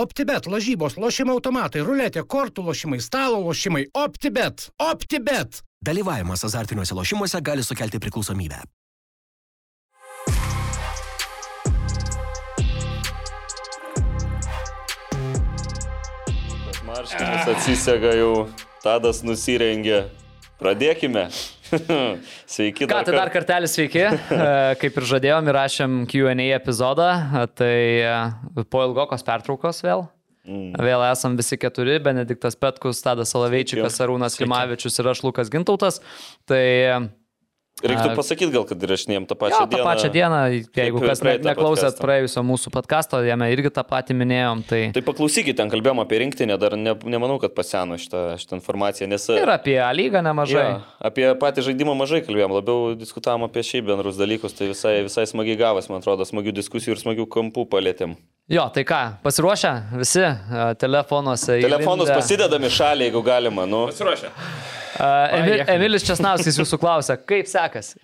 OptiBet, lažybos, lošimo automatai, ruletė, kortų lošimai, stalo lošimai. OptiBet. OptiBet. Dalyvavimas azartiniuose lošimuose gali sukelti priklausomybę. Marškinis atsisega jau, Tadas nusirengė. Pradėkime. Sveiki, Ką, tai dar kartą. kartelį sveiki. E, Kaip ir žadėjom, įrašėm QA epizodą, E, tai e, po ilgokos pertraukos vėl. Mm. Vėl esam visi keturi - Benediktas Petkus, Tadas Salaveičikas, Arūnas Klimavičius ir aš Lukas Gintautas. Tai Reiktų pasakyti gal, kad įrašinėjom tą pačią jo, dieną. tą pačią dieną, jeigu ir kas ne, praeitą neklausėt podcastą. praėjusio mūsų podkasto, jame irgi tą patį minėjom. Tai, Tai paklausykit, ten kalbėjom apie rinktinę, dar ne, nemanau, kad paseno šitą, šitą informaciją, nes... ir apie A lygą nemažai. Jo, apie patį žaidimą mažai kalbėjom, labiau diskutavom apie šiaip bendrus dalykus, tai visai, visai smagiai gavas, man atrodo, smagių diskusijų ir smagių kampų palėtėm. Jo, tai ką, pasiruošę visi E, telefonuose. Telefonus įlindę. pasidedami šaliai, jeigu galima, nu. Pasiruošę. E, Emil, Ai, jie. Emilis Česnauskis jūsų klausia, kaip sekasi?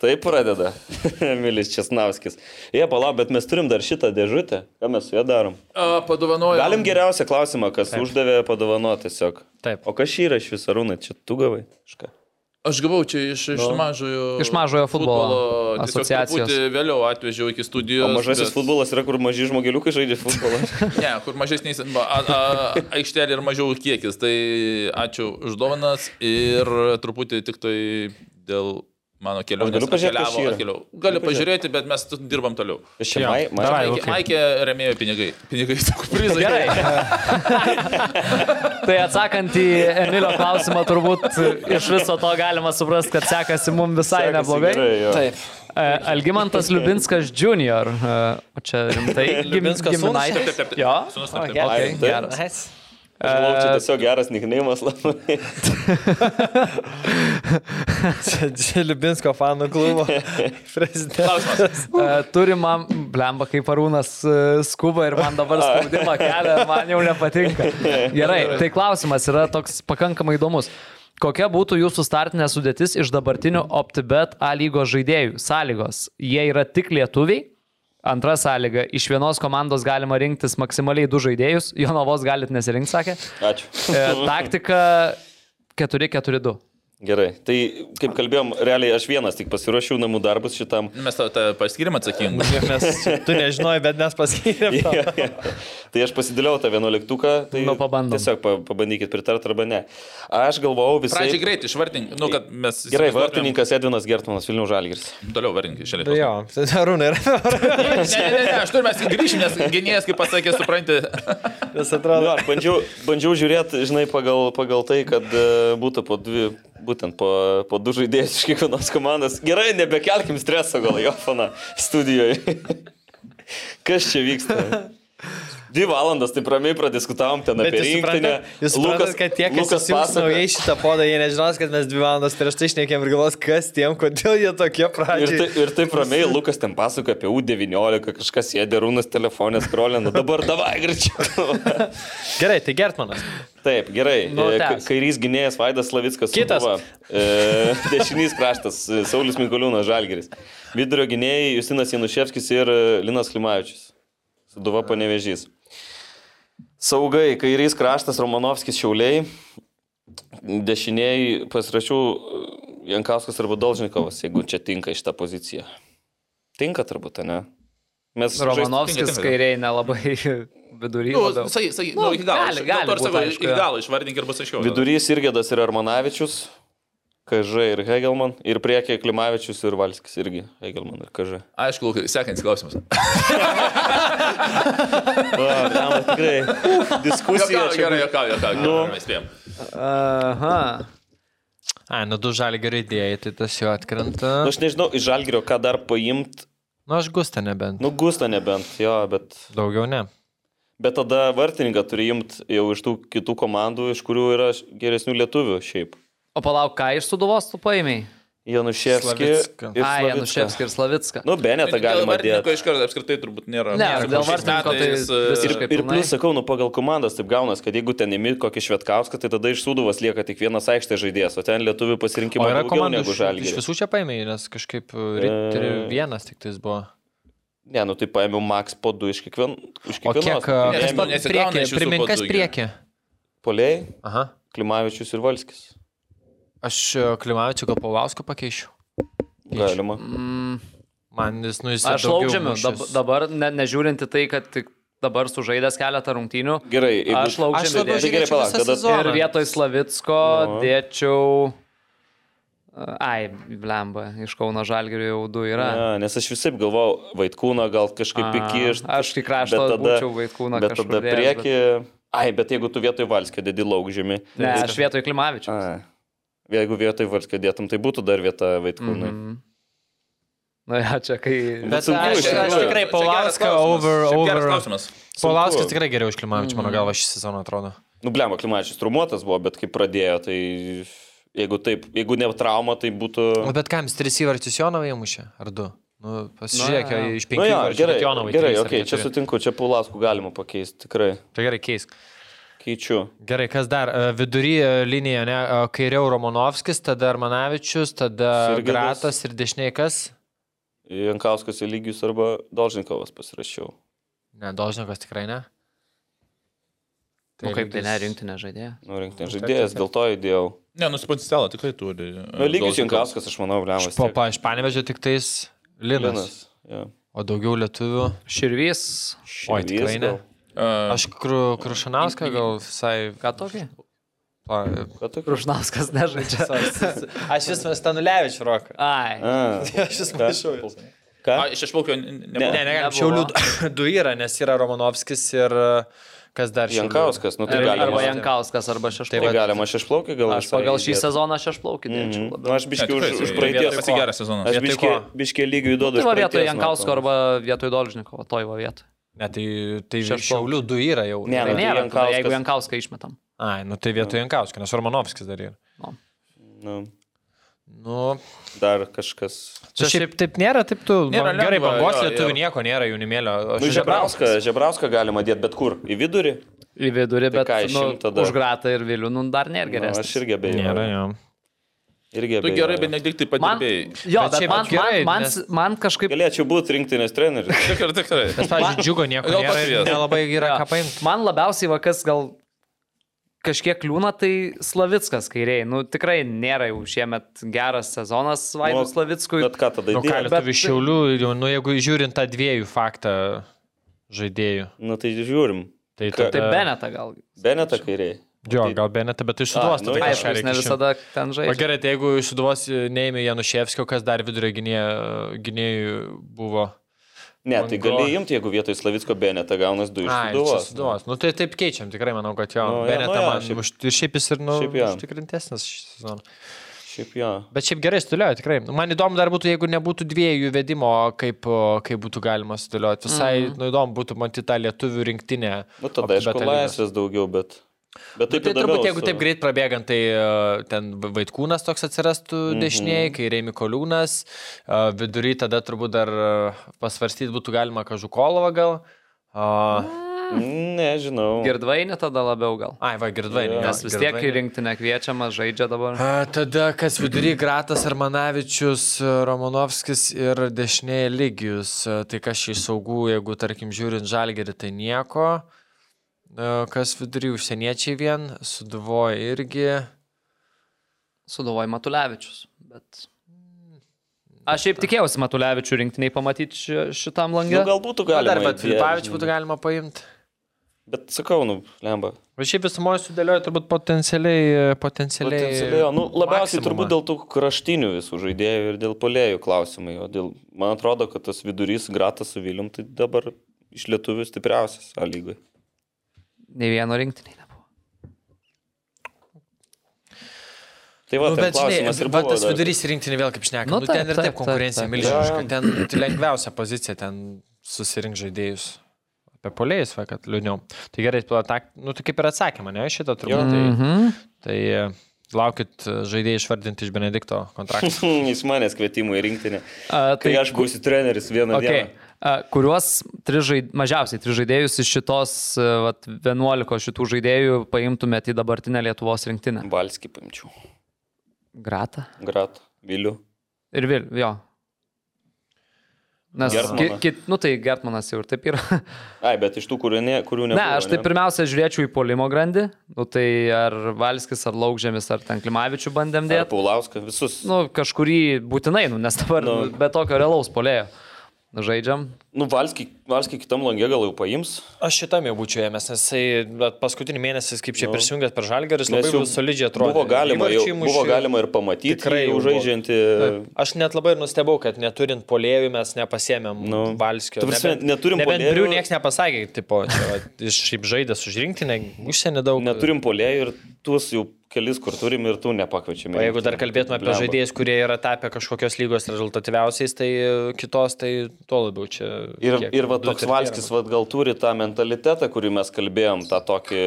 Taip Tai pradeda, Emilis Česnauskis. Jie palauk, bet mes turim dar šitą dėžutę, ką mes su juo darom. Padovanoju. Galim geriausią klausimą, kas Taip. uždavė padovanoti tiesiog. Taip. O kas šį yra iš viso rūnai, čia tu gavai? Iš ką? Aš gavau čia iš, Nu. iš mažojo. Iš mažojo futbolo tiesiog asociacijos. truputį Vėliau atvežiau iki studijų. O mažasis bet... futbolas yra, kur maži žmogeliukai žaidžia futbolą. Ne, kur mažesniais. va, a- a- Aikštelė ir mažiau kiekis. Tai ačiū už dovanas ir truputį tik tai dėl mano kelionės. galiu pažiūrėt, kas čia yra? atkeliavo. Gali pažiūrėti, bet mes tu- dirbam toliau. Šiaip, mai, mai, davai, mai, Lukai. Maikė remėjo pinigai. Pinigai, sakau, prizai. Gerai. tai atsakant į Emilio klausimą, turbūt iš viso to galima suprasti, kad sekasi mums visai sekasi neblogai. Gerai, jo. Taip. E, Algimantas Liubinskas Jr. e, O čia rimtai. Liubinskas sūnus? giminaitis. Taip, taip, taip. Jo. Sūnus, O, taip, taip. gerai, Ai, taip. geras. Nice. Aš galvoju, čia tiesiog geras nikneimas labai. Čia Džilibinsko fanų klubo prezidentas. E, Turi man, blemba, kaip arūnas e, skuba ir man dabar spaudimą kelia, man jau nepatinka. Gerai, tai klausimas yra toks pakankamai įdomus. Kokia būtų jūsų startinė sudėtis iš dabartinių OptiBet A lygos žaidėjų? Sąlygos. Jie yra tik lietuviai. Antra sąlyga. Iš vienos komandos galima rinktis maksimaliai du žaidėjus. Jonavos galit nesirinkti, sakė. Ačiū. E, Taktika 4-4-2. Gerai. Tai kaip kalbėjom, realiai aš vienas tik pasiruošiau namų darbus šitam. Mes tą, tą paskirim atsakingą. Mes, tu nežinojai, bet mes paskyrėm. tau. tai aš pasidėliau tą vienuoliktuką. Tai Nu, pabandom. Tiesiog pa- pabandykit pritart arba ne. Aš galvojau visai... Pradžiai greitai išvardink, nu, kad mes... Gerai, įsivaizduotumėm- vartininkas Edvinas Gertmanas Vilnių Žalgiris. Toliau vardink, Tai išėlė. Jo, Arūnai yra. Ne, ne, ne, ne, aš turiu, mes grįšim, nes gynėjas, kaip pasakė, supranti. Jis Nu, atrodo. aš bandžiau, bandžiau žiūrėti, žinai, pagal, pagal tai, kad e, būtų po dvi, būtent po, po du žaidėjus iš kiekvienos komandos. Gerai, nebekelkim streso gal jo fana studijoje. Kas čia vyksta? Dvi valandas taip ramiai padiskutavom ten Bet apie jūs rinktinę. suprantat, jūs suprantat, kad tie, kas įsijungs pasakoja- naujai šitą podą, jie nežinos, kad mes dvi valandas prieš tai išnekėm ir galvos, kas tiem, kodėl jie tokie Ir, tai, pradžiai. ir taip ramiai Lukas ten pasako apie U19, kažkas sėdė rūnas telefonės krolina, nu dabar davai greičiau. Gerai, tai Gertmanas. Taip, gerai. Nu, E, ka- tęsk. Kairys gynėjas Vaidas Slavickas. Kitas. Sūduva. E, Dešinys kraštas e, Saulis Mikuliūnas Žalgeris. Vidurio gynėjai Justinas Januševskis ir e, Linas Klimavičius. Suduva panevežys. Saugai, kairys kraštas Romanovskis Šiauliai. Dešiniai pasirašiau e, Jankauskas arba Dolžnikovas, jeigu čia tinka šitą poziciją. Tinka turbūt, ne? Mes žais- Romanovskis tinka. kairiai nelabai viduryje. Nu, sakai, sakai, nu, iki galo. Gali, Aš- gali dėl to ir būt, sakau, aišku, iki jo. galo išvardink ir bus aiškiau. Vidurys Irgėdas ir Armanavičius, KŽ ir Hegelman, ir priekyje Klimavičius ir Valskis irgi Hegelman ir KŽ. Aišku, Lukai, sekantis klausimas. Tikrai. Diskusija. Jokau, čia Gerai, buvo. jokau, jokau. Nu, mes spėjom. Aha. A, nu du žalį gerai dėjai, tai tas jau atkrenta. Nu, aš nežinau, iš Žalgirio ką dar paimt. Nu, aš gustą nebent. Nu, Gustą nebent, jo, bet. Daugiau ne. Bet tada vartininką turi imt jau iš tų kitų komandų, iš kurių yra š- geresnių lietuvių šiaip. O palauk, ką iš suduvos tu paėmiai? Januševskį. Slavicką. ir Ai, Slavicką. Januševskį ir Slavicką. Nu, Benetą galima dėti. Iš karto apskritai turbūt nėra. Ne, Sakau, dėl šiais vartininko tai metais, e, visiškai Ir pilnai. plus, sakau, nu pagal komandas taip gaunas, kad jeigu ten imi kokį Švetkauską, tai tada iš Suduvas lieka tik vienas aikštės žaidėjas, o ten lietuvių O pasirinkimo yra daugiau komandų negu iš, iš Žalgiris. e, visų čia paėmė, nes kažkaip Ritter E. vienas tik tais buvo. Ne, nu tai paėmiau max po 2 iš, kiekvien, iš O kiekvienos. kiek... e, Nu, ne, Kas paėmiau pa- pa- nesigauna priekyje? iš visų Primink, kas padūgių. priekyje? Poliai, Aha. Klimavičius ir Valskis. Aš e, Klimavičiu gal Paulauską pakeičiu. Galima. Mm. Man jis, nu, jis Aš laukžiamiu, Dab, dabar ne, nežiūrinti tai, kad tik dabar sužaidęs keletą rungtynių. Gerai, jeigu- Aš laukžiamiu. Aš labiau Tai dėčiau. gerai, žiūrėčiau palauk, visą tada- sezoną. Ir vietoj Slavicko Nu. dėčiau... Ai, blemba, iš Kauno Žalgirio jau du yra. Ne, nes aš visai galvojau, vaikūną gal kažkaip A, įkišti. aš tai krašto būčiau Vaitkūną Bet tada kažkur dėjęs, prieki. Ai, bet jeigu tu vietoj Valskio dedi tai laukžymį. Ne, aš vietoj Klimavičių. A, jeigu vietoj Valskio dėtum, tai būtų dar vieta vaikūnai. Mhm. Mm -hmm. Na, ja, Nu, čia kai... Bet sunku, aš, iš aš tikrųjų. tikrai Paulauską over... Geras over... klausimas. Paulauskas tikrai geriau už Klimavičių, Mm. mano galva, šį sezoną atrodo. Nu, blemo, Klimačius trumotas buvo, bet kai pradėjo, tai jeigu, taip, jeigu ne trauma, tai O būtų... bet kam, jis tris įvarčius Jonovai mušė? Ar du? Nu, pasižiūrėk, Na, jo. iš Nu, penkių jo, įvarčių, gerai, bet Jonovai gerai trys ar okay, čia keturi. sutinku, čia Paulasku galima pakeisti, tikrai. Tai gerai, keisk. Keičiu. Gerai, kas dar? E, Vidury e, linija, ne? E, Kairiau Romanovskis, tada Armanavičius, tada Sirgidas. Gratas ir dešiniai kas? Jankauskas lygius arba Dolžinkovas pasirašiau. Ne, Dožnikas tikrai ne. Nu, kaip tai Lygis- nerinkti nežaidėjai. Nu, rinktinės tai žaidėjas, dėl to įdėjau. Ne, nusipotencialą tikrai turi. e, Nu, lygius Jankauskas, aš manau, blemas. Po pa, tai. iš Panevežio tik tais Linas. Linas. Vienas. Ja. O daugiau lietuvių. Širvys. Oi, tikrai ne. Aš Aš kru, Krušanauską gal visai... Ką tokį? Pa, Krušnauskas nežaidžia. Aš vis mes Stanulevičiu roką. Ai. Aš vis mačiau. Ką? išplaukio. Ne, Ne, ne, Nebuvo. Šiaulių du- du yra, nes yra Romanovskis ir e, kas dar Šiaulių? Jankauskas, nu tai Arba galima. Jankauskas, arba šeštas. Tai galima šešplaukį gal. Aš visai pagal šį įdėt. sezoną aš tai plaukį Mhm. dėčiau Nu, labiau. aš biškiai Ne, už, tikrai, už tai praeities. vietoj geras sezonas. Aš Vietoj biškiai, ko? biškiai lygių įduodu. Tai iš va vietoj praeities, Jankausko matau. arba vietoj Dolžnikovo, toj va vietoj. Ne, tai, tai Šešplaukis. Šiaulių du yra jau. Ne, Tai nu, tai nėra, tada, Jankauskas- jeigu Jankauską išmetam. Ai, nu tai vietoj Jankauskio, nes Romanovskis dar yra. Nu, Nu, dar kažkas. čia šiaip taip nėra, taip tu. Nėra Nėra, man, gerai, lengva, bangos jo, lietuvių jo. nieko nėra, jaunimėlio. Aš Nu, Žebrauską, Žebrauską galima dėti bet kur. Į vidurį. Į vidurį, bet ką nu, išimt tada? užgratą ir Vilių, nu dar nėra Nu, geresnis. aš irgi abejoju. Nėra, jo. Irgi Tu abejoju. gerai, bet negdiktai Man, padirbėjai. jo, Bet bet, šiaip man, gerai, man, man, nes- man kažkaip... Galėčiau būti rinktinės treneris. Tikrai, tikrai. Nes, pavyzdžiui, džiugo nieko Gal nėra, ir pakvies. nelabai yra Jo. ką paimti. Man labiausiai vakas gal kažkiek liūna, tai Slavickas kairiai. Nu, tikrai nėra jau šiemet geras sezonas Vaidu Nu, Slavickui. Bet ką tada Nu, ką, dėti? lietuvių šiaulių, jau, nu, jeigu žiūrint tą dviejų faktą žaidėjų. Nu tai žiūrim. Tai, Ka- Tai Benetą gal. Benetą kairiai. Jo, gal Benetą, bet iš suduvos A, nu, tada Aišku, Aišku, kažką jis reikia. ne išimt. visada ten O žaidžia. gerai, tai jeigu iš suduvos neėmė Januševskio, kas dar vidurio gynė- gynėjų buvo. Ne, tai Vango. gali imti, jeigu vietoj Slavicko Benetą gaunas du iš Ai, čia Suduvos. Suduvos. Nu, tai taip keičiam, tikrai manau, kad jo. Nu, jo, Benetą nu, jo, man šiaip- už- ir šiaip jis ir, nu, šiaip jo. užtikrintesnis šį sezoną. Šiaip jo. Bet šiaip gerai sudėliojo, tikrai. Nu, Man įdomu dar būtų, jeigu nebūtų dviejų vedimo, kaip, o, kaip būtų galima sudėlioti. Visai Mhm. mm. nu, įdomu būtų matyti tą lietuvių rinktinę. Nu tada optibeta aišku lygos. laisvės daugiau, bet... Bet Tai taip turbūt, įdomiau jeigu su- taip greit prabėgant, tai e, ten vaikūnas toks atsirastų mm Mhm. -hmm. dešiniai, kai Reimi Koliūnas, e, vidury tada turbūt dar e, pasvarstyti būtų galima Kažukolovą gal. E, Nežinau. Girdvainį tada labiau gal. Ai, va, girdvai. Jo. Nes vis tiek į rinktinę kviečiamas žaidžia dabar. A, tada kas vidury Gratas Armanavičius, e, Romanovskis ir dešinėje lygius. E, Tai kas šiai saugų, jeigu tarkim žiūrint žalgerį, tai nieko. E, Kas vidury užsieniečiai vien, suduvoja irgi. Sudovoj Matulevičius. Bet... Aš šiaip tikėjausi Matulevičių rinktiniai pamatyti ši- šitam Nu, langė. gal būtų galima. Dar bet įdėt, Filipavičių būtų žinai. galima paimti. Bet sakau, nu, lemba. Va šiaip visumoje sudėlioja turbūt potencialiai. e, potencialiai, Potencialiai, jo. nu, labiausiai maksimumą. turbūt dėl tų kraštinių visų žaidėjų ir dėl polėjų klausimai. O dėl, man atrodo, kad tas vidurys gratas su Vilim, tai dabar iš lietuvių stipriausias A lygoje. Ne vieno rinktiniai nebuvo. Tai va, Nu, nu, bet žinai, klausimas ir va, buvo. tas dar. vidurys rinktinį vėl kaip šneka. Nu, Nu, ten taip, ir taip taip, konkurencija taip, taip. milžiniška. Jo, jo. Ten lengviausia pozicija, ten susirink žaidėjus. Apie polėjus, va, kad liūdniau. Tai gerai, tu, atak, nu, tai kaip ir atsakymą, ne, šitą Jo, turbūt. tai- Mhm. Tai, tai laukit e, žaidėjai išvardinti iš Benedikto kontrakto. Iš manęs kvietimų į rinktinę. A, Kai aš būsiu treneris vieną Okay. dieną. A, Kuriuos tris žaid... mažiausiai tris žaidėjus iš šitos a, vat, 11 šitų žaidėjų paimtumėte į dabartinę Lietuvos rinktinę? Balskį paimčiau. Grata. Grat, Viliu. Ir Vil, jo. Nes, ki, Gertmaną. ki, nu tai Gertmanas jau ir taip yra. Ai, bet iš tų, kurių, ne, kurių nebuvo. Ne, aš tai pirmiausia žiūrėčiau į polimo grandį. Nu tai ar Valskis, ar Laukžėmis, ar ten Klimavičių bandėm dėdė. dėti. Paulauską, visus. Nu, Nu, kažkurį būtinai, nu, nes dabar nu. Nu. be tokio realaus polėjo. Nu, žaidžiam. nu Valskį, Valskį kitam langė gal jau paims. Aš šitam jau būčiau ėmęs, nes jisai bet paskutinį mėnesį, kaip Jo. čia prisijungęs per žalgerį, Nes labai jau solidžiai atrodo. Buvo galima, jau, buvo galima ir pamatyti, Tikrai tikrai jau jau buvo. žaidžiantį. Aš net labai ir nustebau, kad neturint polėjų mes nepasėmėm nu, Nu, Balskio. ta prasme, neturim nebent puolėjų- Briu niekas nepasakė, tipo, čia, va, iš šiaip žaidęs užrinkti, ne, užsienį daug. Neturim polėjų ir tuos jau kelis, kur turim ir tų nepakviečiame. O jeigu dar kalbėtume apie Blemba. žaidėjus, kurie yra tapę kažkokios lygos rezultatyviausiais, tai e, kitos, tai tuo labiau čia. Ir, kiek, ir va, du, toks trys Valskis nėra. va, gal turi tą mentalitetą, kurį mes kalbėjom, tą tokį,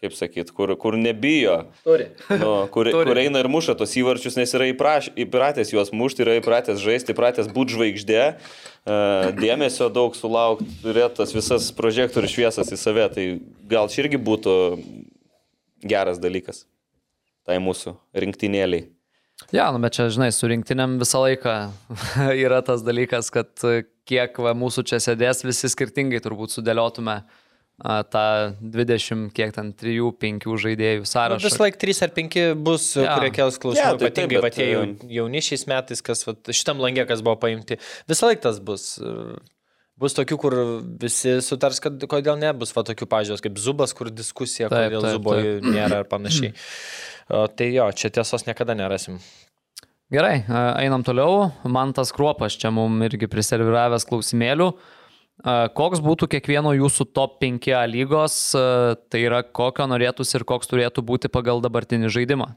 kaip sakyt, kur, kur nebijo. Turi. Nu, kur, kur eina ir muša tos įvarčius, nes yra įpraš, įpratęs juos mušti, yra įpratęs žaisti, įpratęs būti žvaigždė, e, dėmesio daug sulaukti, turėti tas visas projektorių šviesas į save, tai gal čia irgi būtų geras dalykas tai mūsų rinktinėliai. Ja, nu, bet čia, žinai, su rinktiniam visą laiką yra tas dalykas, kad e, kiek va, mūsų čia sėdės, visi skirtingai turbūt sudėliotume a, tą 20, kiek ten 3-5 žaidėjų Nu, sąrašą. Vis laik 3 ar 5 bus, ja. Jo. kurie kels klausimų, Jo, ja, tai tai taip, ypatingai bet, bet, tie jau, em, jauni šiais metais, kas va, šitam langė, kas buvo paimti. Visą laiką tas bus. e, Bus tokių, kur visi sutars, kad kodėl nebus va tokių pažiūros, kaip Zubas, kur diskusija, Taip, taip, kodėl taip, Zubo nėra ir panašiai. O, tai jo, čia tiesos niekada nerasim. Gerai, a, einam toliau. Mantas Kruopas čia mum irgi priserviravęs klausimėlių. A, Koks būtų kiekvieno jūsų top 5 A lygos, a, tai yra kokio norėtųsi ir koks turėtų būti pagal dabartinį žaidimą?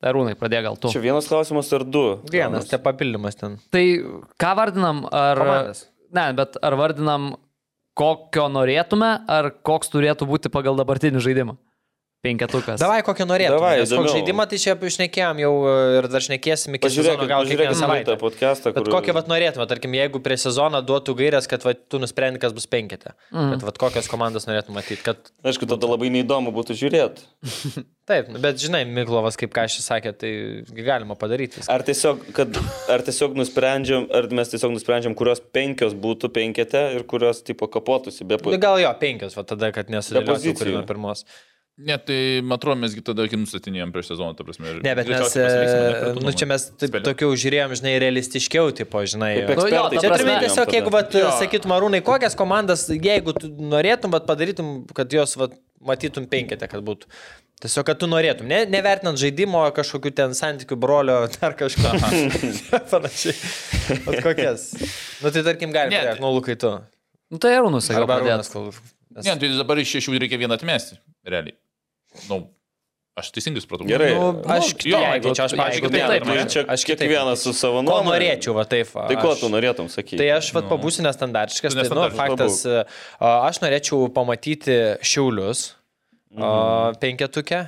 Tai Arūnai, pradėk gal tu. Čia vienas klausimas ar du? Nu. Vienas, tie papildymas ten. Tai ką vardinam, ar... Komandas. Ne, bet ar vardinam, kokio norėtume, ar koks turėtų būti pagal dabartinį žaidimą? Penketukas. Davai, kokį norėtum. Davai, Nes kokį įdomiau. žaidimą tai čia išnekėjom jau e, ir dar šnekėsim iki sezono, Pažiūrėkime, gal kiekvieną pažiūrėkime savaitę. tą podcastą. Bet kur- kokią vat norėtume, tarkim, jeigu prie sezono duotų gairias, kad vat, tu nusprendai, kas bus penkite. Mm. Kad vat, kokias komandas norėtum matyti. Kad... Aišku, tada labai neįdomu būtų žiūrėti. Taip, nu, bet žinai, Miklovas, kaip ką aš sakė, tai galima padaryti. Viską. Ar tiesiog, kad, ar tiesiog nusprendžiam, ar mes tiesiog nusprendžiam, kurios penkios būtų penkete ir kurios tipo kapotųsi be Nu, pozicijų. Gal jo, penkios, va tada, kad nesudėliosi, pozicijų. kuri nuo pirmos. Ne, tai man atrodo, mesgi tada, kai nustatinėjom prieš sezoną, ta prasme. ir Ne, bet mes, greičiausiai pasiliksime e, nekartu, nu, čia mes taip, Spėliu. tokiau žiūrėjom, žinai, realistiškiau, tipo, žinai. Kaip Nu, jo, ekspertai. ta Čia prasme- turime tiesiog, jeigu vat, Jo. sakytum, Arūnai, kokias komandas, jeigu tu norėtum, bet padarytum, kad jos vat, matytum penketę, kad būtų. Tiesiog, kad tu norėtum, ne, nevertinant žaidimo, kažkokių ten santykių brolio, dar kažko. Panašiai. Vat kokias. Nu tai Ne, tarkim, galime. tai- Nu, Lukai, tu. Nu, tai Arūnus, sakau, Arba pradėt. Arūnas, kol. nes- Ne, tai dabar iš šešių reikia vieną atmesti, realiai. Nu, aš teisingai supratau. Gerai. Aš nu, kitaip, jo, jeigu čia aš, jeigu pavyzdžiui, taip, kitaip. tai Tai norėčiau. čia Aš kitaip. kiekvienas su savo Ko nuomone. norėčiau, va taip. va, Tai ko aš- tu norėtum sakyti? Tai aš vat, pabūsiu Tu nestandartiškas. Tai, nu, nestandartiškas, faktas, a, aš norėčiau pamatyti šiaulius Mhm. mm. penketukę.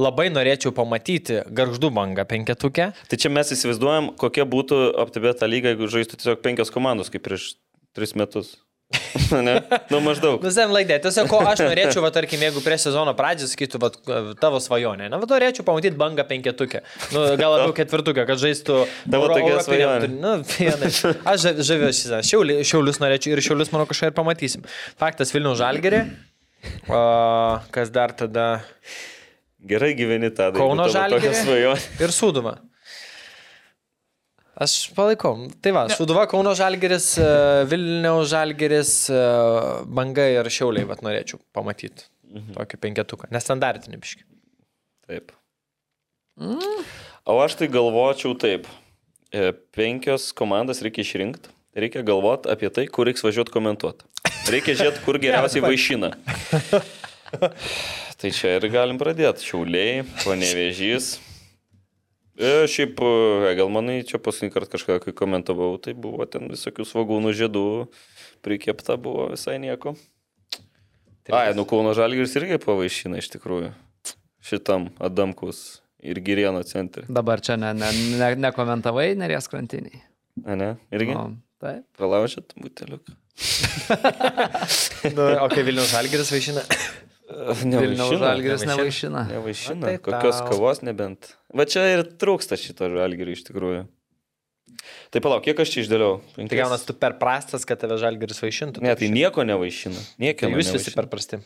Labai norėčiau pamatyti garždų bangą penketukę. Tai čia mes įsivaizduojam, kokia būtų optibeta lyga, jeigu žaistų tiesiog penkios komandos kaip prieš tris metus. ne? Nu maždaug. Visam laidė, tiesiog ko aš norėčiau, va, tarkim, jeigu prie sezono pradžios sakytų, va, tavo svajonė. Na, va, norėčiau pamatyti bangą penketukę. Nu, gal labiau ketvirtukę, kad žaistų. Tavo Euro- tokia Europinio svajonė. tur- Nu, vienai. Aš ža- žaviuosi, žinai, šiauli, šiaulius norėčiau ir šiaulius, manau, kažką ir pamatysim. Faktas Vilnių žalgerį. A, Kas dar tada? Gerai gyveni tą dalyką. Kauno Žalgirį? svajonė. Ir Sūduvą. Aš palaikau. Tai va, Sūduva, Kauno Žalgeris, e, Vilniaus Žalgeris, e, Banga ir Šiauliai, vad norėčiau pamatyti. Tokį penketuką. Nestandartinį biškį. Taip. O aš tai galvočiau taip. E, Penkios komandas reikia išrinkti. Reikia galvoti apie tai, kur reiks važiuoti komentuoti. Reikia žiūrėti, kur geriausiai vaišina. Tai čia ir galim pradėti. Šiauliai, panevežys. E, šiaip, e, gal manai, čia paskutinį kartą kažką, kai komentavau, tai buvo ten visokių svagūnų žiedų, prikepta buvo visai nieko. Ai, nu Kauno Žalgiris irgi pavaišina iš tikrųjų. Šitam Adamkus ir Girieno centrui. Dabar čia ne, ne, ne, nekomentavai, nerės krantiniai. A ne? Irgi? O, taip. Pralaužėt buteliuką. Nu, o kai Vilniaus Žalgeris vaišina. tai Vilniaus žalgris nevaišina. nevaišina. Nevaišina. O tai Kokios tau. kavos nebent. Va čia ir trūksta šito žalgirio iš tikrųjų. Tai palauk, kiek aš čia išdėliau? Tai gaunas tu per prastas, kad tave žalgeris vaišintų. Ne, tai nieko nevaišina. Nieko. Tai jūs visi per prasti.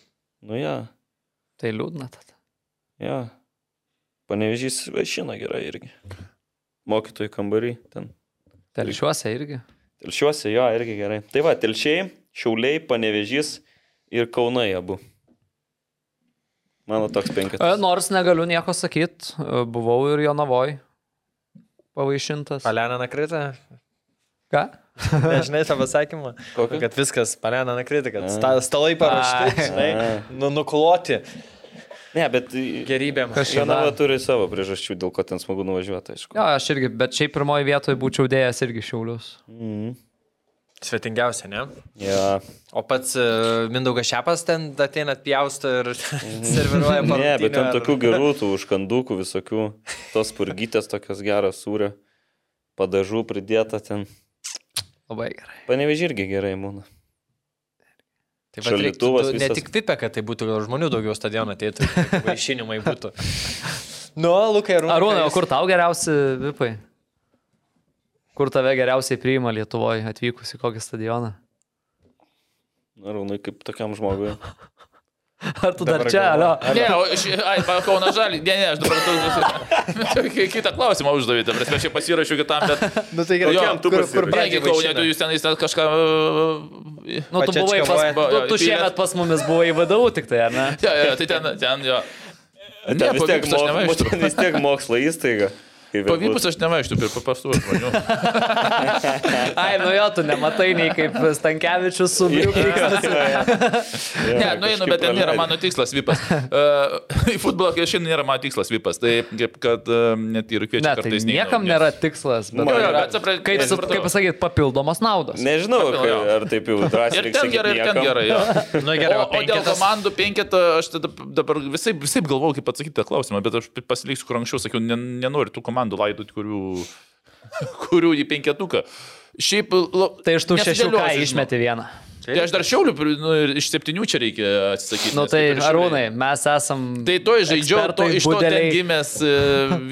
Nu ja, Tai liūdna tada. ja. Panevežys vaišina gerai irgi. Mokytojų kambarį ten. Telšiuose irgi. Telšiuose jo irgi gerai. Tai va, telšiai, šiauliai, panevežys ir kaunai abu. Mano toks penketas. nu, E, Nors negaliu nieko sakyti, buvau ir Jonavoj pavaišintas. Palena nakrita. Ką? Nežinai savo sakymą. Kokį? Kad viskas, palena nakrita, kad sta, stalai parašyti, žinai, nu, nukloti Ne, bet i- gerybėm. Kas čia Jonava dar? turi savo priežasčių, dėl ko ten smagu nuvažiuoti, aišku. Jo, aš irgi, bet šiaip pirmoji vietoje būčiau dėjęs irgi šiaulius. Mhm. Svetingiausia, ne? Ja. O e, pats Mindaugas Šepas ten ateina atpjausto ir serviruoja Ne, bet ten tokių gerų, tų užkandukų, visokių, tos purgytės tokios geros sūrio, padažų pridėta ten. Labai gerai. Paneveži irgi gerai būna. Tai vat reiktų šaldytuvas du- ne Ne visas. tik tik vipė, kad tai būtų, gal žmonių daugiau stadioną ateitų. Vaišinimai būtų. Nu, Lukai, Arūnai. Arūnai, o kur tau geriausi vipai? Kur tave geriausiai priima Lietuvoje atvykus į kokį stadioną? Arūnai, kaip tokiam žmogui. Ar tu dar čia, alio? Ne, o iš... Ai, Kauna Žalį. Ne, ne, aš dabar tu... Tokį Kitą klausimą uždavėte, bet aš čia pasirašiau kitam, bet... Nu, tai gerai, Jo, kam tu kur, kur Pradžiai, pradėjai? Kauna, vaišina? tu jūs ten, jūs ten kažką... e, Nu, tu Pačia buvai pas, atškavoja. tu, Jo, tu tai yra- šiemet pas mumis buvai vadovų tik tai, ar ne? Jo, jo, jo, tai ten, ten jo. Ne, Ten vis tiek, pavykus aš mo, nevaikštų. ten vis tiek mokslo įstaiga. kaip bebūtų. Pavykus aš nevaikštų, per paprastų žmonių. Ai, nu jo, tu nematai nei kaip Stankevičius su Briukais. Ne, nu einu, bet ten nėra mano tikslas vipas. E, Į futbolą kai aš einu, nėra mano tikslas vipas. Tai kaip kad e, net ir kviečiu. Ne, tai kartais neinu, niekam nes- nėra tikslas. Bet, Man- Jo, jo, yra- bet supra- kaip, su- supratau. kaip pasakyti, papildomos naudos. Nežinau, kai, jo. ar taip jau drąsiai. Ir reiks ten sakyt gerai, ir ten niekam. gerai. Jo. Nu gerai, o o, o dėl penketas. komandų penketo, aš tada dabar visai, visai galvau, kaip atsakyti tą klausimą, bet aš pasiliksiu, kur anksčiau sakiau, ne, nenoriu tų komandų laidoti, kurių, kurių į penketuką. Šiaip, la, Tai iš tų šešių ką nesidėliosiu, žinau. išmeti vieną. Tai aš dar šiauliu, pri- nu, ir iš septynių čia reikia atsisakyti. Nu nes tai, kaip ir Šiauliai- Arūnai, mes esam. Tai to žaidžiau, to, ekspertai, iš to ten budeliai. gimęs, e,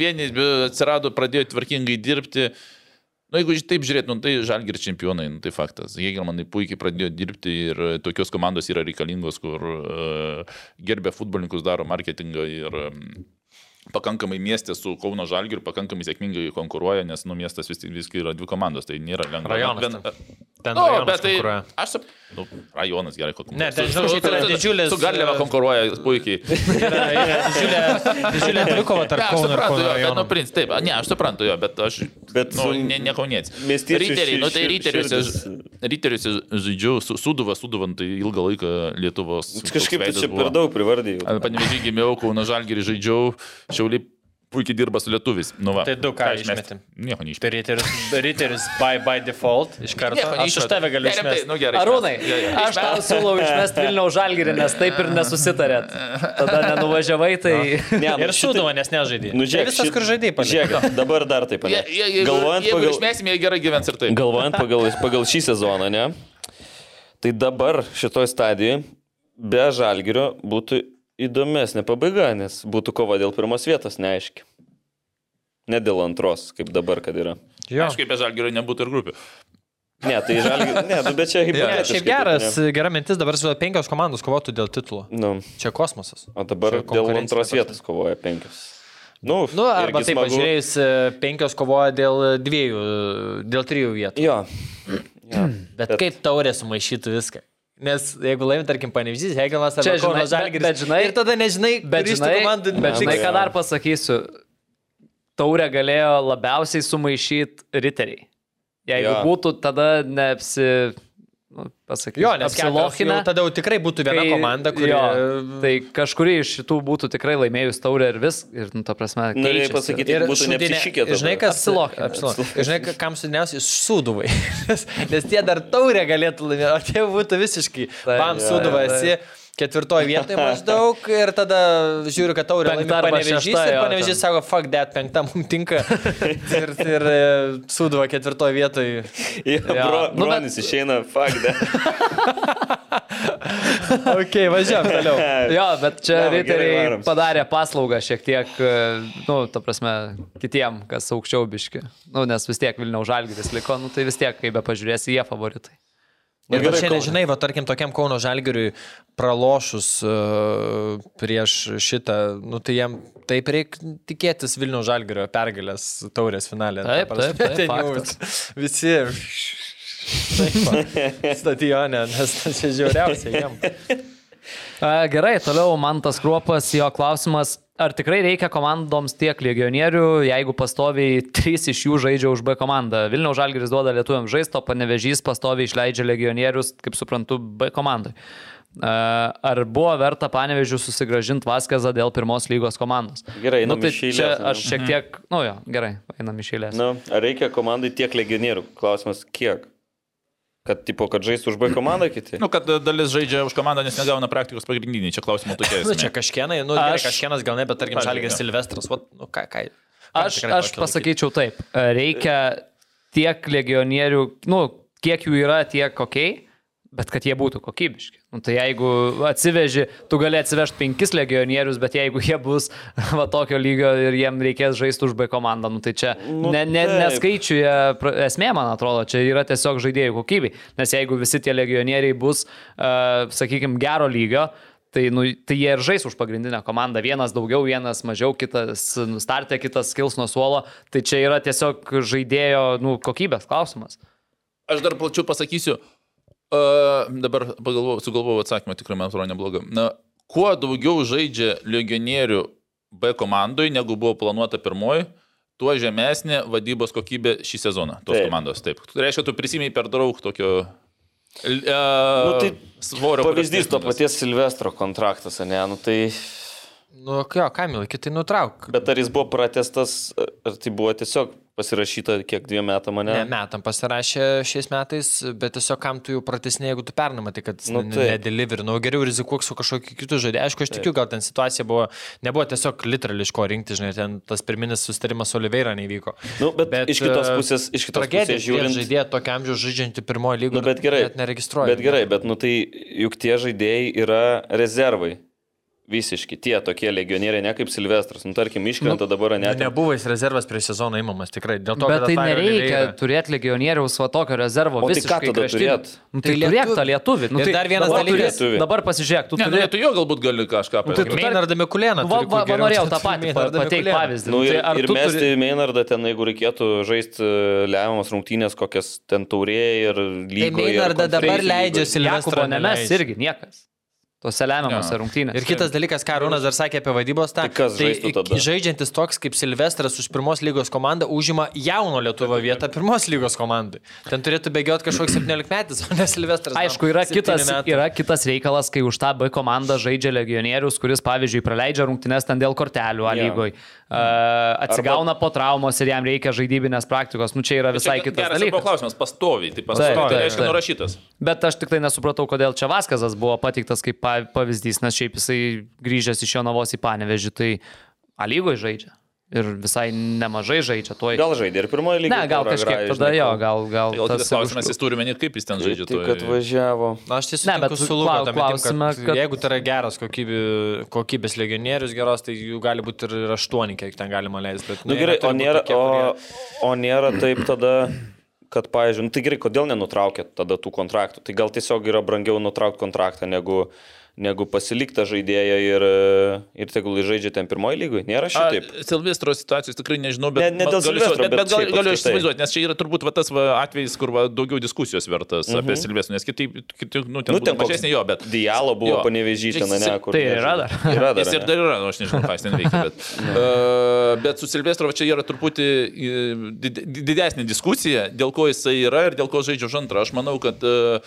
vieni e, atsirado, pradėjo tvarkingai dirbti. Na, nu, jeigu ži- taip žiūrėt, nu, tai žalgir čempionai, nu, tai faktas. Jėgelmanai puikiai pradėjo dirbti ir e, tokios komandos yra reikalingos, kur uh, gerbė futbolininkus, daro marketingą ir um, pakankamai miestė su Kauno žalgir pakankamai sėkmingai konkuruoja, nes nu, miestas vis tik visgi yra dvi komandos, tai nėra lengva. Rajonas Bent- ten. Nu, Ten rajonas bet tai... konkuruoja. Aš sap... Nu, rajonas gerai konkuruoja. Ne, ten, žinau, šiaip yra didžiulis, Su Garliava e, konkuruoja puikiai. Didžiulė dvikova Ne, tarp aš Kauno ir suprantu, Kauno jo, bet, nu, rajono. princ, taip, ne, aš suprantu jo, bet aš, Bet nu, su ne, ne kaunietis. miestiečių Riteriai, nu, tai šir- riteriuose, širdis- riteriuose žaidžiu, su, suduva, suduva, nu, tai ilgą laiką Lietuvos. Tu Nu, Kažkaip toks tu čia veidas buvo. per daug privardėjai. Panevėžy gimiau, Kauno Žalgirį žaidžiau, Šiauliai puikiai dirba su lietuvis. Nu, va, Tai du ką išmeti? Nieko neišmeti. Tai Ryteris, Ryteris by, by default iš karto. Tai Aš už tave galiu išmesti. Nu, gerai, Arūnai, išmest. Jo, jo. aš tau siūlau išmesti Vilniaus žalgirį, nes taip ir nesusitarėt. Tada nenuvažiavai, tai... Ne, Ir šūdavo, nes nežaidė. Nu, žiūrėk, tai visas, šit- kur žaidė, pažiūrėk. Žiūrėk, dabar dar taip. Je- ane? je- jeigu- Galvojant Jeigu pagal... išmėsim, jie gerai gyvens ir tai. taip. Galvojant pagal, pagal šį sezoną, ne? Tai dabar šitoj stadijoje be žalgerio būtų įdomesnė pabaiga, nes būtų kova dėl pirmos vietos neaiški. Ne dėl antros, kaip dabar, kad yra. Aišku, be Žalgirio nebūtų ir grupių. Ne, tai žalgerio. Ne, nu, bet čia Ne, hipotetiškai. šiaip taip, geras, ne. gera mintis, dabar su penkios komandos kovotų dėl titulo. Nu, Čia kosmosas. o dabar Čia dėl konkurencinė antros prasme. vietos kovoja penkios. Nu, Nu, arba irgi taip, smagu. pažiūrėjus, e, penkios kovoja dėl dviejų, e, dėl trijų vietų. Jo. jo. Bet kaip taurė sumaišytų viską? Nes jeigu laimė, tarkim, panevyzys, Hegelas ar Čia, žinai, bet- Žalgiris. bet žinai- ir tada nežinai, Bet kuris iš tų žinai, komandų bet žinai, liks. ką dar pasakysiu. Taurę galėjo labiausiai sumaišyti riteriai. Jeigu Jo. būtų, tada neapsi... Nu, pasakysiu, Jo, nes apsilochina. Kepilas jau Tada jau tikrai būtų viena Kai- komanda, kuri... Tai Jo, tai kažkuri iš šitų būtų tikrai laimėjus taurę ir vis. Ir, nu, ta prasme, Norėjai keičiasi. pasakyti, kad būtų šūdinė- neapsišykę. tada. Žinai, kas Apsilochina. apsilochina. Žinai, ka- kam sudiniausi, suduvai. nes, nes tie dar taurę galėtų laimėti, o tie būtų visiškai. Taip, Pam jo, suduvai jo, esi ketvirtoje vietoje maždaug ir tada žiūriu, kad taurė laimė Penkta arba panevežys šešta, ir jo, panevežys ten. sako, fuck that, penkta mums tinka. ir ir e, suduva ketvirtoje vietoje. Jo, bro, Nu, bet- bronis išeina, fuck, ne. Ok, važiuojam toliau. Jo, bet čia Blemba, gerai riteriai varom. padarė paslaugą šiek tiek, e, nu, ta prasme, kitiem, kas aukščiau biški. Nu, nes vis tiek Vilniaus žalgytis liko, nu, tai vis tiek, kaip be pažiūrėsi, jie favoritai. Ir gerai, va čia Kaune. nežinai, va tarkim, tokiam Kauno žalgiriui pralošus uh, prieš šitą, nu tai jam taip reikia tikėtis Vilnių žalgirio pergalės taurės finalė. Taip, taip, taip, Ten jau visi taip, stadione, nes tai čia žiauriausia jam. E, Gerai, toliau man tas kruopas, jo klausimas, ar tikrai reikia komandoms tiek legionierių, jeigu pastoviai trys iš jų žaidžia už B komandą. Vilniaus Žalgiris duoda lietuviam žaisto, panevežys pastoviai išleidžia legionierius, kaip suprantu, B komandai. E, Ar buvo verta panevežių susigražinti Vaskazą dėl pirmos lygos komandos? Gerai, nu, einam tai iš eilės, čia einam. aš šiek tiek, nu jo, gerai, einam iš eilės. Na, ar reikia komandai tiek legionierių? Klausimas, kiek? Kad, tipo, kad žais už B komandą kiti? Nu, kad dalis žaidžia už komandą, nes negauna praktikos pagrindiniai. Čia klausimo tokie. Nu čia esmė. kažkienai, nu gerai, Aš- kažkienas gal ne, bet tarkim Pavyzdžiui, žalgiris jo. Silvestras, va, nu ką, ką. ką Aš, aš tikrai tokį laikyt. pasakyčiau taip. E, Reikia tiek legionierių, nu, kiek jų yra, tiek kokiai, bet kad jie būtų kokybiški. Nu, tai jeigu atsiveži, tu gali atsivežti penkis legionierius, bet jeigu jie bus va tokio lygio ir jiem reikės žaisti už B komandą, nu, tai čia Nu, ne, ne, taip. neskaičiuje pra- esmė, man atrodo, čia yra tiesiog žaidėjų kokybė. Nes jeigu visi tie legionieriai bus, uh, sakykime, gero lygio, Tai, nu, tai jie ir žais už pagrindinę komandą. Vienas daugiau, vienas mažiau, kitas nu, startė, kitas kils nuo suolo. Tai čia yra tiesiog žaidėjo nu, kokybės klausimas. Aš dar plačiau pasakysiu. Uh, dabar pagalvojau, sugalvojau atsakymą, tikrai man atrodo neblogą. Na, kuo daugiau žaidžia legionierių B komandai, negu buvo planuota pirmoji, tuo žemesnė vadybos kokybė šį sezoną tos Taip. taip. komandos. Taip. Tai reiškia, tu prisimiai per daug tokio... Uh, Nu, nu, tai svorio. Pavyzdys to prasme. paties Silvestro kontraktas, ne? Nu, tai... Nu, jo, Kamil, kitai nutrauk. Bet ar jis buvo pratestas, ar tai buvo tiesiog pasirašyta kiek dviem metam, ne? Ne, metam pasirašė šiais metais, bet tiesiog kam tu jau pratesnė, jeigu tu pernama, tai kad nu, Nu, tai. taip. nedeliver, nu geriau rizikuok su kažkokiu kitu žaidėju. Aišku, aš tikiu, gal ten situacija buvo, nebuvo tiesiog literališko rinkti, žinai, ten tas pirminis sustarimas su Oliveira nevyko. Nu, bet iš kitos e, pusės- iš kitos tragedija, pusės žiūrint- Žaidėjai tokiam amžiui žaidžiantį pirmojo lygio. Nu, bet gerai. Net neregistruoja. Bet gerai, bet nu tai juk tie žaidėjai yra rezervai. Visiški tie tokie legionieriai, ne kaip Silvestras. Nu, tarkim, iškrenta nu, dabar, ne? Ne, nebuvo jis rezervas prieš sezoną įmamas, tikrai. Dėl to, Bet kad tai Atajo nereikia Oliveira- turėti legionieriaus va tokio rezervo. O tai visiškai ką tada kraštinio. turėt? Nu, tai Tai lieka tą lietuv- lietuvį. Nu, Ir tai dar vienas dabar dalykas. turi- Dabar pasižiūrėk, tu Ne, turi... nu, tu jo galbūt gali kažką tai pasakyti. tu- Meinardą Mikulėną. Va, va, turi kur va geriau norėjau tą patį turėti pa- Meinardą pateikti Mikulėną. pavyzdį. Nu, ir, tai ar ir tu mesti turi- turi... Meinardą ten, jeigu reikėtų žaisti lemiamas rungtynės, kokias ten taurėje ir Tai lygoje. ir Meinardą dabar konferencijų leidžia lygoje. Jakubo Silvestrą. nemes irgi niekas. Tuose lemiamuose Jo. rungtynėse. Ir kitas dalykas, ką Rūnas dar sakė apie vadybos tą. Tai kas žaistų tada? Žaidžiantis toks kaip Silvestras už pirmos lygos komandą užima jauno Lietuvo vietą pirmos lygos komandai. Ten turėtų bėgioti kažkoks 17-metis, o ne Silvestras. Aišku, yra Septyni kitas, metai. yra kitas reikalas, kai už tą B komandą žaidžia legionierius, kuris, pavyzdžiui, praleidžia rungtynes ten dėl kortelių A Jo. lygoj, uh, atsigauna po traumos ir jam reikia žaidybinės praktikos. Nu, čia yra visai Tai Čia kitas geras ir buvo dalykas. klausimas, pastoviai, tai pastoviai, Taip, tai taip, reiškia taip. nurašytas. Bet aš tik tai nesupratau, kodėl čia Vaskazas buvo pateiktas kaip pa- pavyzdys, nes šiaip jisai grįžęs iš jo navos į panevežį, tai A lygoj žaidžia. Ir visai nemažai žaidžia. Tuoj... Gal žaidė ir pirmoji lygoje. ne, gal kažkiek tada jo, gal, gal Tai Gal tas ir klausimas, užkliuvo. jis turi menį, kaip jis ten žaidžia. Tai toj- kad važiavo. Na, aš tiesiog Ne, bet sutinku su Luko klau- ta mintim, klausime, kad kad- Jeigu tai yra geras kokybė, kokybės legionierius geros, tai jų gali būti ir ir aštuoni, kiek ten galima leisti. Na nu, gerai, o nėra, o, o nėra taip tada, kad, pavyzdžiui, nu, tai gerai, kodėl nenutraukėt tada tų kontraktų? Tai gal tiesiog yra brangiau nutraukti kontraktą, negu, negu pasiliktą žaidėją ir, e, ir tegul jis žaidžia ten pirmoji lygoje? Nėra A, šitaip. Silvestro situacijos tikrai nežinau, Ne- bet ne ma- dėl galiu Silvestro, įsivaizduot- bet bet, bet gal, šiaip galiu apskritai. įsivaizduoti, nes čia yra turbūt va, tas va, atvejis, kur va, daugiau diskusijos vertas mm -hmm. apie Silvestrą, nes kitaip, kitaip nu, Mhm. ten, Nu, nu, ten ten koks mažesnė jo, bet... Dialo buvo Jo. panevežyti, na, ne, Jis- kur. tai nežinau. yra dar. Yra dar. Jis ir ane? dar yra, nu, aš nežinau, ką jis ten veikia, bet, uh, bet su Silvestro va čia yra truputį e, did, didesnė diskusija, dėl ko jisai yra ir dėl ko žaidžia už antrą. Aš manau, kad uh,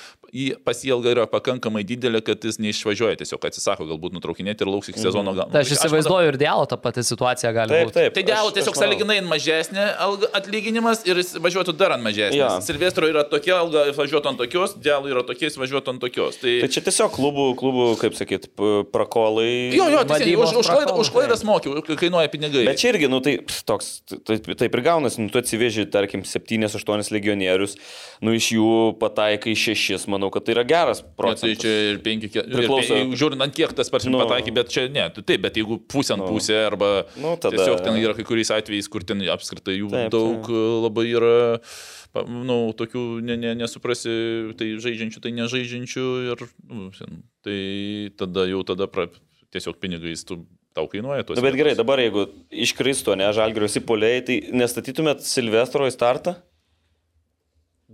pasielga yra pakankamai didelė, kad jis neišvažiuoja tiesiog, atsisako galbūt nutraukinėti ir lauks Mhm. iki sezono galo. Tai aš Aš manau- įsivaizduoju ir dėl tą patį situaciją gali Taip, būti. taip. Tai dėl aš- aš tiesiog manau. saliginai mažesnė alga- atlyginimas ir jis važiuotų dar ant mažesnės. Jo. Ja. Silvestro yra tokia alga, jis važiuotų ant tokios, dėl yra tokie, jis važiuotų ant tokios. Tai... Tai čia tiesiog klubų, klubų kaip sakyt, p- prakolai. Jo, tai- jo, tiesiog, vadybos už, už, klaidą, prakalbų, už klaidas mokiau, kainuoja pinigai. Bet čia irgi, nu tai pst, toks, taip, taip ir gaunasi, nu tu atsiveži, tarkim, 7-8 legionierius, nu iš jų pataikai 6, manau, kad tai yra geras Bet tai procentas. čia ir 5, 4. Priklauso- Žiūrint, ant kiek tas pats Nu. pataikė, bet čia ne, tu taip, bet jeigu pusė ant pusė arba Nu, tada- tiesiog ten yra kai kuriais atvejais, kur ten apskritai jų Taip, daug taip. e, labai yra, pa- nu, tokių ne, ne, nesuprasi, tai žaidžiančių, tai nežaidžiančių ir, nu, sen, tai tada jau tada pra, tiesiog pinigais tu tau kainuoja tuos. Na, Nu, bet gerai, dabar jeigu iškristų, ne, žalgiu visi poliai, tai nestatytumėt Silvestro į startą?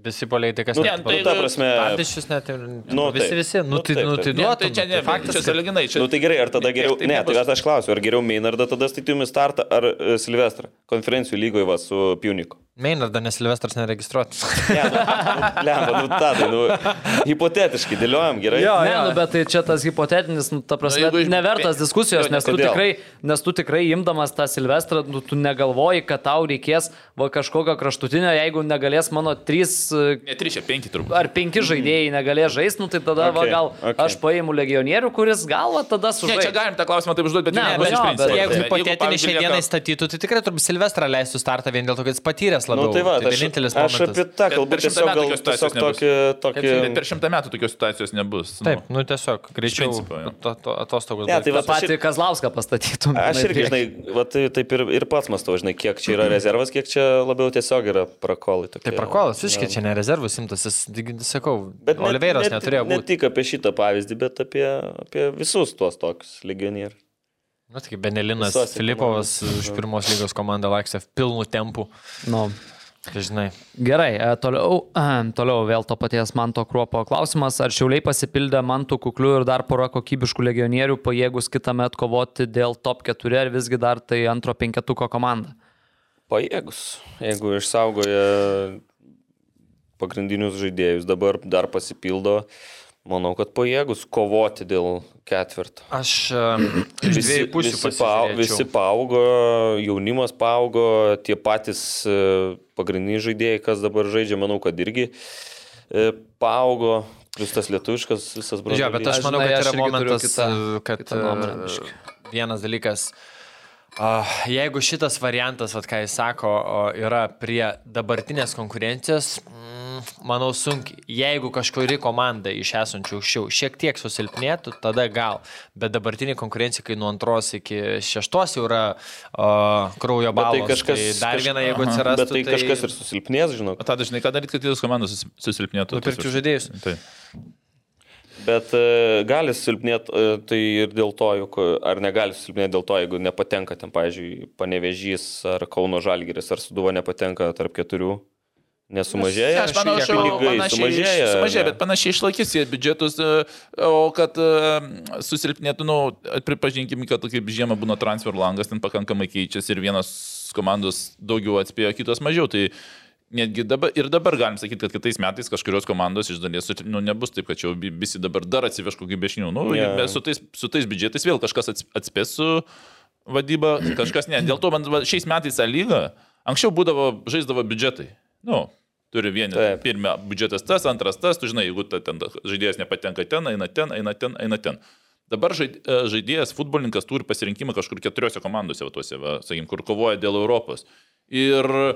Visi poliai tai kas Nu, ne. ne, Nu, tai- ta prasme, Antišius net ir... Nu, visi, taip. visi. Nu, Nu, tai, taip, nu, taip. tai Ne, duotum. tai čia ne, faktas, kad saliginai, čia... Na nu, tai gerai, ar tada Vis geriau... tiek taip Ne, nebus. tai aš, aš klausiu, ar geriau Meinardą tada statytum į startą ar e, Silvestrą? Konferencijų lygoje va su Piuniku. Meinardą, nes Silvestras neregistruotas. Ne, nu, nu, lemba, nu, tadai, nu, hipotetiškai dėliojam gerai. Jo, Ne, nu, bet tai čia tas hipotetinis, nu, ta prasme, jeigu nu, iš- nevertas diskusijos, Jo, nes tu, kodėl? tikrai, nes tu tikrai imdamas tą Silvestrą, nu, tu negalvoji, kad tau reikės va kažkokio kraštutinio, jeigu negalės mano trys e, Ne 3, 5 turbūt. ar penki žaidėjai negalės žaisti, nu, tai tada okay, va, Okay, gal okay. okay. aš paimu legionierių, kuris gal va, tada Ne, sužaidžia. čia galim tą klausimą taip užduoti, bet Ne, ne, bet iš jo, bet principo. ta jeigu prasme, Jeigu hipotetinį pavyzdžiui, šiai lieka- dienai statytų, tai tikrai turbūt Silvestrą leistų startą vien dėl to, kad jis patyręs Nu, labiau. tai va, tai aš, vienintelis aš momentas. apie tą Bet kalbu, per šimtą tiesiog, metų gal, tokios tiesiog situacijos tokį... tokį... Bet per šimtą metų tokios situacijos nebus. nu. Taip, nu tiesiog, greičiau principo, jo. to- to- atostogos. Ne, baigtos. tai Ta va, aš, pati ir- Kazlauską pastatytum. aš irgi, žinai, va, tai, taip ir, ir pats mastau, žinai, kiek čia yra rezervas, kiek čia labiau tiesiog yra prakolai. Tokie, Tai prakolas, visiškai čia ne rezervus imtas, jis, taigi, sakau, Bet ne- Oliveiras ne, neturėjo Ne būti. tik apie šitą pavyzdį, bet apie, apie visus tuos tokius legionierius. Na, Nu, tik Benelinas Visose Filipovas už pirmos lygos komandą Laksė pilnu tempu. Nu, Tai Žinai, gerai, e, toliau, toliau vėl to paties Manto Kruopo klausimas. Ar šiauliai pasipildė Mantų kuklių ir dar pora kokybiškų legionierių, pajėgus kitą metą kovoti dėl top 4 ar visgi dar tai antro penketuko komanda? Pajėgus, jeigu išsaugoja pagrindinius žaidėjus, dabar dar pasipildo, manau, kad pajėgus kovoti dėl ketvirto. aš e, iš Visi, dviejų pusių visi, pau, visi pasižiūrėčiau. paaugo, jaunimas paaugo, tie patys e, pagrindiniai žaidėjai, kas dabar žaidžia, manau, kad irgi e, paaugo, plus tas lietuviškas visas Jo, branduolys. bet aš Aš, manau, žinai, kad aš yra irgi turiu momentas, kitą- e, kad kitą nuomonę e, biškį. vienas dalykas, a, jeigu šitas variantas, vat, ką jis sako, o, yra prie dabartinės konkurencijos, mm, manau sunkiai. Jeigu kažkuri komanda iš esančių aukščiau šiek tiek susilpnėtų, tada gal. Bet dabartinė konkurencija, kai nuo antros iki šeštos jau yra a, kraujo Bet balas. Tai kažkas, tai dar kaž- viena, jeigu aha. atsirastų. Bet tai kažkas ir susilpnės, žinok. O tada žinai, ką daryti, kad kitos komandos susi- susilpnėtų. Tai. Nupirkčiau Tiesiog- žaidėjus. Taip. Bet e, gali silpnėti, e, tai ir dėl to, juk, e, ar negali silpnėti dėl to, jeigu nepatenka ten, pavyzdžiui, Panevežys ar Kauno Žalgiris, ar Suduva nepatenka tarp keturių, nesumažėja. Aš manau, šitie jau pinigai panašiai sumažėja, sumažėja, sumažėja ne? bet panašiai išlaikys jie biudžetus, e, o kad e, susilpnėtų, nu, pripažinkim, kad kaip žiemą būna transfer langas, ten pakankamai keičiasi ir vienos komandos daugiau atspėjo, kitos mažiau. Tai netgi dabar, ir dabar galim sakyti, kad kitais metais kažkurios komandos iš dalies susilp- nu, nebus taip, kad čia jau bi- visi dabar dar atsiveš kokį bešinių. Nu, Jo. yeah. su, tais, su tais biudžetais vėl kažkas ats- atspės su vadyba, kažkas ne. Dėl to man va, šiais metais A lyga, anksčiau būdavo, žaisdavo biudžetai. Nu, turi vieni, Taip. pirmia biudžetas tas, antras tas, tu žinai, jeigu ta ten žaidėjas nepatenka ten, eina ten, eina ten, eina ten. Dabar žaid- e, žaidėjas, futbolininkas turi pasirinkimą kažkur keturiose komandose, va, tuose, va, sakykim, kur kovoja dėl Europos. Ir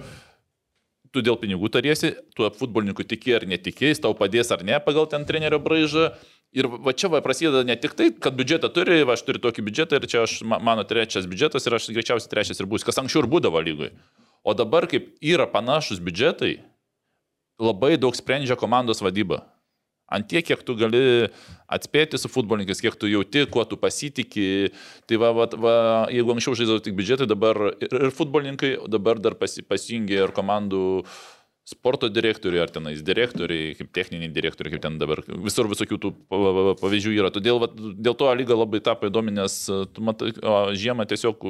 tu dėl pinigų tariesi, tu futbolininkui tiki ar netiki, jis tau padės ar ne pagal ten trenerio braižą. Ir va čia va prasideda ne tik tai, kad biudžetą turi, va aš turiu tokį biudžetą ir čia aš, ma- mano trečias biudžetas ir aš greičiausiai trečias ir būsiu, kas anksčiau ir būdavo lygui. O dabar, kaip yra panašus biudžetai, labai daug sprendžia komandos vadyba. Ant tiek, kiek tu gali atspėti su futbolininkais, kiek tu jauti, kuo tu pasitikė. Tai va, va, va jeigu anksčiau žaidžiau tik biudžetai, dabar ir, ir futbolininkai, o dabar dar pasi, pasijungia ir komandų sporto direktoriai, ar tenais direktoriai, kaip techniniai direktoriai, kaip ten dabar. Visur visokių tų pa- pa- pa- pavyzdžių yra. Todėl va, dėl to A lyga labai tapo įdomi, nes e, tu matai, o žiemą tiesiog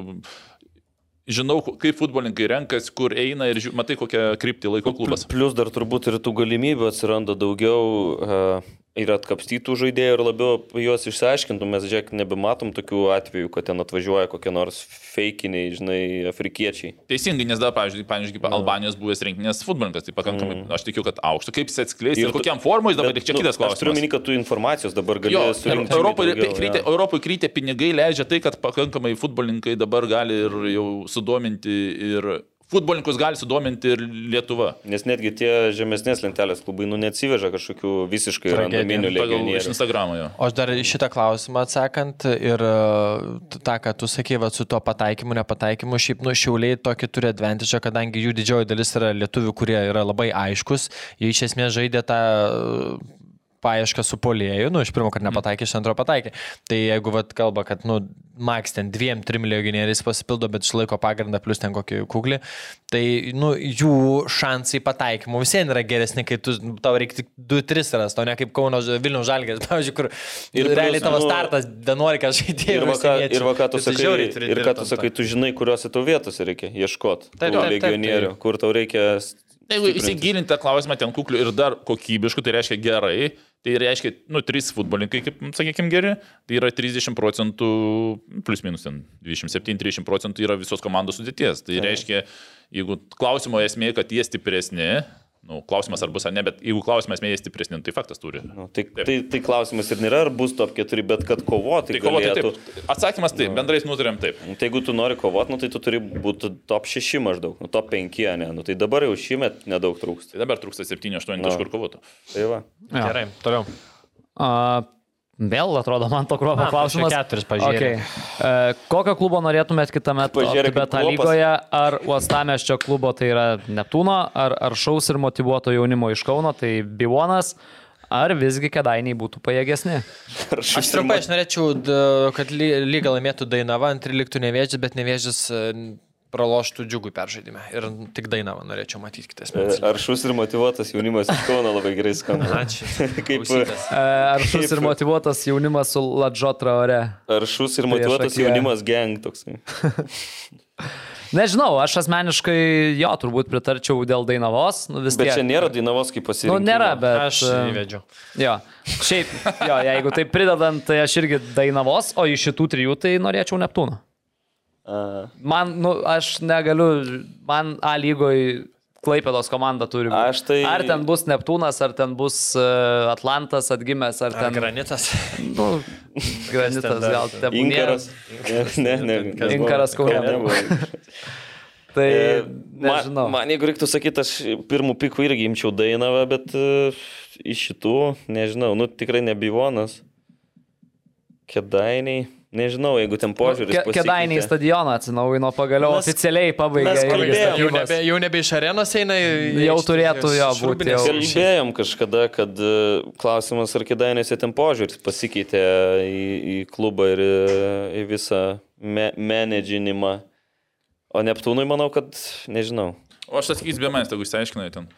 žinau, ku- kaip futbolininkai renkas, kur eina ir žiū, matai, kokią kryptį laiko klubas. Pl- Plus dar turbūt ir tų galimybių atsiranda daugiau uh, ir atkapstytų žaidėjų ir labiau apie juos išsiaiškintų. Mes, žiūrėk, nebematom tokių atvejų, kad ten atvažiuoja kokie nors feikiniai, žinai, afrikiečiai. Teisingai, nes dar, pavyzdžiui, pavyzdžiui kaip Albanijos buvęs rinkinės futbolininkas, tai pakankamai, mm. aš tikiu, kad aukšto. Kaip jis atskleis ir, Ir ir tu- kokiam formui jis dabar, Bet, tik čia nu, kitas Aš turiu klausimas. minį, kad tu informacijos dabar gali Jo, surinkti. žymiai Europoje daugiau, kri- kritė, jo. Europoj kritė pinigai leidžia tai, kad pakankamai futbolininkai dabar gali ir jau sudominti ir futbolininkus gali sudominti ir Lietuva. Nes netgi tie žemesnės lentelės klubai nu neatsiveža kažkokių visiškai Tragedija. randominių Pagal iš legionierių. Instagramo jo. O aš dar į šitą klausimą atsakant ir e, t- tą, ką tu sakei, va, su tuo pataikymu, nepataikymu, šiaip nu šiauliai tokį turi advantage'ą, kadangi jų didžioji dalis yra lietuvių, kurie yra labai aiškus, jie iš esmės žaidė tą e, paiešką su polėjų, nu, iš pirmo, kad nepataikė, iš antro pataikė. Tai jeigu, vad, kalba, kad, nu, Max ten dviem, trim legionieriais pasipildo, bet išlaiko pagrindą, plus ten kokį kuklį, tai, nu, jų šansai pataikymų vis vien yra geresni, kai tu, nu, tau reikia tik 2-3 rasti, o ne kaip Kauno Vilnių Žalgės, pavyzdžiui, kur Ir ir realiai plius, tavo nu, startas 11 žaidėjų. Ir va ką- Ir va ką tu Tai tu sakai, žiauriai turi ir ką dirbt tu ant sakai, to. tu žinai, kuriuose tau vietose reikia ieškoti. Taip, taip, taip, Legionierių, taip. kur tau reikia... Jeigu stiprinti. įsigilinti tą klausimą ten kukliu ir dar kokybišku, tai reiškia gerai, tai reiškia, nu, trys futbolininkai, kaip, sakykime, geri, tai yra 30 procentų, plus minus ten 27-30 procentų yra visos komandos sudėties. Tai reiškia, jeigu klausimo esmė, kad jie stipresni, nu, klausimas ar bus ar ne, bet jeigu klausimas esmė jie stipresni, nu, tai faktas turi. Nu, tai, tai, tai klausimas ir nėra, ar bus top 4, bet kad kovoti. Tai kovoti galėtų. taip. Atsakymas taip, bendrais nutarėm taip. Nu, Tai jeigu tu nori kovoti, nu, tai tu turi būti top 6 maždaug, nu, top 5, ne. Nu, tai dabar jau šiemet nedaug trūksta. Tai dabar trūksta 7-8 Nu. taškų ir kovotų. Tai va. Jo. Gerai, toliau. A, Vėl atrodo man to kruopo Na, tai klausimas. čia keturis pažėrė. Okay. E, kokio klubo norėtumėt kitame Pažėrė kaip beta klopas. lygoje? Ar Uostamėščio klubo tai yra Neptūno, ar, ar šaus ir motivuoto jaunimo iš Kauno, tai Bivonas, ar visgi kedainiai būtų pajėgesni? Aš trumpai, aš norėčiau, d- kad ly- lyga laimėtų Dainava, antri liktų nevėžys, bet nevėžys e, praloštų džiugų peržaidime. Ir tik Dainavą norėčiau matyti E, kitais metais. Aršus ir motivuotas jaunimas iš Kauno labai gerai skamba. Ačiū. Kaip Klausytas. E, ar šaus Kaip- ir motivuotas jaunimas su Ladžo traore? aršus ir motivuotas Priešakyje. jaunimas gang toksai. Nežinau, aš asmeniškai jo turbūt pritarčiau dėl Dainavos. Nu, vis Bet tiek. čia nėra Dainavos kaip Nu, pasirinkimas. nėra, bet. Aš e, įvedžiau. Jo, šiaip, jo, jeigu tai pridedant, tai aš irgi dainavos, o iš šitų trijų tai norėčiau Neptūną. Man, nu, aš negaliu, man A lygoj Klaipėdos komanda turi būti. Aš tai- Ar ten bus Neptūnas, ar ten bus e, Atlantas atgimęs, ar Ar ten... granitas? nu, granitas gal te Inkaras. Ne, ne, ne. Inkaras Kaune. Tai E, nežinau. Man, man jeigu reiktų sakyti, aš pirmų pikų irgi imčiau Dainavą, bet e, iš šitų, nežinau, nu tikrai nebivonas. Kedainiai, nežinau, jeigu ten požiūris. Ke- Kedainiai pasikeitė. stadioną atsinaujino pagaliau, Mes- oficialiai pabaigė. mes irgi kalbėjom, Jau statybas. nebe, jau nebe iš arenos eina į... Jau į- turėtų į- jo į būti, šrubinės. jau. Kalbėjom kažkada, kad e, klausimas, ar kedainėse ten požiūris pasikeitė į, į klubą ir e, į visą me, menedžinimą. O Neptūnui manau, kad nežinau. O aš atsakysiu be manęs, jeigu išsiaiškinai ten.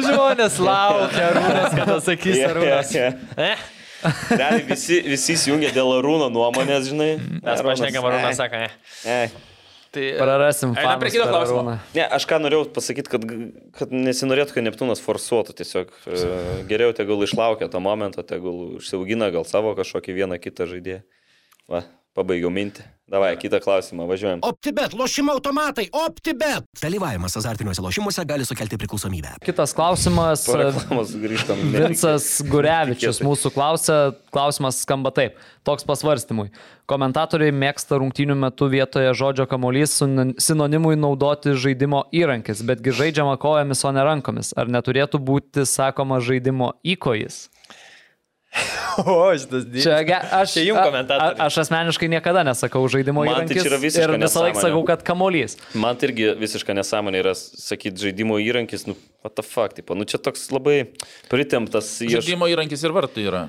Žmonės laukia, Arūnas, kada sakys Arūnas. Eh? yeah. Realiai visi, visi įsijungia dėl Arūno nuomonės, žinai. Mes pašnekam, Arūnas sako, ne. E, Tai Prarasim. fanus Einam prie kito per klausimo. Arūną. ne, aš ką norėjau pasakyti, kad, g- kad nesinorėtų, kad Neptūnas forsuotų tiesiog. E, geriau tegul išlaukia to momento, tegul užsiaugina gal savo kažkokį vieną kitą žaidėją. Va, pabaigiau mintį. Davai, kitą klausimą, važiuojam. OptiBet, lošimo automatai, OptiBet. Dalyvavimas azartiniuose lošimuose gali sukelti priklausomybę. Kitas klausimas. Po reklamos grįžtam. Vincas Gurevičius netikėtai. mūsų klausė, klausimas skamba taip, toks pasvarstymui. Komentatoriai mėgsta rungtynių metu vietoje žodžio kamuolys sun- sinonimui naudoti žaidimo įrankis, betgi žaidžiama kojomis, o ne rankomis. Ar neturėtų būti sakoma žaidimo įkojis? O, šitas Čia, ge, aš, Čia jum a- komentatoriai. a- aš asmeniškai niekada nesakau žaidimo Man tai įrankis čia yra visiška ir visą laiką nesąmonė. sakau, kad kamuolys. Man tai irgi visiškai nesąmonė yra sakyti žaidimo įrankis, nu, what the fuck, tipo, nu čia toks labai pritemtas ieškojimas. Žaidimo įrankis ir vartai yra.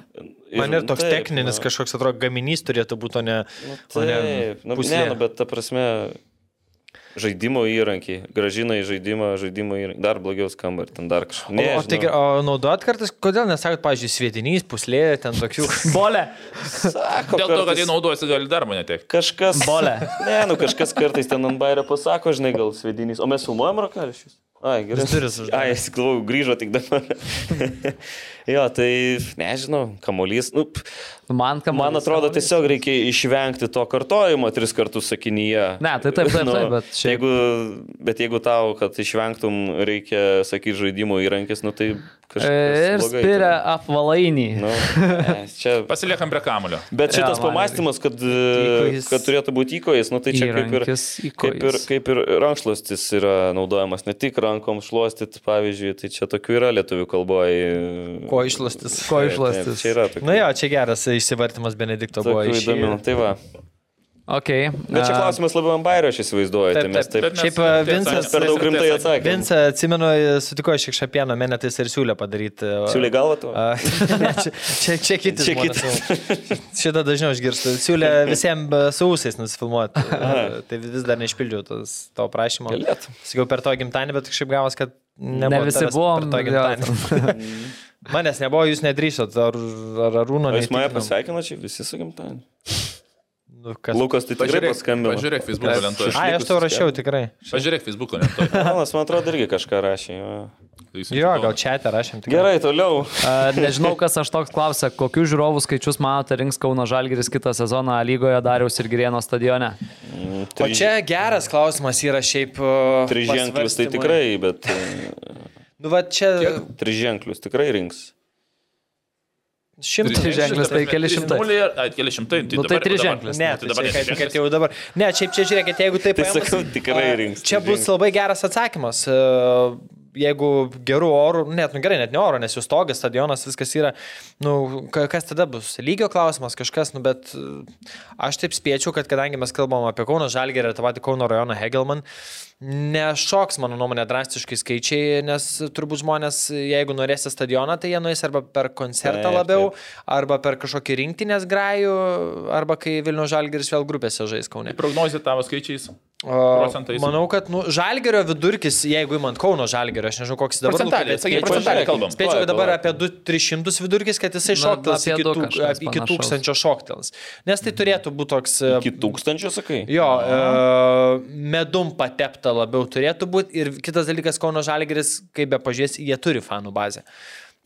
Man nu ir toks techninis kažkoks, atrodo, gaminys turėtų būti, o ne... o ne Taip, nu, ne, pūslė. nu, bet ta prasme, žaidimo įrankiai, gražina į žaidimą, žaidimo įrankį, dar blogiau skamba ir ten dar kažkas. Ne, O, o, tai, žinau. o naudot kartais, kodėl nesakot, pavyzdžiui, svietinys, puslė, ten tokių... Bolė, Sako, Dėl to, kad kartais jie naudojasi, gali darbo netekti. Kažkas. Bolė. Ne, nu kažkas kartais ten ant bairio pasako, žinai, gal svedinys. O mes filmuojam rakališius. Ai, gerai. Jis duris uždarė. Ai, sklau, grįžo tik dabar. jo, tai nežinau, kamolys. Nu, p- man kamuolys. man atrodo, tai kamuolys. tiesiog reikia išvengti to kartojimo tris kartus sakinyje. Ne, tai taip, taip, taip, bet šiaip- jeigu, bet jeigu tau, kad išvengtum, reikia sakyti žaidimo įrankis, nu tai Kažkas E, Ir blogai spiria ten. apvalainį. Nu, ne, čia... Pasiliekam prie kamulio. Bet šitas Jo, man pamastymas, kad, e, įkojis. kad turėtų būti įkojas, nu tai čia kaip ir, Įrankis, kaip ir, įkojis. kaip ir rankšluostis yra naudojamas, ne tik rankom šluostyti, pavyzdžiui, tai čia tokių yra lietuvių kalboje. Ko išlastis. Ko Taip, išlastis. Čia yra tokių. Na jo, čia geras įsivartimas Benedikto buvo Tokių iš įdomių. Tai va. Okay. Bet čia a, klausimas labiau Ambairo, aš įsivaizduoju. Taip, Tai mes taip. Bet mes- Šiaip, e, tiesa, Vincas- mes Per daug rimtai tiesa- atsakėm. Vincą, atsimenu, sutiko iš Šekšapieno, mane tai ir siūlė padaryti. Siūlė galvą to? A, ne, čia, čia, čia kiti. Čia žmonės, nu, Šitą dažniau išgirstu. Siūlė visiems su ūsiais nusifilmuoti. Tai vis dar neišpildžiau tos, to prašymo. Galėtum. Sakiau per to gimtadienį, bet kažkaip gavos, kad nebuvo. visi tavęs buvom, Per to gimtadienį. Manęs nebuvo, jūs nedrįšot. Ar, ar Arūno? O jis mane neįtikinom. pasveikino čia visi su gimtadieniu. Nu, kas... Lukas tai tikrai Pažiūrėk, paskambino. pažiūrėk Facebook'o lentoje. Ai, aš tau rašiau tai- tikrai. Pažiūrėk Facebook'o lentoje. Anas, man atrodo, irgi kažką rašė. jo. Tai jis Jo, atsitiko. gal čia rašėm tikrai. Gerai, toliau. A, Nežinau, kas aš toks klausia, kokius žiūrovų skaičius manote rinks Kauno Žalgiris kitą sezoną A lygoje Dariaus ir Girieno stadione? O čia geras klausimas yra šiaip. uh, Triženklius tai pasvarstymui. tikrai, bet e, Nu, va čia triženklius tikrai rinks. šimtas. Tri- ženklis, tai keli Trys šimtai. nuliai ar- ai, Keli šimtai. Nu, tai dabar- trys dabar- ženklis. Ne, tai tai dabar ne čia, kad, kad ženklis. jau dabar. Ne, šiaip čia žiūrėkit, jeigu taip. Tai paėmus, sakau, tikrai a, rinks, Čia tai bus rinks. labai geras atsakymas. a, Jeigu gerų orų, net, nu gerai, net ne oro, nes jūs togas, stadionas, viskas yra, nu, ka- kas tada bus? Lygio klausimas kažkas, nu, bet a, aš taip spėčiau, kad kadangi mes kalbam apie Kauno Žalgerį ir tą patį Kauno rajoną Hegelman, nešoks, mano nuomonė, drastiškai skaičiai, nes turbūt žmonės, jeigu norėsi stadioną, tai jie nueis arba per koncertą Taip, labiau, taip. arba per kažkokį rinktinės grajų, arba kai Vilnių Žalgiris vėl grupėse žais Kaune. Prognozija tavo skaičiais. O, procentais. Manau, kad nu, Žalgerio vidurkis, jeigu įmant Kauno Žalgerio, aš nežinau, koks jis dabar Procentaliai, bet sakyk, spėčiau- procentaliai kalbam. Spėčiau, kad dabar Palauk, apie 2-300 vidurkis, kad jisai Na, šoktels apie iki, du tūk, kažkas iki panašaus. Mhm. tūkstančio šoktels. Nes tai turėtų būti toks e, Iki tūkstančio, sakai? Jo, e, medum patepta labiau turėtų būti. Ir kitas dalykas, Kauno Žalgeris, kaip be pažiūrės, jie turi fanų bazę.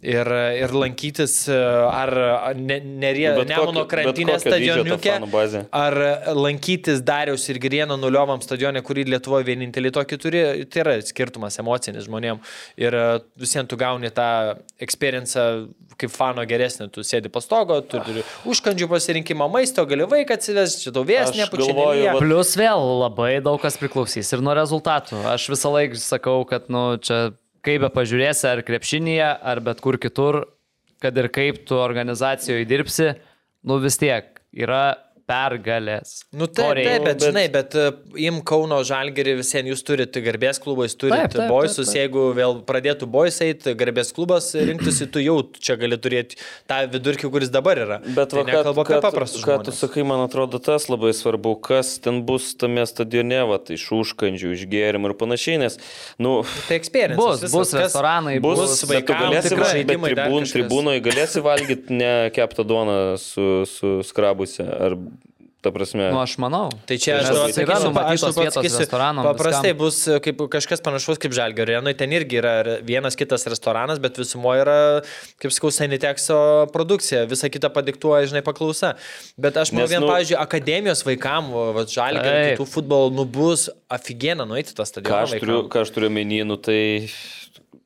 Ir, ir lankytis e, ar ne, nerie, Nu, Bet kokio- bet Nemuno krantinės kokio dydžio ta stadioniukė, fanų bazė? ar lankytis Dariaus ir Girieno nuliomam stadionė, kurį Lietuvoje vienintelį tokį turi, tai yra skirtumas emocinis žmonėm. Ir e, vis vien tu gauni tą experienciją kaip fano geresnį, tu sėdi pastogo, tu turi užkandžių pasirinkimą maisto, gali vaiką atsivežti, čia tau vėjas Aš nepučia. galvoju, nelyja. vat- Plius vėl labai daug kas priklausys ir nuo rezultatų. Aš visą laiką sakau, kad, nu, čia kaip be pažiūrėsi, ar krepšinėje, ar bet kur kitur, kad ir kaip tu organizacijoje dirbsi, nu vis tiek yra pergalės. Nu To taip, reikia. taip, bet bet- žinai, bet e, im Kauno žalgerį visiems jūs turite garbės klubą, jūs Taip, taip, turite taip, boisus, taip. jeigu vėl pradėtų bois eiti, garbės klubas rinktųsi, tu jau čia gali turėti tą vidurkį, kuris dabar yra. Bet tai va, ką, ką, nekalbu apie tu- paprastus ką tu žmonės. sakai, man atrodo, tas labai svarbu, kas ten bus tame stadione, va, tai iš užkandžių, iš gėrimų ir panašiai, nes, nu, Tai eksperimentas. Bus, bus restoranai, bus, bus, bet tu vaikam galėsi valgyti, tikrai bet žaidimai, dar tribūn, kažkas. tribūnoje galėsi valgyti ne keptą duoną su, su skrabusi, ar, ta prasme, Nu, aš manau. Tai čia Nes aš tau yra atsakysiu, pa- aš numatytos tau vietos pasakysiu, restoranam, Paprastai viskam. bus e, kaip, kažkas panašaus kaip Žalgio Renui, Nu, ten irgi yra re- vienas kitas restoranas, bet visumo yra, kaip sakau, Sanitekso produkcija, visa kita padiktuoja, žinai, paklausa. Bet aš manau, Nes, vien, nu- nu, pavyzdžiui, akademijos vaikam, Žalgio, Taip. kitų futbolo, nu bus aфиgeną nueiti į tą stadioną. ką aš, turiu, ką aš turiu menynų, tai...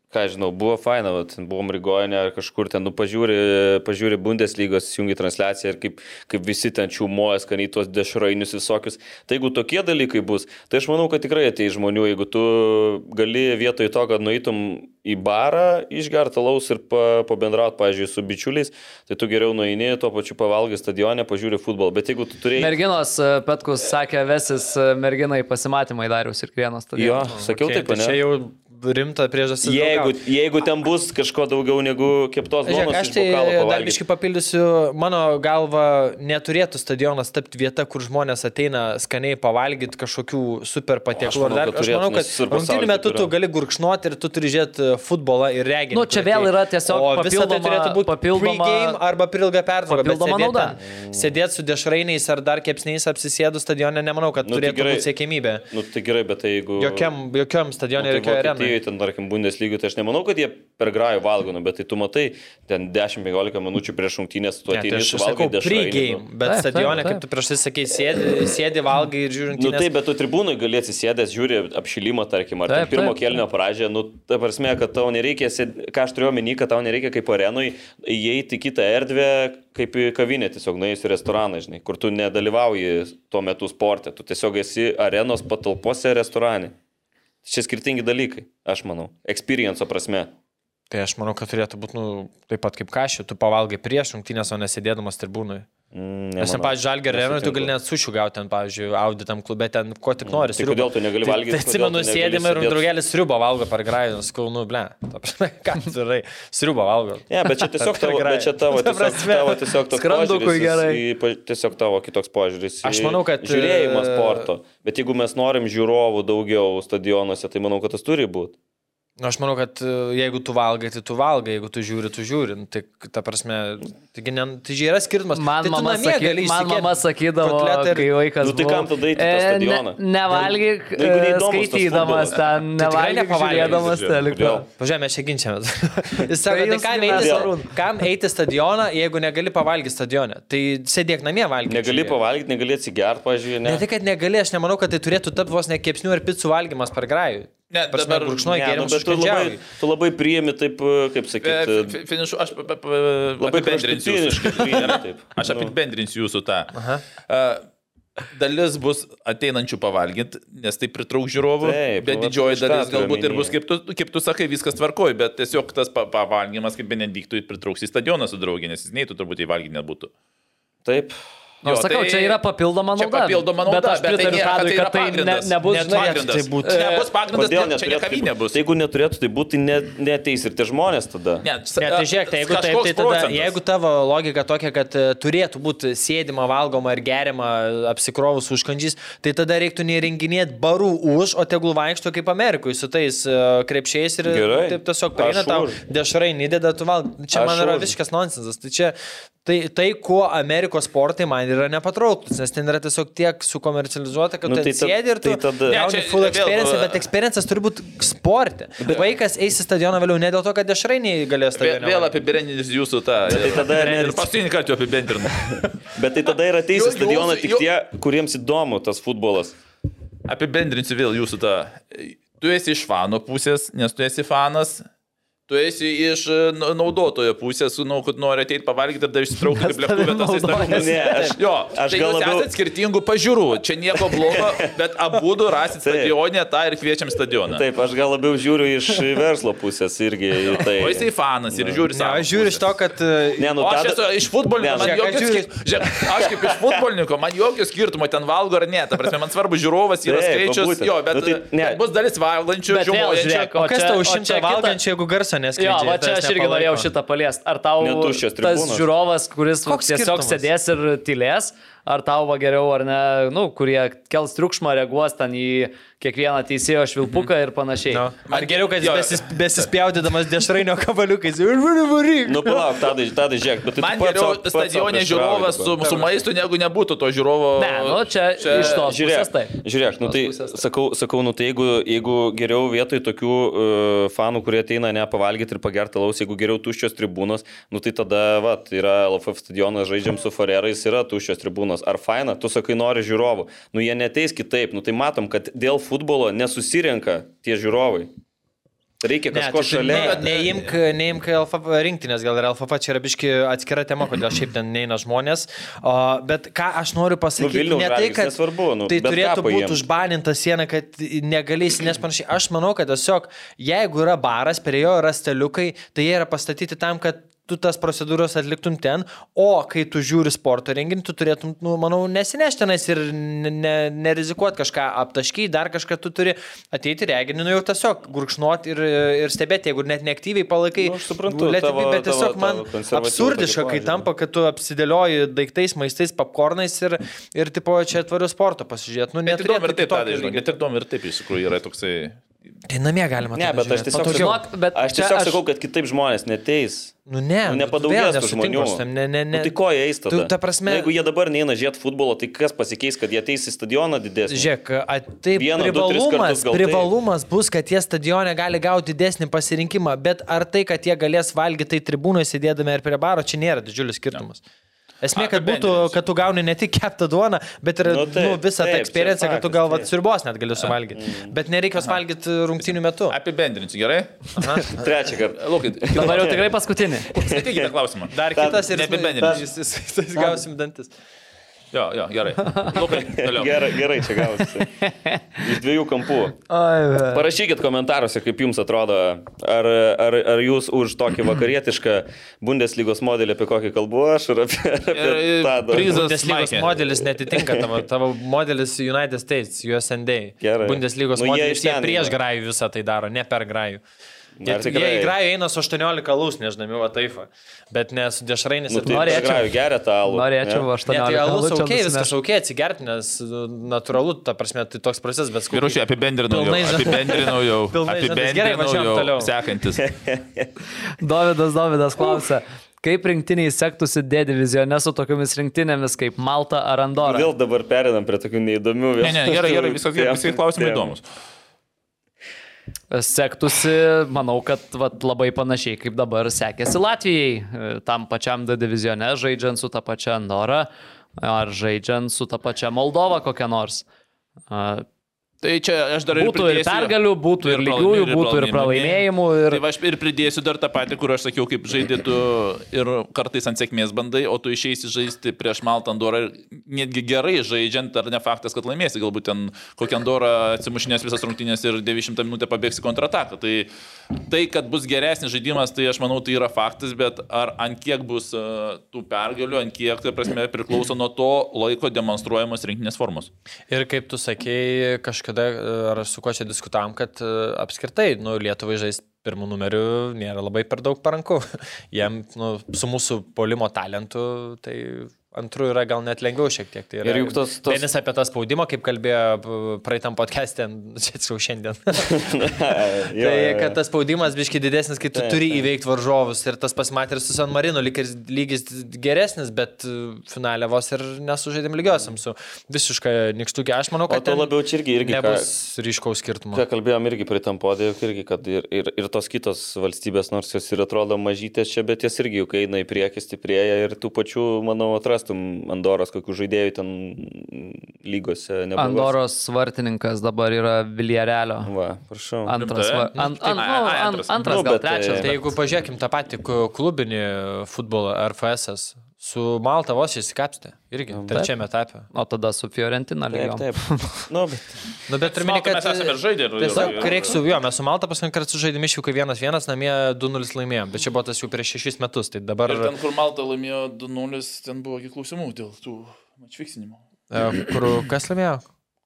Ką aš žinau, buvo faina, va, ten buvom Rigoje ar kažkur ten, nu, pažiūri, pažiūri Bundeslygos, jungi transliaciją ir kaip, kaip visi ten čiūmoja, skaniai tuos dešrainius visokius. Tai jeigu tokie dalykai bus, tai aš manau, kad tikrai ateis žmonių, jeigu tu gali vietoj to, kad nueitum į barą, išgerti laus ir pa, pabendrauti, pažiūrėjau, su bičiuliais, tai tu geriau nueini, tuo pačiu pavalgai stadione, pažiūri futbolą. Bet jeigu tu turėjai... Merginos e, Petkus sakė, vesis e, merginai pasimatymai Dariaus ir Girieno stadione. Jo, sakiau okay, taip, tai ne? čia jau rimta priežastis. Jeigu, draugauti. jeigu ten bus kažko daugiau negu keptos Žiūrėk, duonos, aš tai dar pavalgyt. biškai papildysiu, mano galva, neturėtų stadionas tapti vieta, kur žmonės ateina skaniai pavalgyti kažkokių super patiekalų. manau, ar dar- kad Aš manau, turėtų, kad nes ir pasauly rungtynių metu taip tu yra. gali gurkšnuoti ir tu turi žiūrėti futbolą ir reginį. Nu, čia kur vėl atėjai. yra tiesiog O visa tai papildoma- turėtų būti papildoma- pre-game arba per ilgą pertrauką. bet papildoma sėdėt nauda. ten- Sėdėt su dešrainiais ar dar kepsniais apsisėdus stadione, nemanau, kad Nu, tai turėtų gerai. būti siekimybė. Nu tai gerai, bet tai jeigu... Jokiam, jokiam nu, stadionui tai ir jokioje Vokietijoj arenai. Vokietijoje, ten, tarkim, Bundeslygoje, tai aš nemanau, kad jie per grajų valgino, bet tai tu matai, ten 10-15 minučių prieš rungtynės tu Ne, tai ateini nu. aš su sakau, valgai pregame, bet Taip, taip, stadione, kaip taip. tu prieš tai sakei, sėdi, sėdi valgai ir žiūrint. Nu taip, bet tu tribūnai gali atsisėdęs, žiūri apšilimą, tarkim, ar taip, Taip, ten pirmo taip, kelnio pradžią, nu, ta prasme, kad tau nereikia, sėd- ką aš turiu omeny, kad tau nereikia kaip arenui įeiti į kitą erdvę, kaip į kavinę, tiesiog nuėjus į restoraną, žinai, kur tu nedalyvauji tuo metu sporte, tu tiesiog esi arenos patalpose restorane. Čia skirtingi dalykai, aš manau, experienco prasme. Tai aš manau, kad turėtų būti, nu, taip pat kaip kašė, tu pavalgai prieš rungtynės, o nesėdėdamas tribūnui. Mm, Nes, ten, nemanau. pavyzdžiui, žalgerio arenui tu Nesutinku. gali net sušių gauti, ten, pavyzdžiui, auditam klube, ten ko tik Tai nori. sriubą. kodėl tu negali Tai- valgyt, Tai kodėl atsimenu, tu negali sėdėme ir sėdėt? draugelis sriubą valgo per grajus, kaunu, ble. Ta prasme, Ką tu darai? Sriubą valgo. Ne, bet čia tiesiog Per tavo, grają. bet čia tavo, Ta tiesiog, prasme, tavo tiesiog toks skrandukui požiūris. gerai. Į, pa- tiesiog tavo kitoks požiūris. į Aš manau, kad, Žiūrėjimas e, sporto. Bet jeigu mes norim žiūrovų daugiau stadionuose, tai manau, kad tas turi būti. Nu, aš manau, kad e, jeigu tu valgai, tai tu valgai, jeigu tu žiūri, tu žiūri. Nu, Tai, ta prasme, taigi, ne, tai čia yra skirtumas. Man, tai tu mama, namie saky, gali man įsikelt mama sakydavo, kotletą ir... ir- kai vaikas. Nu tai buvau, kam tada eit į tą "E, stadioną?" Ne, nevalgyk, Nu, jeigu e, neįdomus tas futbolas. skaitydamas ten, Tai nevalgyk, nepavalgysi, žiūrėdamas žiūrėk. teleką. Kodėl? Pažiūrėjau, mes čia ginčiamės. Jis sako, tai jūs kam gimnazijos eiti, arūnai. kam eiti stadioną, jeigu negali pavalgyti stadioną? Tai sėdėk namie valgyti. Negali pavalgyti, negali atsigert, pažiūrėjau, ne. Ne tai tik, kad negali, aš nemanau, kad tai turėtų tapti vos ne kepsnių ar picų valgymas per grajų. Ne, dabar dabar- brūkšnoji ne, nu, gerimus, bet tu labai, tu labai priimi taip, e, kaip sakyti, Finišu, aš pa- pa- pa- labai apibendrinsiu jūsų- kraštutiniškai priimi taip. Aš Nu. apibendrinsiu jūsų tą. A, Dalis bus ateinančių pavalgyti, nes tai pritrauks žiūrovų, Taip, nu, bet vat didžioji aš tą dalis turiu galbūt ir bus, omeny. kaip tu, kaip tu sakai, viskas tvarkoji, bet tiesiog tas pa pavalgymas, kaip Benediktui, pritrauks į stadioną su draugė, nes jis neitų turbūt į valgyti nebūtų. Taip. Na, Jo, Nu, sakau, tai- čia yra papildoma Čia nauda. papildoma nauda, Bet aš bet tai pritariu nėra- Tadui, tai yra kad tai ne, pagrindas. nebūtų Net žinai, pagrindas. Tai būtų- Nebus pagrindas, Kodėl ne- čia ne neturėtų kavinė taip bus. būti? Jeigu neturėtų tai būti, tai ne, neteis ir tie žmonės tada. Ne, Ne, tai žiūrėk, tai jeigu taip, tai tada, jeigu tavo logika tokia, kad e, turėtų būti sėdima, valgoma ir gerima, e, apsikrovus užkandžiais, tai tada reiktų neįrenginėti barų už, o tegul vaikšto kaip Amerikui su tais e, krepšiais ir Gerai. taip tiesiog Aš prieina tau už. dešrai, nideda, tu valgai. Čia Aš man yra už. visiškas nonsensas. Tai čia tai, tai, kuo Amerikos sportai man yra nepatrauklus, nes ten yra tiesiog tiek sukomercializuota, kad Nu, nu, tai tai ten ta- sėdi ir tu tai tada- Ne, gauni čia full vėl- experience, bet tai experiences turi būti sporte. Vaikas eis į stadioną vėliau ne dėl to, kad dešrainiai galės Vėl, stadione vėl valgyt. apibendrinsiu jūsų tą. Tai tada ir neric- paskutinį kartą jau apibendrinu. Bet tai tada yra teisė Jau- jau- stadioną tik jau- tie, kuriems įdomu tas futbolas. Apibendrinsiu vėl jūsų tą. Tu esi iš fano pusės, nes tu esi fanas. Tu esi iš e, na- naudotojo pusės, nu, kad nori ateiti pavalgyti ir dar išsitraukti kaip lėktuvė tas įstatymas. Nu, Ne, aš- jo, aš aš tai gal labiau- gal labiau... esate skirtingų pažiūrų, čia nieko blogo, bet abu du rasit Taip. stadionę tą ir kviečiam stadioną. Taip, aš gal labiau žiūriu iš verslo pusės irgi į tai. O jisai fanas ir žiūri Ne, savo. aš žiūriu iš pusės. to, kad... e, Ne, nu, O aš tada- esu iš Ne, nu, futbolininko, man žiūrėk, jokio aš žiūriu- skirtumo. Žiūrėk, aš kaip iš futbolininko, man jokio skirtumo ten valgo ar ne. Ta prasme, man svarbu žiūrovas yra Taip, va skaičius. būtent. Jo, bet Nu tai ne. bet bus dalis valgančių, Bet vėl žiūrėk, žiūrojančių. o Kas čia- tau o čia šimtą kita- valgančių, jeigu garso Jo, neskleidžia? va čia aš irgi norėjau šitą paliesti. Ar tau Ne tuščios tas tribūnos. žiūrovas, kuris va Koks tiesiog skirtumas? sėdės ir tylės, ar tau va geriau, ar ne, nu, kurie kels triukšmą, reaguos ten į kiekvieną teisėjo švilpuką ir panašiai. Mhm. No. Man Ar geriau, kad jo. jis besis, besispjaudydamas dešrainio kavaliukais. Varyk. Nu, palauk, tada, tada žiūrėk, bet tu Man pats geriau sau- pats sau stadionė prieštarauji žiūrovas dabar. su, su maistu, negu nebūtų to žiūrovo. Ne, nu čia, iš to. tos pusės Žiūrėk, taip. žiūrėk nu tai sakau, sakau, nu tai jeigu, jeigu geriau vietoj tokių uh, fanų, kurie ateina ne pavalgyti ir pagerti laus, jeigu geriau tuščios tribūnos, nu tai tada, va, yra LFF stadionas, žaidžiam su Forerais, yra tuščios tribūnos. Ar faina, tu sakai, nori žiūrovų. Nu jie neteis kitaip, nu tai matom, kad dėl futbolo nesusirenka tie žiūrovai. Reikia kažko tai šalia. Neimk, neimk LFP rinktinės, gal ir LFP čia yra biški atskira tema, kodėl šiaip ten neina žmonės. O, bet ką aš noriu pasakyti, Nu, Vilniaus ne tai, Žalgiris, kad nesvarbu, nu, tai bet ką turėtų paimk. būti užbaninta siena, kad negalėsi, nes panašiai. Aš manau, kad tiesiog, jeigu yra baras, prie jo yra steliukai, tai jie yra pastatyti tam, kad tu tas procedūras atliktum ten, o kai tu žiūri sporto renginį, tu turėtum, nu, manau, nesineštinais ir ne- ne- nerizikuot kažką aptaškiai, dar kažką tu turi ateiti į renginį, nu jau tiesiog gurkšnuot ir, ir stebėti, jeigu net neaktyviai palaikai. Nu, aš suprantu, let it be, tavo- bet tiesiog tavo- man tavo konservatyvų absurdiška, tokį kai požiūrį. tampa, kad tu apsidėlioji daiktais, maistais, popkornais ir, ir tipo čia tvariu sporto pasižiūrėti. Nu, Net įdomu ir neturėtų tai taip, kitokio tada, žinai, lygio. net įdomu ir taip, iš tikrųjų yra toksai Tai namie galima. Ne, tada bet aš žiūrėt. tiesiog, Patogiau. Žinok, bet aš čia tiesiog aš- sakau, kad kitaip žmonės neteis. Nu ne, Nu, nu, nepadaugės vėl tų nesutinku žmonių. aš tam, Ne, ne, ne. Nu, tai ko jie eis tada? Tu, ta prasme- nu, jeigu jie dabar neina žiūrėti futbolo, tai kas pasikeis, kad jie ateis į stadioną didesnį? Žiūrėk, a- taip, Vieną, du, tris privalumas, kartus gal taip. privalumas bus, kad jie stadione gali gauti didesnį pasirinkimą, bet ar tai, kad jie galės valgyti tai tribūnoje sėdėdami ar prie baro, čia nėra didžiulis skirtumas. Esmė, kad būtų, Apibendrinsiu. kad tu gauni ne tik keptą duoną, bet ir Nu nu, taip, nu, visą tą taip, čia eksperienciją, kad tu faktas, gal vat taip. Mm. sirbos net gali suvalgyti. Bet nereikia jos valgyti rungtynių metu. Apibendrinsiu, gerai? Trečią kartą. Lūkit, Dabar jau tikrai paskutinį. Sakykite klausimą. Dar Tad- kitas ir neapibendrinsiu. Jis- jis- jis- jis- Gausim dantis. Jo, jo, gerai. Lūkai, toliau. Gerai, gerai, čia gavosi. Iš dviejų kampų. Parašykit komentaruose, kaip jums atrodo, ar, ar, ar jūs už tokį vakarietišką Bundeslygos modelį, apie kokį kalbu aš, ar apie, ar apie Ir- ir tą. dar- prizą- Bundeslygos Schmeichel. modelis netitinka tavo, tavo modelis United States, USND. Gerai. Bundeslygos Nu, jie modelis, iš jie ten prieš yra. grajų visą tai daro, ne per grajų. Jie, Ar jie į grajų eina su 18 lūs, nežinami, va taip. va. Bet ne su dešrainis. Nu, ir- tai Norėčiau. Norėčiau. Geria tą alų. Norėčiau ne? aš Ne, tą. tai alus aukiai, viskas aukiai atsigerti, nes nu, natūralu, ta prasme, tai toks procesas, bet skui. Vyrušiai, apibendrinau jau. Pilnai ža- Apibendrinau jau. Pilnai ža- Gerai, Apibendrinau važiuojam jau. toliau. Sekantis. Dovydas Dovydas klausia, kaip rinktiniai sektųsi D divizione su tokiamis rinktinėmis kaip Malta ar Andora? Vėl dabar perinam prie tokių neįdomių. Ne, ne, gerai, gerai, viskas gerai. Visi klausimai Nu, Tiem. įdomus. Sektųsi, manau, kad vat, labai panašiai kaip dabar sekėsi Latvijai, e, tam pačiam D divizione, žaidžiant su ta pačia Andora ar žaidžiant su ta pačia Moldova kokia nors. A, Tai čia aš dar Būtų ir pridėsiu- pergalių, būtų ir lygiųjų, būtų ir pralaimėjimų, ir- Tai va, aš ir pridėsiu dar tą patį, kur aš sakiau, kaip žaidė tu ir kartais ant sėkmės bandai, o tu išeisi žaisti prieš Maltą Andorą ir netgi gerai žaidžiant, ar ne faktas, kad laimėsi, galbūt ten kokią Andorą atsimušinės visas rungtynės ir 90 minutę pabėgsi kontrataką. Tai tai, kad bus geresnis žaidimas, tai aš manau, tai yra faktas, bet ar ant kiek bus e, tų pergalių, ant kiek, tai prasme, priklauso nuo to laiko demonstruojamos rinkinės formos. Ir kaip tu sakei, kažkada, e, ar su kuo čia diskutavom, kad e, apskritai, nu, Lietuvai žaisti pirmų numerių nėra labai per daug paranku. Jiem, nu, su mūsų polimo talentu, tai antrų yra gal net lengviau šiek tiek. Tai yra, Ir juk tos- tos- Vienas apie tą spaudimą, kaip kalbėjo p- praeitam podcast'e, čia atsiau šiandien. Jo, jo, Tai jo. kad tas spaudimas biški didesnis, kai tu turi įveikti varžovus ir tas pasimatė ir su San Marino lyg ir lygis geresnis, bet e, finale vos ir nesužaidėm lygiosiam su visiška nikštukė. Aš manau, O kad to ten labiau čia irgi irgi ką- nebus ryškaus skirtumo. Ką kalbėjom irgi prie tam podėjų, irgi, kad ir, ir, ir tos kitos valstybės, nors jos ir atrodo mažytės čia, bet jas irgi juk eina į priekį, stiprėja ir tų pačių, manau, atrastum Andoros, kokių žaidėjų ten lygose nebus. Andoros vartininkas dabar yra Viljarelio. Va, prašau. Antras, Rimtai? va, an, an, Ai, nu, ai, an, antras. antras Nu, gal bet, trečias. e, Tai jeigu pažiūrėkim tą patį ku- klubinį futbolą RFS, su Malta vos įsikapstė irgi Nu, trečiame etape. O tada su Fiorentina Taip, lygiom. taip. Nu, bet. Nu, bet Su turime, Malta kad mes esame ir žaidę nu, ir- Tiesiog ir- ir- reiksiu, jo, mes su Malta paskutinį kartą sužaidėme išvykai 1-1, namie 2-0 laimėjom, bet čia buvo tas jau prieš 6 metus, tai dabar... Ir ten, kur Malta laimėjo 2-0, ten buvo kiek klausimų dėl tų mačfiksinimo. E, Kur kas laimėjo?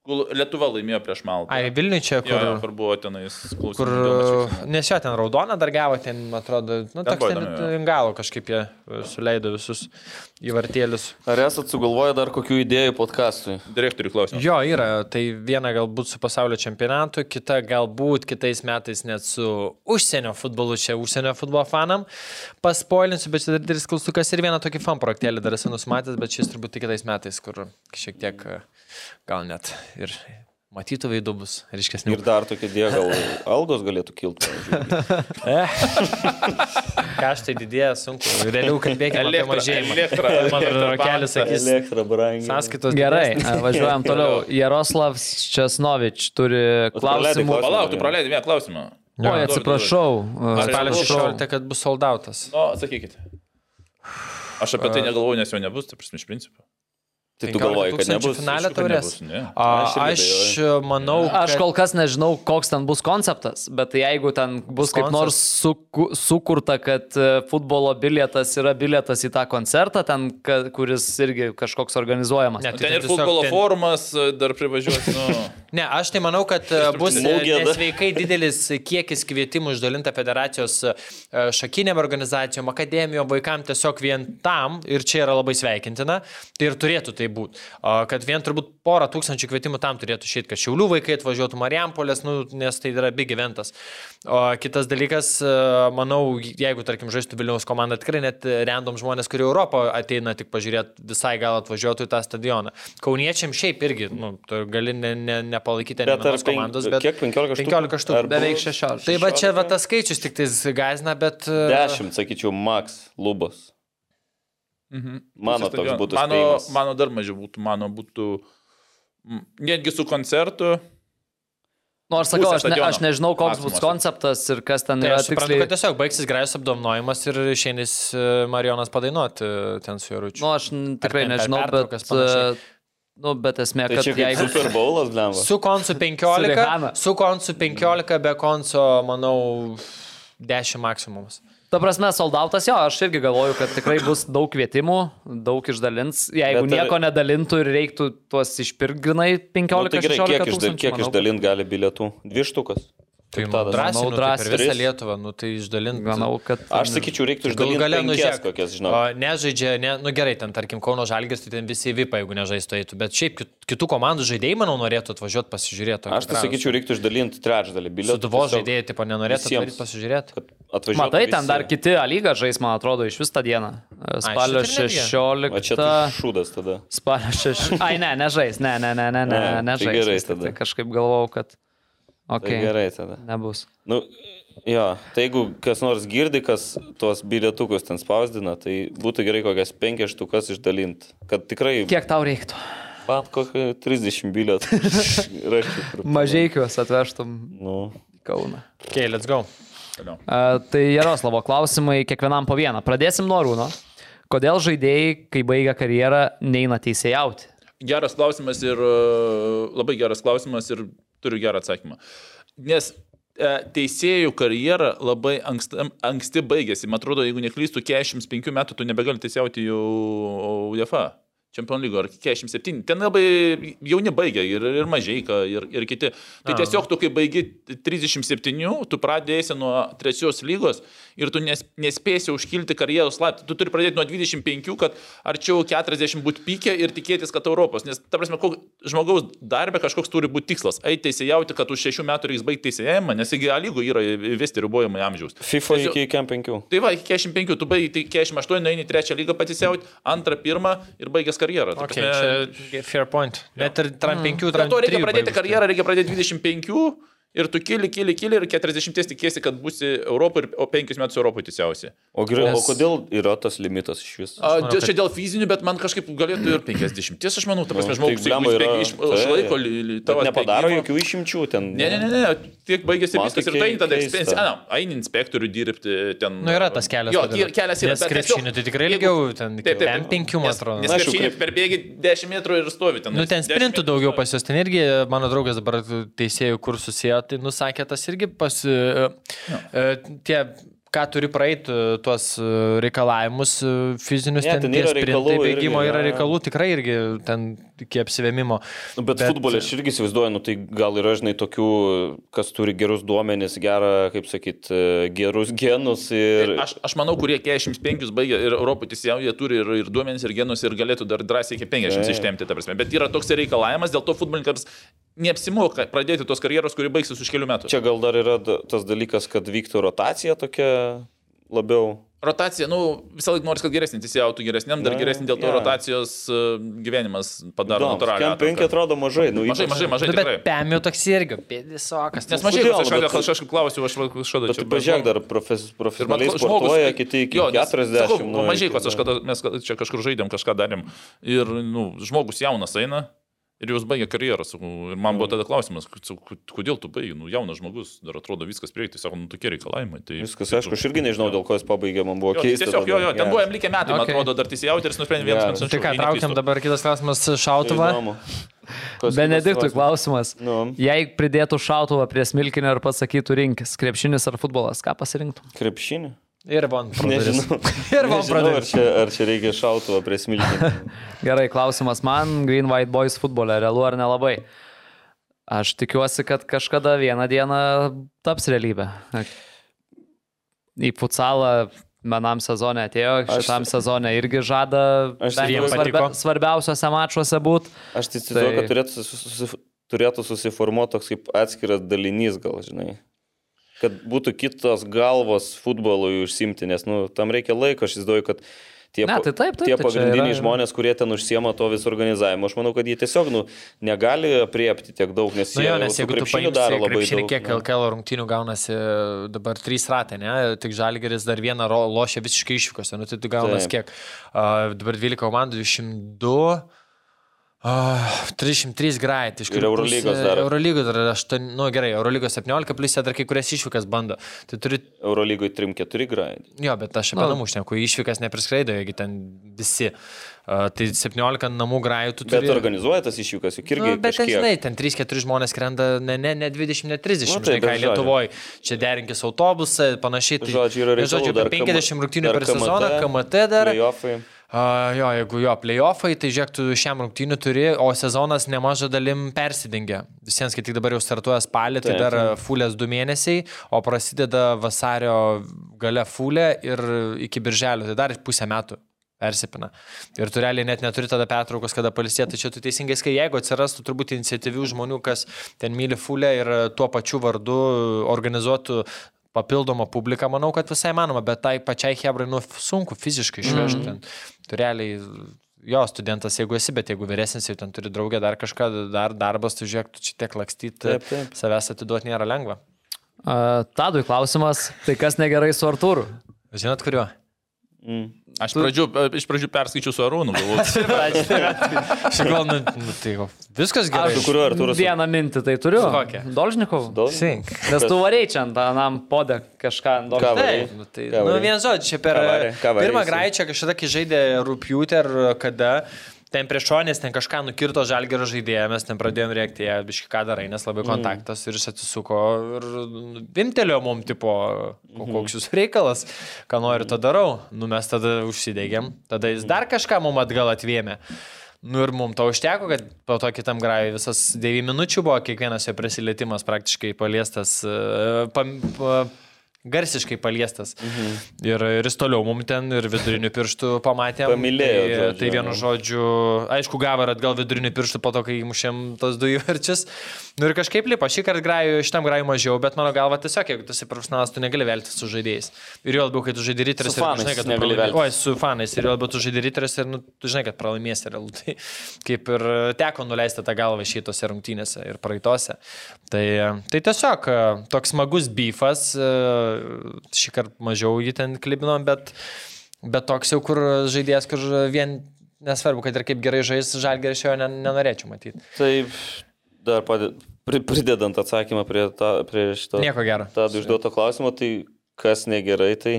Lietuva laimėjo prieš Maltą. Ai, Vilniui čia, jo, kur... jo, kur buvo tenais klausimų. kur dėl matchfixinimo. nes jo ten raudoną dar gavo, ten, man atrodo, nu, buvo toks ten įdomu, jo. ant galo kažkaip jie e, suleido visus įvartėlius. Ar esat sugalvoję dar kokių idėjų podkastui? Direktorių klausimas. Jo, yra, tai viena galbūt su pasaulio čempionatu, kita galbūt kitais metais net su užsienio futbolu, čia užsienio futbolo fanam paspoilinsiu, bet čia dar didelis klaustukas ir vieną tokį fan projektėlį dar esu nusimatęs, bet šis turbūt tik kitais metais, kur šiek tiek e, gal net ir matytų veidų bus ryškesnių. Ir dar tokia idėja, gal algos galėtų kilti. Kaštai didėja, sunku. Realiau kalbėkime apie Elektra, mažėjimą. elektra, Man elektra, atrodo, kelias sakys, Elektra brangiai. sąskaitos Gerai, didesnės. e, važiuojam toliau. Jaroslavs Česnovič turi praleidai klausimų. klausimą. Palauk, tu praleidai vieną klausimą. Oi, atsiprašau. e, Ar Spalio Atsiprašau. 16, kad bus soldautas. Nu, sakykit. Aš apie tai negalvoju, nes jo nebus, tai prasme, iš principo. Tai tu galvoji, kad nebus. Finalė aišku, kad taurės. nebus, ne. A, Aš irgi Aš manau, Aš kad- kol kas nežinau, koks ten bus konceptas, bet jeigu ten bus kaip Konceptas. nors suku, sukurta, kad e, futbolo bilietas yra bilietas į tą koncertą, ten, ka- kuris irgi kažkoks organizuojamas. Ne, Nu, tai Ten ir tiesiog futbolo ten- forumas e, dar privažiuos. Nu, Ne, aš tai manau, kad e, bus e, Mugė, da. nesveikai didelis kiekis kvietimų išdalinta federacijos e, šakinėm organizacijom, akademijom, vaikam tiesiog vien tam, ir čia yra labai sveikintina, tai ir turėtų tai tai būtų. Kad vien turbūt porą tūkstančių kvietimų tam turėtų išėti, kad Šiaulių vaikai atvažiuotų Marijampolės, nu, nes tai yra big eventas. O kitas dalykas, a, manau, jeigu, tarkim, žaistų Vilniaus komanda, tikrai net random žmonės, kurie Europą ateina tik pažiūrėti, visai gal atvažiuotų į tą stadioną. Kauniečiam šiaip irgi, nu, tu gali ne, ne, nepalaikyti Bet net ar tos penk- komandos, bet kiek? 15 štuk? 15 Ar štukų. buvo- Beveik 16. Tai va čia va tas skaičius tik tais gazina, bet... e, a, Dešimt, sakyčiau, max lubos. Mhm. Mano Pusė toks stadiono. būtų Mano, spėjimas. mano dar mažiau būtų, mano būtų. mm, Netgi su koncertu. Nors sakau, Pusė Nu, aš, ne, aš stadiono. nežinau, koks bus Maksimos. konceptas ir kas ten Tai yra aš suprantu, tiksliai. kad tiesiog baigsis Grajus apdovanojimas ir išėjęs Marijonas padainuoti ten su Jaručiu. Nu, aš n- tikrai ten per nežinau, bet, pertraukas panašiai. e, nu, bet esmė, Tai kad čia kaip jeigu... Super Bowlas, blemba. Su koncu 15, Rihanna. su koncu 15, be konco, manau, 10 maksimumas. Ta prasme, soldautas jo, aš irgi galvoju, kad tikrai bus daug kvietimų, daug išdalins. Bet Jeigu e, Bet ar- nieko nedalintų ir reiktų tuos išpirkginai Nu, 15-16 tai gerai, kiek, išda, tūkstančių, kiek manau, išdalint gali bilietų? Dvi štukas. Tai Tadas. drąsiai, Manau, nu, drąsiai. drąsiai. Per visą Tris. Lietuvą, nu tai išdalinti. Manau, kad... Aš sakyčiau, reiktų Galų išdalinti gale penkias nužėk. kokias, žinau. Nežaidžia, ne, nu gerai, ten tarkim Kauno Žalgis, tai ten visi VIP, jeigu nežaistų eitų, bet šiaip kit- kitų komandų žaidėjai, manau, norėtų atvažiuoti pasižiūrėti. Aš tai sakyčiau, reiktų išdalinti trečdalį bilietų. Lietuvos tiesiog, žaidėjai, tipo, nenorėtų visiems. atvažiuoti pasižiūrėti. kad atvažiuotų Matai, ten visi. dar kiti lyga žais, man atrodo, iš vis tą dieną. E, Spalio šitą irgi. O 16. čia tai šūdas tada. Spalio 6. Ai, ne, nežais, ne, ne, ne, ne, ne, Ne, tai nežais. gerai vis tik tai tada. Kažkaip galvau, kad... Tai Okay, gerai tada. Nebus. Nu, jo, tai jeigu kas nors girdi, kas tuos bilietukus ten spausdina, tai būtų gerai kokias penkias štukas išdalinti. Kad tikrai... Kiek tau reiktų? Pat kokį 30 bilietų. Rašyk, kur- Mažiai juos atvežtum Nu, į Kauną. Okay, let's go. A, Tai Jaroslavo klausimai kiekvienam po vieną. Pradėsim nuo Rūno. Kodėl žaidėjai, kai baigia karjerą, neina teisėjauti? Geras klausimas ir e, labai geras klausimas ir turiu gerą atsakymą. Nes e, teisėjų karjera labai anksti, anksti baigėsi. Man atrodo, jeigu neklystu, 45 metų tu nebegali teisiauti jau UEFA. Čempion lygo ar 47. Ten labai jauni baigia ir, ir mažai, ir, ir kiti. Tai tiesiog tu, kai baigi 37, tu pradėsi nuo trečios lygos ir tu nes, nespėsi užkilti karjeros laiptų. Tu turi pradėti nuo 25, kad arčiau 40 būtų pykę ir tikėtis, kad Europos. Nes, ta prasme, kok, žmogaus darbė kažkoks turi būti tikslas. Eiti teisėjauti, kad už 6 metų reiks baigti teisėjimą, nes iki A lygų yra įvesti ribojimai amžiaus. FIFA Tiesiog- iki 5. Tai va, iki 45, tu baigi tai 48, nueini į trečią lygą patisiauti, antrą, pirmą ir baigęs karjerą. Ta Okay, prasme, čia fair point. Net ir tram 5, Dėl tram 3. to reikia tai. pradėti karjerą, reikia pradėti 25 ir tu kili, kili, kili ir 40 tikėsi, kad būsi Europoje, o 5 metus Europoje tiesiausi. O, gerai, Nes- o kodėl yra tas limitas iš viso? A, dėl, čia dėl fizinių, bet man kažkaip galėtų ir 50, aš manau, ta prasme, Nu, žmogus tai jeigu blemba jis yra- bėgi iš tai- išlaiko, Bet tavo nepadaro atbėgimą- jokių išimčių ten. Ne, ne, ne, ne, tiek baigėsi Man viskas tai ir tai kei- tada keista. ekspensija. Na, eini inspektorių dirbti ten. Nu yra tas kelias. Jo, kodėl. tie- kelias yra. Nes bet tiesiog- krepšinį tai tikrai jeigu- ilgiau, ten Taip, taip, ten taip. 5, man atrodo. Nes Aišku, krepšinį krep- perbėgi 10 metrų ir stovi ten. Nu, ten 10 sprintų metrų daugiau stovi. pas juos, ten irgi, mano draugas dabar teisėjų kursų sieja, tai nusakė tas irgi pas... e, e, Tie, ką turi praeiti, tuos e, reikalavimus e, fizinius, Ne, ten, ten tie yra sprintai, reikalų irgi, bėgimo yra jo, jo. reikalų, tikrai irgi ten iki apsivėmimo. Nu, bet, bet futbolė aš irgi įsivaizduoju, nu, tai gal yra, žinai, tokių, kas turi gerus duomenis, gerą, kaip sakyt, e, gerus genus ir... Aš, aš manau, kurie 45 baigia ir Europoje tiesiog jie turi ir, ir duomenys, ir genus, ir galėtų dar drąsiai iki 50 Taip. ištemti, ta prasme. Bet yra toks reikalavimas, dėl to futbolininkams neapsimoka pradėti tos karjeros, kuri baigsis už kelių metų. Čia. Čia gal dar yra da- tas dalykas, kad vyktų rotacija tokia labiau. Rotacija, nu, visą laiką nori, kad geresnį teisėjautų geresniam, dar Na, geresnį dėl to jo. rotacijos e, gyvenimas padaro Įdomu, natūralią. Kem 5 atranką. atrodo mažai, nu, Mažai, mažai, mažai. Nu, bet Tai tikrai. pemio toks irgi, pėdisokas. Nes mažai, Kodėl? nu, aš kažkada- Bet- aš kažkaip klausiu, aš kažkada Bet čia- Nu, tai pažiūrėk dar, profes, profesionaliai sportuoja, kiti iki jo, nes, 40. Sakau, nu, nu, mažai, iki- kas aš kada, mes kada čia kažkur žaidėm, kažką darėm. Ir nu, žmogus jaunas eina. Ir jūs baigė karjerą, sakau, ir man Nu. buvo tada klausimas, sakau, kodėl tu baigi, nu jaunas žmogus, dar atrodo viskas prieiti, sako, nu tokie reikalavimai. Tai, Viskas, aišku, aš irgi nežinau, dėl ko jis pabaigė, man buvo Jo, keista. tai tiesiog, jo, jo, ten tada. tai buvo jam likę metai, man Okay. atrodo, dar teisėjauti ir jis nusprendė vienas Geras. metus Tai anksčiau. ką, jei neklystu. traukiam dabar kitas klausimas - šautuvą. Įdomu. Kas Benediktui kitas klausimas. Nu. Jei pridėtų šautuvą prie smilkinio ir pasakytų rinkis, krepšinis ar futbolas, ką pasirinktum? Krepšinį? Ir van. Nežinau. Ir van Nežinau, ar pradėjus. čia, ar čia reikia šautuvo prie smilkinio. Gerai, klausimas man, Green White Boys futbole, realu ar nelabai? Aš tikiuosi, kad kažkada vieną dieną taps realybė. Į futsalą Menam sezonė atėjo, šitam sezonė irgi žada Aš bent jau tikiu- svarbia, svarbiausiuose mačuose būti. Aš tai įsivaizduoju, kad Tai- turėtų, susi- susi- turėtų susiformuoti toks kaip atskiras dalinys, gal žinai. Kad būtų kitos galvos futbolui užsimti, nes nu, tam reikia laiko, aš įsivaizduoju, kad tie, Ne, pa- tai taip, taip, tie tai čia pagrindiniai yra- žmonės, kurie ten užsiema to visų organizavimo, aš manau, kad jie tiesiog nu, negali apriepti tiek daug, nes Nu jie jo, jau nes su jeigu tu krepšiniu paimsi daro labai krepšinį, daug, kiek nu. LKL rungtynių gaunasi dabar trys ratai, ne? Tik Žalgeris dar vieną ro- lošia visiškai išvykose, nu tai tu gaunas Taip. kiek? A, dabar 12 komandų, 202. Uh, 303 greit, iš Ir Eurolygos dar. Eurolygos dar 8, nu gerai, Eurolygos 17, plus jie dar kai kurias išvykas bando. Tai turi, Eurolygoje 3-4 grind. jo, bet aš apie namų šneku, į išvykas nepriskraido, jeigu ten visi. Uh, tai 17 namų graitų Bet turi. organizuoja tas išvykas, juk irgi Nu, bet ten, kažkiek. žinai, ten 3-4 žmonės krenda, ne, ne, ne 20, ne 30, Nu, nu, taip, tai, žinai, ką bet žodžiu. Lietuvoje. Čia derinkis autobusą, panašiai. Tai, Žodžiu, yra reikalų, Žodžiu, dar apie 50 KM- rungtynių dar per sezoną, KMT dar. playoffai. A, jo, jeigu jo playoffai, tai žiūrėk, tu šiam rungtyniu turi, o sezonas nemaža dalim persidengia. Visiems, kai tik dabar jau startuoja spalį, tai Taip, dar fulės du mėnesiai, o prasideda vasario gale fulė ir iki birželio, tai dar pusę metų persipina. Ir tu realiai net neturi tada pertraukos, kada palsėti. Tai čia tu teisingai, kai jeigu atsirastų turbūt iniciatyvių žmonių, kas ten myli fulę ir tuo pačiu vardu organizuotų papildomą publiką, manau, kad visai manoma, bet tai pačiai Hebrai nu, sunku fiziškai išvežti. Mm -hmm. Tu realiai, jo, studentas, jeigu esi, bet jeigu vyresnis, jau ten turi draugę, dar kažką, dar darbas, tu žiūrėk, tu čia tiek lakstyti, Taip, taip. savęs atiduoti nėra lengva. A, Tadui klausimas, tai kas negerai su Artūru? Žinot, kuriuo? Mm. Aš pradžių, e, iš pradžių perskaičiu su Arūnu, galbūt. Šiaip gal, nu, nu, tai jau viskas gerai. Su kuriuo Artūras? Vieną mintį tai turiu. Su kokia? Dolžnikov. Dol- Sink. Nes tu varei čia ant anam podė kažką ant Dolžnikov. varei? Taip, nu, tai, Ką nu, varei? vien žodžiu, čia per Ką varei? Ką varei pirmą jisai? graičią kažkada, kai žaidė rūpjūtį ar kada, ten prieš šonės, ten kažką nukirto žalgerio žaidėją, mes ten pradėjom rėkti, jie biškai ką darai, nes labai kontaktas ir jis atsisuko ir vimtelio mum tipo, ko- koks jūs reikalas, ką noriu, to darau. Nu mes tada užsidegėm, tada jis dar kažką mum atgal atvėmė. Nu ir mums to užteko, kad po to kitam grajui visas 9 minučių buvo, kiekvienas jo prisilietimas praktiškai paliestas, e, pam, pa, garsiškai paliestas. Mhm. Ir, ir jis toliau mums ten ir viduriniu pirštu pamatė. Pamylėjo, Tai, žodžiu, tai vienu jo. žodžiu, aišku, gavo ir atgal viduriniu pirštu po to, kai įmušėm tos dujų verčius. Nu ir kažkaip lipa, šį kartą graju, šitam graju mažiau, bet mano galva tiesiog, jeigu tu esi profesionalas, tu negali veltis su žaidėjais. Ir jau labiau, kai tu žaidži ryteris, Su fanais kad negali pralaimė- veltis. Oi, su fanais, ir jau labiau tu žaidži ryteris ir nu, tu žinai, kad pralaimėsi realu. Tai kaip ir teko nuleisti tą galvą šitose rungtynėse ir praeitose. Tai, tai tiesiog e, toks smagus beefas, e, šį kartą mažiau jį ten klibinom, bet, bet toks jau kur žaidėjas, kur vien nesvarbu, kad ir kaip gerai žais žalgerį, aš jo ne- nenorėčiau matyti. Taip, Tai dar padė- pri- pridedant atsakymą prie, ta, prie šito. Nieko gero. Tad užduoto klausimo, tai kas negerai, tai,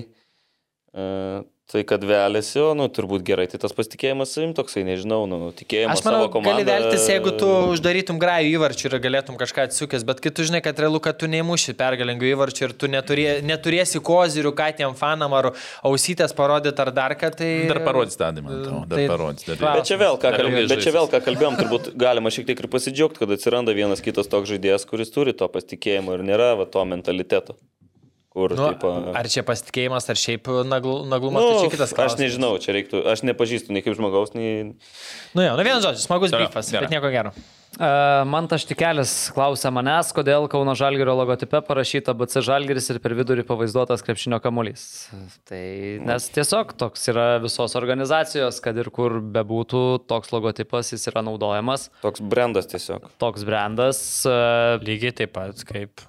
e, tai kad velėsi, o, nu, turbūt gerai, tai tas pasitikėjimas savim toksai, nežinau, nu, tikėjimas Aš manau, savo komandą. gali veltis, jeigu tu uždarytum grajų įvarčių ir galėtum kažką atsukęs, bet kai tu žinai, kad realu, kad tu neįmuši pergalingų įvarčių ir tu neturė, neturėsi kozirių, ką tiem fanam ar ausytės parodyti ar dar ką, tai... Dar parodys tą, man atrodo. Dar Tai- parodys. Dar... Klausimas. Bet čia vėl, ką Dar kalbėjom, ilgai bet čia žaisis. vėl, ką kalbėjom, turbūt galima šiek tiek ir pasidžiaugti, kad atsiranda vienas kitas toks žaidėjas, kuris turi to pasitikėjimo ir nėra va, to mentaliteto. Kur, Nu, taip, ar čia pasitikėjimas, ar šiaip nagl, naglumas, nu, nu, tai čia kitas klausimas. Aš nežinau, čia reiktų, aš nepažįstu nei kaip žmogaus, nei... Nu, jo, nu, vienas žodis, smagus Gerai, bifas, gerai. bet nieko gero. E, Man tas tikelis klausė manęs, kodėl Kauno Žalgerio logotipe parašyta BC Žalgeris ir per vidurį pavaizduotas krepšinio kamuolys. Tai nes tiesiog toks yra visos organizacijos, kad ir kur bebūtų toks logotipas, jis yra naudojamas, Toks brandas tiesiog. toks brandas. e, Lygiai taip pat kaip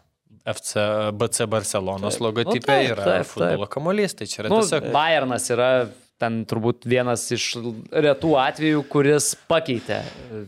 FC, BC Barcelonos logotipe logotipai taip, yra taip, taip. futbolo kamuolys, tai čia Nu, Bayernas yra ten turbūt vienas iš retų atvejų, kuris pakeitė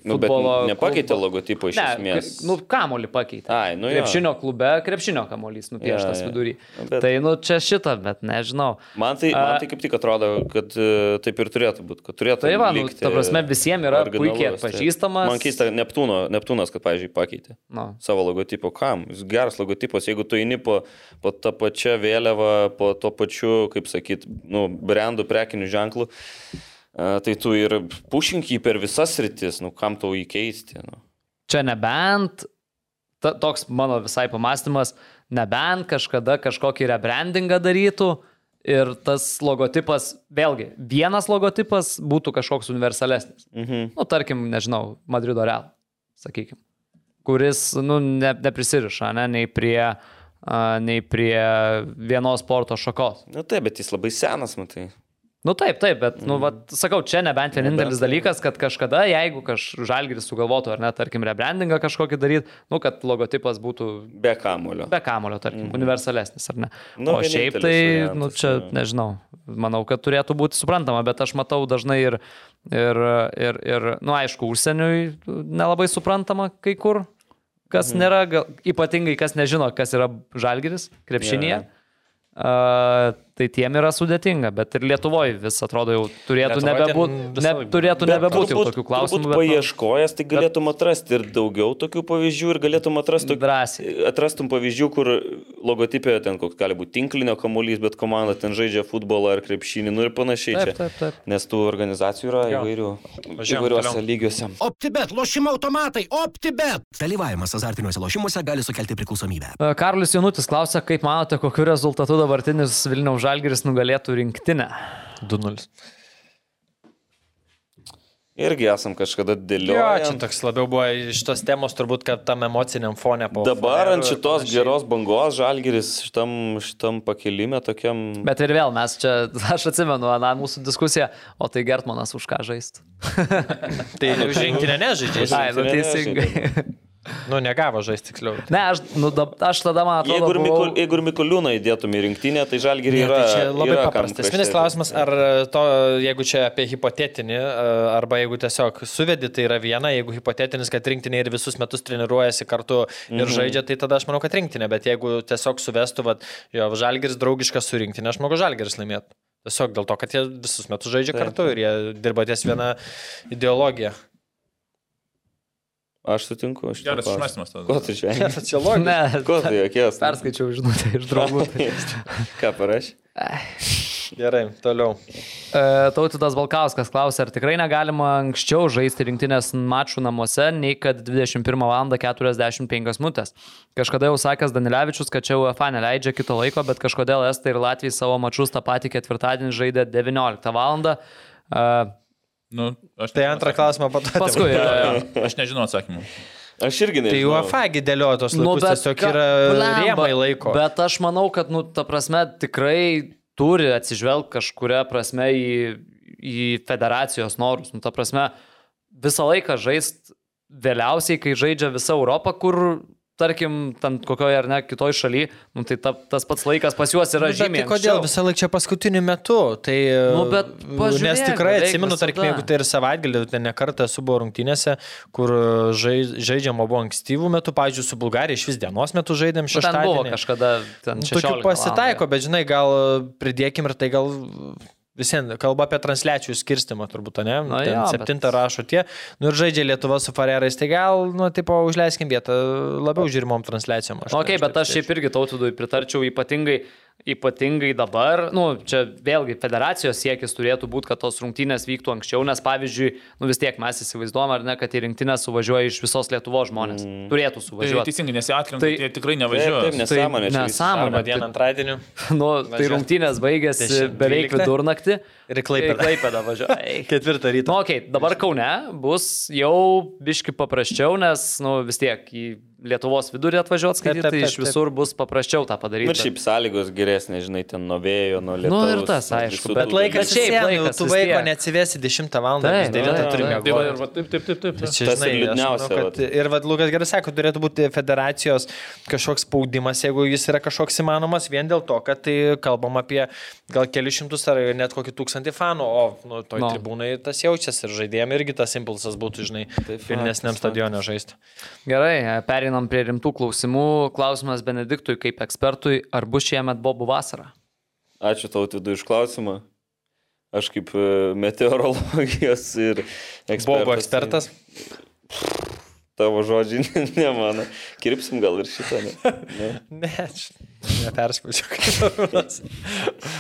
Nu, bet futbolo. nepakeitė klubo- logotipo iš Ne, esmės. k- nu, kamolį pakeitė. Ai, nu jo. krepšinio klube, krepšinio kamuolys nupieštas Jo, jo. ja, ja. vidury. Bet- Bet... Tai nu čia šitą, bet nežinau. Man tai, man tai kaip tik atrodo, kad e, taip ir turėtų būti, kad turėtų Tai va, nu, likti ta prasme, visiems yra originalus, puikiai taip. atpažįstamas. Man keista, Neptūno, Neptūnas, kad, pavyzdžiui, pakeitė Nu. savo logotipo, kam? Jis geras logotipas, jeigu tu eini po, po tą pačią vėliavą, po to pačiu, kaip sakyt, nu, brandų prekinių ženklų, e, tai tu ir pušink jį per visas rytis, nu, kam tau jį keisti? Nu. Čia nebent, ta, toks mano visai pamastymas, nebent kažkada kažkokį rebrandingą darytų, Ir tas logotipas, vėlgi, vienas logotipas būtų kažkoks universalesnis. Mhm. Nu, tarkim, nežinau, Madrido Real, sakykime, kuris, nu, ne, neprisiriša, ne, nei prie, a, nei prie vienos sporto šakos. Na Nu, taip, bet jis labai senas, matai. Nu taip, taip, bet, nu, vat, sakau, čia nebent vienintelis dalykas, kad kažkada, jeigu kaž žalgris sugalvotų, ar net, tarkim, rebrandingą kažkokį daryti, nu, kad logotipas būtų Be kamulio. be kamulio, tarkim, mm. universalesnis, ar ne? Mhm. Nu, Nu, o šiaip vienintelis tai, variantas, nu, čia, jo. nežinau, manau, kad turėtų būti suprantama, bet aš matau dažnai ir, ir, ir, ir nu, aišku, užsieniui nelabai suprantama kai kur, Mhm. kas mm. nėra, gal, ypatingai kas nežino, kas yra žalgeris krepšinėje. Jo, jo. Yeah. Uh, tai tiem yra sudėtinga, bet ir Lietuvoje vis atrodo jau turėtų, Lietuvoj nebebūt, ten ne, visai- turėtų Bet nebebūti jau turbūt- tokių turbūt klausimų. Bet, nu, Paieškojęs, tai galėtum atrasti ir daugiau tokių pavyzdžių ir galėtum atrasti nu, tokių drąsiai. Atrastum pavyzdžių, kur logotipė ten koks gali būti tinklinio kamuolys, bet komanda ten žaidžia futbolą ar krepšinį, nu ir panašiai. Taip, čia. taip, taip. Nes tų organizacijų yra įvairių, Važiuojam įvairiuose lygiuose. OptiBet, lošimo automatai, OptiBet. Dalyvavimas azartiniuose lošimuose gali sukelti priklausomybę. E, Karolis Jonutis klausia, kaip manote, kokiu rezultatu dabartinis Vilniaus Žalgeris nugalėtų rinktinę? 2-0. Irgi esam kažkada Jo, čia dėliojami. toks labiau buvo iš tos temos, turbūt, kad tam emociniam fone po. Dabar ant Fenerų ir šitos panašiai. geros bangos žalgeris šitam, šitam pakilime tokiam. Bet ir vėl mes čia, aš atsimenu, na, mūsų diskusiją, o tai Gertmanas už ką žaistų. Tai nu jau žengtinė nežaidžia. Ai, nu rinktinę teisingai. Nu, negavo žaisti tiksliau. Ne, aš, nu, dab, aš tada man atrodo. Jeigu ir, buvau- Mikul, jeigu ir Mikuliūną įdėtum į rinktinę, tai žalgerį yra. tai čia labai yra kam paprastas. prieš Esminis tai. klausimas, ar e, to, jeigu čia apie hipotetinį, e, arba jeigu tiesiog suvedi, tai yra viena, jeigu hipotetinis, kad rinktinė ir visus metus treniruojasi kartu ir mhm. žaidžia, tai tada aš manau, kad rinktinė, bet jeigu tiesiog suvestų, vad, jo, žalgeris draugiškas su rinktinė, aš manau, žalgeris laimėtų. Tiesiog dėl to, kad jie visus metus žaidžia kartu ir jie dirba ties vieną ideologiją. Aš sutinku, aš Geras išmąstymas tada. Ko tu čia? Čia logika. Ne, Ko tu jokies? perskaičiau žinutę iš draugų. Ką parašė? Gerai, toliau. E, Tautidas Balkauskas klausia, ar tikrai negalima anksčiau žaisti rinktinės mačų namuose, nei kad 21.45 min. Kažkada jau sakęs Danilevičius, kad čia UEFA neleidžia kito laiko, bet kažkodėl Estai ir Latvijai savo mačius tą patį ketvirtadienį žaidė 19 val. Nu, aš Tai nežinau antrą atsakymo. klausimą patatė. Paskui. jo, jo, jo. Aš nežinau atsakymų. Aš irgi Tai nežinau. UEFA dėliojo tos laikus, nu, tiesiog ka- yra blemba. rėmai laiko. Bet aš manau, kad, nu, ta prasme, tikrai turi atsižvelgti kažkuria prasme į, į federacijos norus. Nu, ta prasme, visą laiką žaist vėliausiai, kai žaidžia visa Europa, kur, tarkim, ten kokioje ar ne kitoje šalyje, nu, tai ta, tas pats laikas pas juos yra nu, Nu, bet žymiai. Tai kodėl anksčiau. visą laiką čia paskutiniu metu? Tai, Nu, bet nes pažiūrėk, tikrai beveik atsimenu, tarkim, visada. jeigu tai ir savaitgalį, tai ne kartą esu buvo rungtynėse, kur žai, žaidžiama buvo ankstyvų metų, pavyzdžiui, su Bulgarija iš vis dienos metų Nu, žaidėm Ten šeštadienį. buvo kažkada, ten Nu, čia. Tokių pasitaiko, bet žinai, gal e, pridėkim ir tai gal visiems kalba apie transliacijų skirstimą turbūt, ne? Na Ten jo, bet- septintą bet... rašo tie, nu ir žaidžia Lietuva su Farerais, tai gal, nu, tipo, užleiskim vietą labiau žiūrimom transliacijom. tai Na, okay, Nu, bet aš šiaip irgi tautudui pritarčiau ypatingai, ypatingai dabar, nu, čia vėlgi federacijos siekis turėtų būti, kad tos rungtynės vyktų anksčiau, nes pavyzdžiui, nu vis tiek mes įsivaizduom, ar ne, kad į rungtynę suvažiuoja iš visos Lietuvo žmonės. Mm. Turėtų Tai suvažiuoti. teisingai, nes jie atkrenta, Tai- tai jie tikrai Taip, nevažiuoja. taip, nesąmonė. čia visi nesąmonė. daro. Arba dieną antradienį. Tai, nu, tai Važiuot. rungtynės baigėsi 10, beveik 12. vidurnaktį. Ir Klaipėda. Klaipėda važiuoja. Ketvirtą rytą. Na, nu, okei, okay, dabar Kaune bus jau biški paprasčiau, nes, nu, vis tiek į Lietuvos vidurį atvažiuoti Taip, skaityti, taip, tai taip, iš visur bus paprasčiau tą padaryti. Nu, ir šiaip sąlygos geresnės, žinai, ten nuo vėjo, nuo Nu, lietaus. ir tas, nuo aišku, visų bet tų Laikas Bet dalykų. šiaip šiaip, jau laikas tu vis vaiko tiek. neatsivesi 10 val. Taip, 9 taip, turi taip. Tai va, mėgoti. ir va, taip, taip, taip, taip. Tai Tas Čia, ir žinai, ir liūdniausia, liūdniausia. Manau, kad, vat. ir vad Lukas gerai sako, turėtų būti federacijos kažkoks spaudimas, jeigu jis yra kažkoks įmanomas, vien dėl to, kad tai kalbam apie gal kelius šimtus ar net kokį tūkstantį fanų, o nu, toj no. No. tribūnai tas jaučiasi ir žaidėjams irgi tas impulsas būtų, žinai, pilnesniam stadione žaisti. Gerai, perinam prie rimtų klausimų. Klausimas Benediktui kaip ekspertui, ar bus šiemet Bobų vasara? Ačiū tau, Tudu, iš klausimą. Aš kaip e, meteorologijos ir ekspertas. tai Buvo ekspertas. tai- Tavo žodžiai ne, ne mano. Kirpsim gal ir šitą. Ne? Ne. Ne, aš neperskaičiau.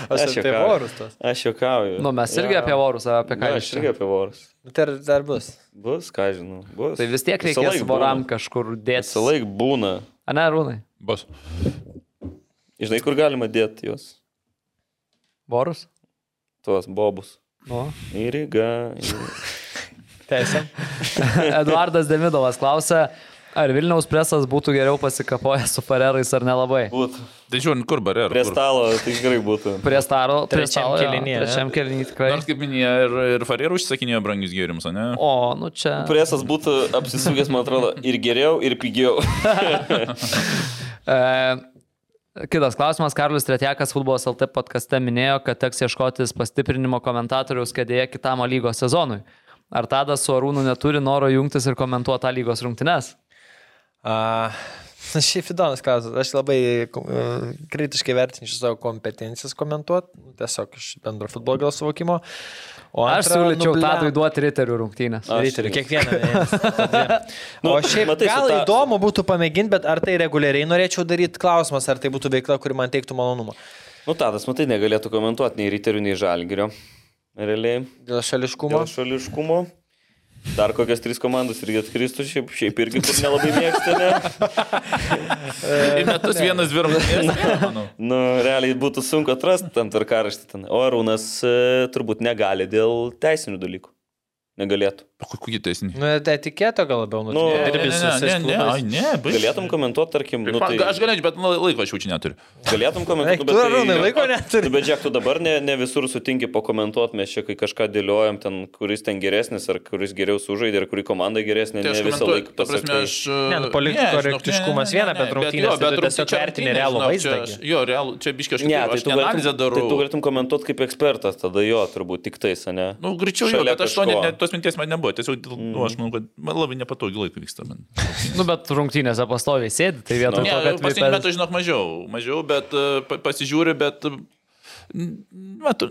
Aš Aš jau tai apie juokauju. orus tos. Aš juokauju. Nu, mes irgi Jo. apie orus, apie ką Jo, jūs Aš čia? irgi apie vorus. Tai ar dar bus? Bus, ką žinau. Bus. Tai vis tiek Visą reikės laik voram būna. kažkur dėti. Visą laiką būna. A ne, rūnai. Bus. Žinai, kur galima dėti juos? Borus? tuos bobus. Nu. Į Rygą. į- Teisė. Eduardas Demidovas klausia, ar Vilniaus presas būtų geriau pasikapojęs su farerais ar nelabai? Būtų. Tai žiūrint, kur barė. Prie stalo tai tikrai būtų. Prie staro, prie Trečiam stalo, jo, kėlinyje, ne? Trečiam kelinį tikrai. Nors kaip minėjo, ir, ir Farėrų užsakinėjo brangius gėrimus, ne? O, nu čia. Presas būtų apsisukęs, man atrodo, ir geriau, ir pigiau. E, kitas klausimas. Karlis Tretjakas futbolos LT podkaste minėjo, kad teks ieškotis pastiprinimo komentatoriaus kėdėje kitam A lygos sezonui. Ar tada su Arūnu neturi noro jungtis ir komentuoti tą lygos rungtynes? A, šiaip įdomus klausimas. Aš labai e, kritiškai vertinčiau savo kompetencijas komentuoti, tiesiog iš bendro futbolo gal suvokimo. O Aš antra, siūlyčiau nu, blem, Tadui duoti riterių rungtynės. Aš- Riterių, kiekvieną. mėnesį. Nu, o šiaip matai, su gal ta- įdomu būtų pamėginti, bet ar tai reguliariai norėčiau daryti klausimas, ar tai būtų veikla, kuri man teiktų malonumą. Nu, Tadas, matai, negalėtų komentuoti nei Ryterių, nei Žalgirio. Realiai. Dėl šališkumo. Dėl šališkumo. Dar kokias trys komandos irgi atkristų, šiaip, šiaip irgi taip nelabai mėgstame. Ir metus vienas dvirbalis. Nu, realiai būtų sunku atrasti tam tvarkaraštį ten. O Arūnas e, turbūt negali dėl teisinių dalykų. Negalėtų. Kokį teisinį? Nu, tai etiketą gal labiau Nu, nutinka. ne, Dirbi su ne, visais ne, ai, klubais. ne, baik. Galėtum komentuoti, tarkim, nu, Tai... Aš tai galėčiau, bet nu, laiko aš jau čia neturiu. galėtum nu, Eik, komentuoti, tu, Arūnai, laiko Tu tai neturi. nu, bet Džek, tu dabar ne, ne visur sutinki pakomentuoti, mes čia kai kažką dėliojam, ten, kuris ten geresnis, ar kuris geriau sužaidė, ar kuri komanda geresnė, Tai ne aš visą komentuoju, laiką ta prasme, pasakai. aš... e, Ne, nu, politik- žinok, korektiškumas viena, bet rungtynės jo, tai tu rungtynės, tiesiog čia vertini rungtynės, realų žinok, vaizdą čia aš- gi. Jo, realų, čia biškiai aš, Ne, kitaip, tai aš tu, ne analizę galėtum, tai darau. tu galėtum komentuoti kaip ekspertas, tada jo, turbūt tik tais, ne? Nu, greičiau jo, šalia bet aš to net, kažko. net tos minties man nebuvo. Tiesiog, dėl- nu, aš manau, kad man labai nepatogi laikai vyksta. Man. Nu, bet rungtynėse pastoviai sėdi, tai vietoj Ne, to, kad paskutinį Vipers- metą, žinok, mažiau, mažiau, bet e, pa- pasižiūriu, bet... Metu,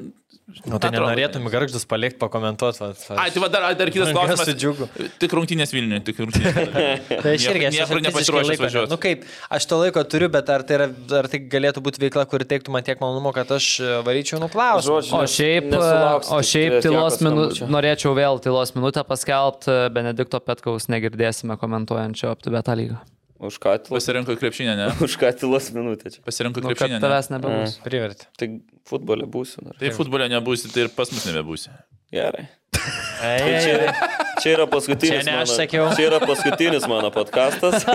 Nu, tai nenorėtum garždus palikti pakomentuoti. Ai, tai va, dar, ai, dar kitas Kas klausimas. su džiugu. Tik rungtynės Vilniuje, tik rungtynės. Tai aš Niekur- irgi esu niekur fiziškai nepasiruošęs laiko ne- važiuot. Nu kaip, aš to laiko turiu, bet ar tai, yra, ar tai galėtų būti veikla, kuri teiktų man tiek malonumo, kad aš e, varyčiau nuklausimą. Žodžiu, O nes- šiaip, nesulauksi o tik šiaip tiek tylos jokio minutę, skambučio. norėčiau vėl tylos minutę paskelbti, Benedikto Petkaus negirdėsime komentuojančio aptibetą lygą. Už ką tylos, Pasirenku krepšinę, ne? už ką tylos minutė čia. Pasirenku Nu, kad krepšinę. ne? tavęs nebebus. Priverti. Tai futbole būsiu dar. Tai futbole nebūsi, tai ir pas mus nebebūsi. Gerai. Tai čia, Ei, čia yra paskutinis. Čia ne aš mano- sakiau. Čia yra paskutinis mano podkastas.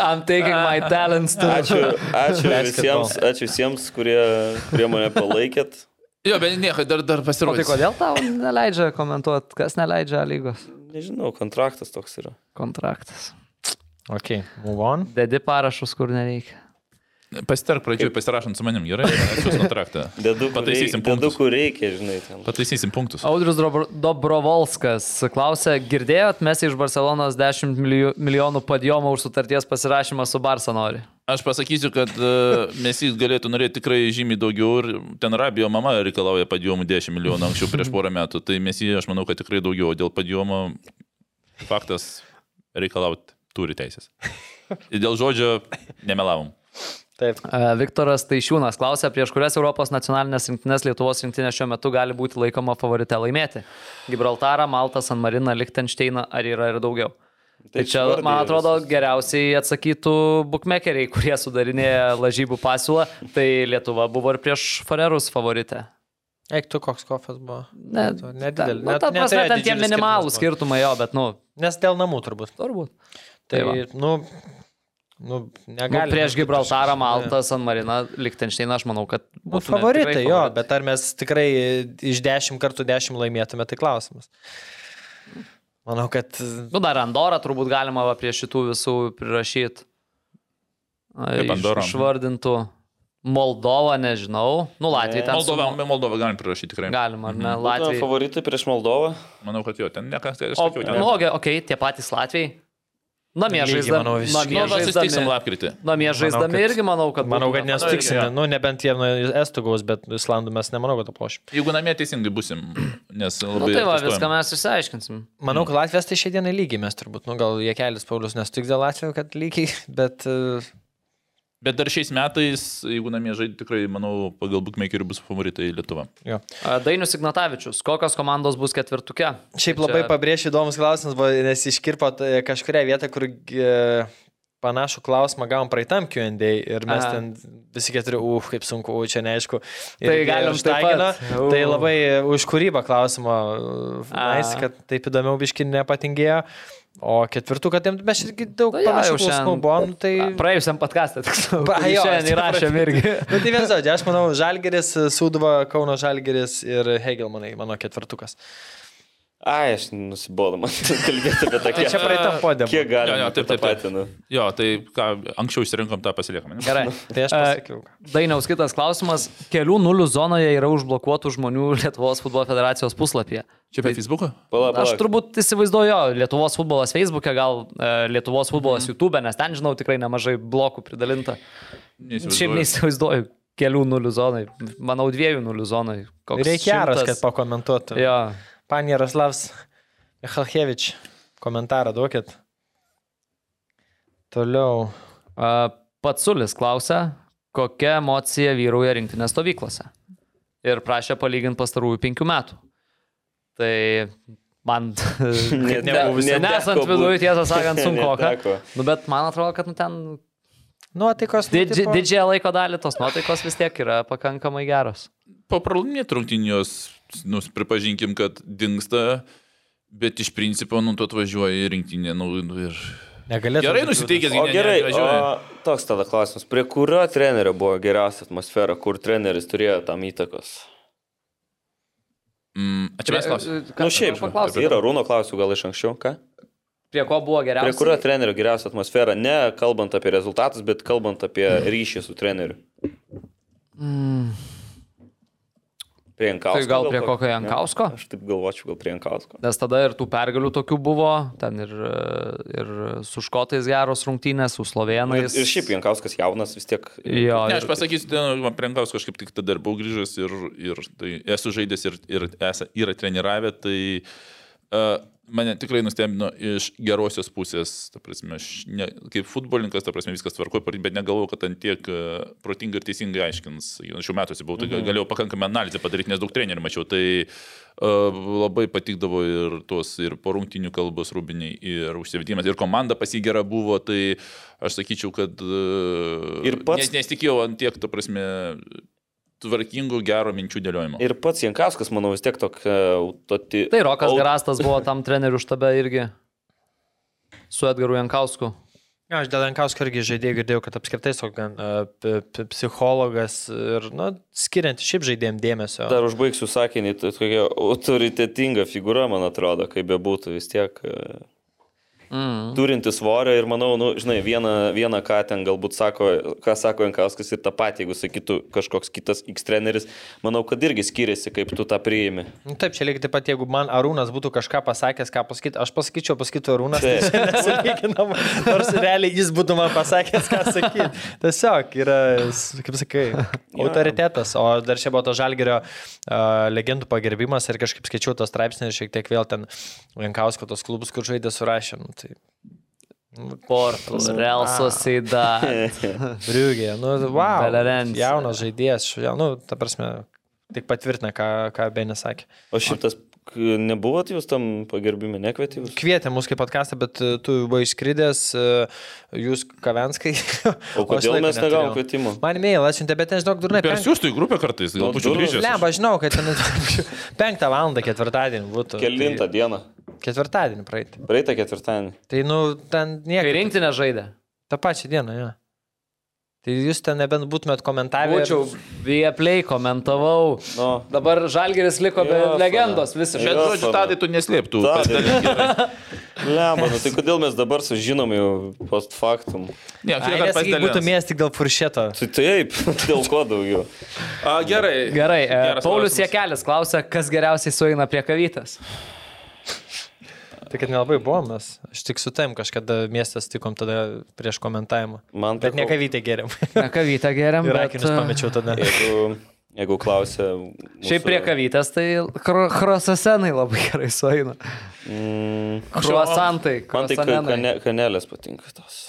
I'm taking my talents to... Ačiū, ačiū, Basketball. visiems, ačiū visiems, kurie, kurie mane palaikėt. Jo, bet nieko, dar, dar O tai pasirodys. kodėl tau neleidžia komentuoti, kas neleidžia A lygos Nežinau, kontraktas toks yra. kontraktas? ok, move on. tai Dedi parašus, kur nereikia. Pasitark pradžioj, pasirašant su manim, gerai? Aš jūsų kontraktą. Dedu, kur reikia, Pataisysim dedu, punktus. kur reikia, žinai. Ten. Pataisysim punktus. Audrius Dobro- Dobrovolskas klausė, girdėjot, mes iš Barcelonos 10 miliju- milijonų padjomą už sutarties pasirašymą su Barça nori. Aš pasakysiu, kad mes jis galėtų norėti tikrai žymiai daugiau ir ten Rabijo mama reikalauja padėjimų 10 milijonų anksčiau prieš porą metų. Tai mes jį, aš manau, kad tikrai daugiau. O dėl padėjimo faktas reikalauti turi teisės. Ir dėl žodžio nemelavom. Taip. E, Viktoras Taišiūnas klausė, prieš kurias Europos nacionalinės rinktinės Lietuvos rinktinė šiuo metu gali būti laikoma favorite laimėti. Gibraltarą, Maltą, San Mariną, Lichtensteiną ar yra ir daugiau. Tai čia, išvardijai man atrodo, visus. geriausiai atsakytų bukmekeriai, kurie sudarinėja lažybų pasiūlą. Tai Lietuva buvo ir prieš Farerus favorite. Eik, tu koks kofas buvo? Ne, Tu nedidelis. Na, ta prasme, ten tie minimalūs skirtumai, skirtumai. jo, bet, nu, Nes dėl namų turbūt. turbūt. Tai Tai, va. nu, Nu, nu, negali. prieš būti Gibraltarą, kažkas, ne. Maltą, San Mariną, Lichtensteiną, aš manau, kad... Nu, būtume favoritai, tikrai jo, favoritai. bet ar mes tikrai iš dešimt kartų dešimt laimėtume, tai klausimas. Manau, kad Nu, dar Andorą turbūt galima va, prie šitų visų prirašyti. Kaip Andorą. Išvardintų. Moldovą nežinau. Nu, Latvijai ten. su- Moldovą, Moldovą galim prirašyti tikrai. Galima, ar ne? Būtume Latvijai. Favoritai prieš Moldovą. Manau, kad jo, ten nekas. Tai O, nu, okei, okay, tie patys Latvijai. Namie Lygiai, žaisdami. manau, visiškai. Nu, Namie Susitiksim žaisdami. lapkritį. Namie žaisdami kad- irgi manau, kad... Manau, būtų kad ne- nesutiksime, irgi. nu, nebent jie nuo estų gaus, bet islandų mes nemanau, kad aplošim. Jeigu namie teisingai busim, nes Nu, labai... tai va, atestuojam. viską mes išsiaiškinsim. Manau, kad Latvijas tai šiandienai lygiai mes turbūt, nu, gal jie kelias Paulius nesutiks dėl Latvijos, kad lygiai, bet... e, Bet dar šiais metais, jeigu namie žaidži, tikrai, manau, pagal bookmakerių bus favoritai Lietuva. Jo. A, Dainius Ignatavičius, kokios komandos bus ketvirtuke? Šiaip Čia- labai pabrėšiu įdomus klausimas, buvo, nes iškirpo kažkuria vietą, kur e, panašų klausimą gavom praeitam QA ir Aha. mes Aha. ten visi keturi, uf, kaip sunku, u, čia neaišku. Tai Irgi galim iš taip Taigino. pat. U. Tai labai už kūrybą klausimą, A. nais, kad taip įdomiau biški nepatingėjo. O ketvirtų, kad jiems mes irgi daug Nu jo, jau panašių klausimų šiandien- buvom, tai... Praėjusiam podcastą, tiksliau. Pa- jo, Šiandien įrašėm irgi. Na tai vienas žodžiu, aš manau, Žalgeris, Sūduva, Kauno Žalgeris ir Hegelmanai, mano ketvirtukas. Ai, aš nusibodama kalbėti apie tą Tai čia praeitą podėm. Kiek Jo, galima, jo, taip, taip, taip. Jo, tai ką, anksčiau išsirinkom tą pasiliekam. ne? Gerai. Tai aš pasakiau. Dainiaus kitas klausimas. Kelių nulių zonoje yra užblokuotų žmonių Lietuvos futbolo federacijos puslapyje. Čia apie Facebooką? Pala, Aš pala. turbūt įsivaizduoju, jo, Lietuvos futbolas Facebook'e, gal e, Lietuvos futbolas YouTube, nes ten, žinau, tikrai nemažai blokų pridalinta. Šiaip neįsivaizduoju kelių nulių zonai. Manau, dviejų nulių zonai. Koks Reikia aras, kad šimtas. pakomentuotų. Jo. Pan Jaroslavs Michalkevič, komentarą duokit. Toliau. A, Patsulis klausia, kokia emocija vyrauja rinktinės stovyklose. Ir prašė palyginti pastarųjų penkių metų. Tai man... Net ne- nebuvo visai- Nesant neteko viduje, būt. tiesą sakant, sunku. Neteko. Nu, bet man atrodo, kad nu, ten Nuotaikos. nu, Didži, tipo- didžiąją laiko dalį tos nuotaikos vis tiek yra pakankamai geros. Po pralaimėtų rungtynės, nu, pripažinkim, kad dinksta, bet iš principo, nu, tu atvažiuoji į rinktinę, nu, nu ir... Negalėtų. Gerai būt nusiteikęs, O gi ne- gerai, neatvažiuoji. o toks tada klausimas. Prie kurio trenerio buvo geriausia atmosfera, kur treneris turėjo tam įtakos? Mm, a, Čia mes klausime. e, Na, nu, šiaip, žinai, yra Rūno klausimų gal iš anksčiau, ką? Prie ko buvo tai Prie kurio geriausia? trenerio geriausia atmosfera, ne kalbant apie rezultatus, bet kalbant apie Mhm. ryšį su treneriu. Prie Jankausko. Tai gal prie kokio ne? Jankausko? Aš taip galvočiau, gal prie Jankausko. Nes tada ir tų pergalių tokių buvo, ten ir, e, ir su škotais geros rungtynės, su Ir, slovenais. ir šiaip Jankauskas jaunas vis tiek. Nu, Jo, Ne, aš ir- pasakysiu, ten, man prenkaus kažkaip tik tada buvau grįžęs ir, ir tai esu žaidęs ir, ir esą yra treniravę, tai uh, mane tikrai nustebino iš gerosios pusės, ta prasme, aš ne, kaip futbolininkas, ta prasme, viskas tvarko, bet negalvoju, kad ant tiek e, protingai ir teisingai aiškins. Jau Šių metų Mhm. buvau, tai ga- galėjau pakankamai analizę padaryti, nes daug trenerių mačiau, tai e, labai patikdavo ir tos ir porungtinių kalbos rūbiniai, ir užsivedimas, ir komanda pasigera buvo, tai aš sakyčiau, kad e, Ir pats- nes, nesitikėjau ant tiek, ta prasme, tvarkingų, gero minčių dėliojimo. Ir pats Jankauskas, manau, vis tiek tok... e, Tai Rokas Au- Gerastas buvo tam trenerių štabe irgi. Su Edgaru Jankausku. Jo, aš dėl Lankausko irgi žaidėjų girdėjau, kad apskritai tiesiog gan, e, p- p- psichologas ir, na, skiriant šiaip žaidėjim dėmesio. Dar užbaigsiu sakinį, tai tokia autoritetinga figūra, man atrodo, kaip bebūtų, vis tiek e, Mm. turinti svorio ir manau, nu, žinai, vieną, vieną ką ten galbūt sako, ką sako Jankauskas ir tą patį, jeigu sakytų kažkoks kitas X treneris, manau, kad irgi skiriasi, kaip tu tą priimi. Nu, Taip, čia lygiai taip pat, jeigu man Arūnas būtų kažką pasakęs, ką pasakyti, aš pasakyčiau, pasakytų Arūnas, tai Taip. čia nesulyginama, nors realiai jis būtų man pasakęs, ką sakyti. Tiesiog yra, s- kaip sakai, autoritetas. O dar čia buvo to žalgerio uh, legendų pagerbimas ir kažkaip skaičiau tos straipsnį ir šiek tiek vėl ten Lankausko tos klubus, kur žaidė surašėm. Tai Porto, Real Sociedad. Briugė, nu, wow. Belerencija. Jaunas žaidėjas, šu- ja, nu, ta prasme, tik patvirtina, ką, ką Benis sakė. O šitas nebuvot jūs tam pagerbime, nekvietė jūs? kvietė mus kaip podcastą, bet e, tu buvai išskridęs, e, jūs Kavenskai. O kodėl aš laiko mes negavom neturėjau. kvietimo? Man mail atsiuntė, bet nežinau, durnai. Persiųstų į grupę kartais, gal Nu, būčiau durų- grįžęs. Ne, aš žinau, kad ten penktą valandą ketvirtadienį būtų. Kelintą dieną. Tai ketvirtadienį praeitį. Praeitą ketvirtadienį. Tai, nu, ten Kai niekas. rinktinė žaidė. Ta pačia diena, jo. Tai jūs ten nebent būtumėt komentavę. ir- Būčiau, via play komentavau. Nu, Dabar Žalgeris liko be Jo, legendos fana. visiškai. Bet, Jo, žodžiu, fana. tadai tu neslėptų. Tadai. pasidalink gerai. lemba, nu, tai kodėl mes dabar sužinom jau post factum? Ne, tai Ai, kiek nes ar jeigu būtų pasidalins. mėsas tik dėl furšeto. Tai taip, dėl ko daugiau. A, Gerai. Gerai, e, Geras Paulius klausimas. Jekelis klausia, kas geriausiai sueina prie kavytės. Tai kad nelabai buvom mes. Aš tik su tam kažkada miestas tikom tada prieš komentavimą. Man Bet teko- ne kavytę geriam. Ne kavytę geriam, Ir bet... akinius pamečiau tada. Jeigu, jeigu klausia. e, Šiaip prie kavytės tai krosasenai labai gerai sueina. Mm, Kruasantai. man tai kruasanenai. kane, kanelės patinka tos.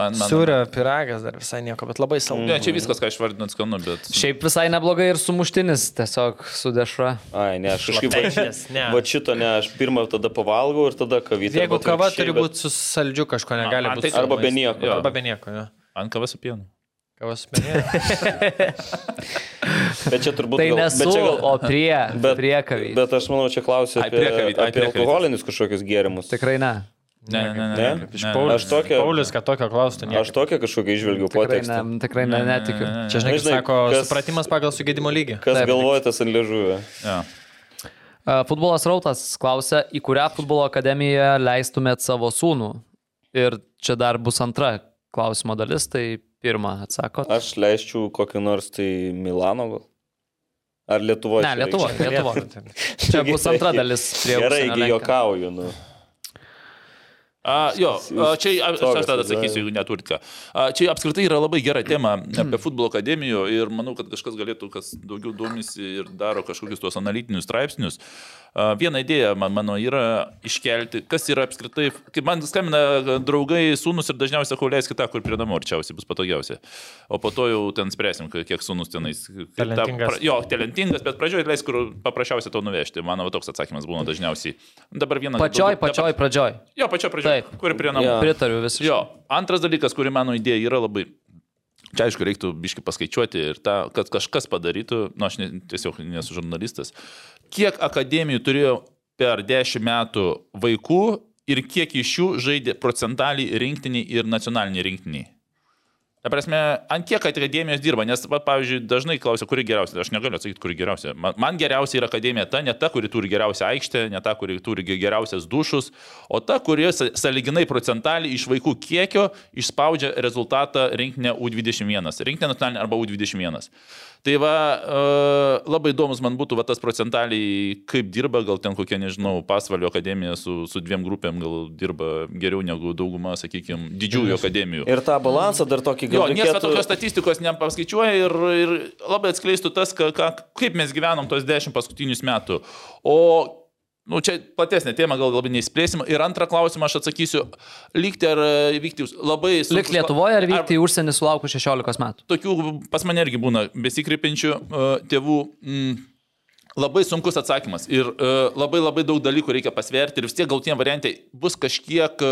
Man, man, Siūrio piragas dar visai nieko, bet labai saldu. Mm. Ne, čia viskas, ką aš vardinant skanu, bet... Šiaip visai neblogai ir sumuštinis tiesiog su dešra. Ai, ne, aš kažkaip... Šlapeišnis, ne. Va šito ne, aš pirmą tada pavalgau ir tada kavytę. Jeigu arba kava atvirkščiai, turi bet- būti su saldžiu kažko, negali man būti. tai- Arba be nieko. Jo. Arba be nieko, ne. Ant kavas su pienu. Kavos be nieko. Bet čia turbūt... Tai gal- bet nesu, čia gal- o prie, priekavį. Bet aš manau, čia klausiu Ai, apie, priekavy- ai, apie priekavy. alkoholinius kažkokius gėrimus. Tikrai ne. Ne, ne, ne. ne, Ne? ne, Iš ne, Paulius- Aš tokią- Paulius, kad tokio klaustų, ne. Aš tokią kažkokią išvelgiu Tikrai, ne, potekstę. tikrai ne, netikiu. Čia, žinai, kaip Žinai, sako, kas- supratimas pagal sugėdimo lygį. Kas Taip. galvoja tas ant liežuvio? Jo. A, Futbolas Rautas klausia, į kurią futbolo akademiją leistumėt savo sūnų? Ir čia dar bus antra klausimo dalis, tai pirmą atsako. Aš leisčiau kokį nors tai Milano gal. Ar Lietuvoje? Ne, Lietuvoje, nu, Lietuvoje. tai- Čia bus antra dalis prie Gerai, užsienio gi lenkio. juokauju. Nu. A, jo, a, čia a, aš aš Stogas važiuoja. tada atsakysiu, jeigu neturit ką. A, čia apskritai yra labai gera tema apie futbolo akademijų ir manau, kad kažkas galėtų, kas daugiau domisi ir daro kažkokius tuos analitinius straipsnius. A, viena idėja man, mano yra iškelti, kas yra apskritai, kaip man skambina draugai, sūnus ir dažniausiai sakau, leiskit tą, kur prie namų arčiausiai bus patogiausia. O po to jau ten spręsim, ka- kiek sūnus tenais. kaip tą- Talentingas. pra- Jo, talentingas, bet pradžioje leisk, kur paprasčiausiai to nuvežti. Mano va toks atsakymas būna dažniausiai. Dabar vieną. Pačioj, dabar- pačioj pradžioj. Jo, pačio pradžioje. Taip. Kur prie namų. Jo. Pritariu visiškai. Jo, antras dalykas, kurį mano idėja yra labai... Čia aišku, reiktų biški paskaičiuoti ir tą, kad kažkas padarytų, na, nu, aš ne, tiesiog nesu žurnalistas, kiek akademijų turėjo per 10 metų vaikų ir kiek iš jų žaidė procentaliai rinktiniai ir nacionaliniai rinktiniai. Ta prasme, ant kiek akademijos dirba, nes, va, pavyzdžiui, dažnai klausia, kuri geriausia, tai aš negaliu atsakyti, kuri geriausia. Man, man geriausia yra akademija ta, ne ta, kuri turi geriausią aikštę, ne ta, kuri turi ge- geriausias dušus, o ta, kuri sa- saliginai procentaliai iš vaikų kiekio išspaudžia rezultatą rinkinę U21, rinkinę nacionalinę arba U21. Tai va, e, labai įdomus man būtų va, tas procentaliai, kaip dirba, gal ten kokia, nežinau, pasvalio akademija su, su dviem grupėm gal dirba geriau negu dauguma, sakykime, didžiųjų akademijų. Ir tą balansą dar tokį Jo, gal niekas tokios tai- reikėtų... statistikos nepaskaičiuoja ir, ir labai atskleistų tas, ka, ka, kaip mes gyvenom tos dešimt paskutinius metų. O nu, čia platesnė tema, gal labai neįspręsim. Ir antrą klausimą aš atsakysiu, likti ar e, vykti už- labai... sunkus Lik kla- Lietuvoje ar vykti į užsienį sulaukus 16 metų? Tokių pas mane irgi būna besikreipiančių e, tėvų. Mm, Labai sunkus atsakymas ir e, labai labai daug dalykų reikia pasverti ir vis tiek galtiniam variantui bus kažkiek e,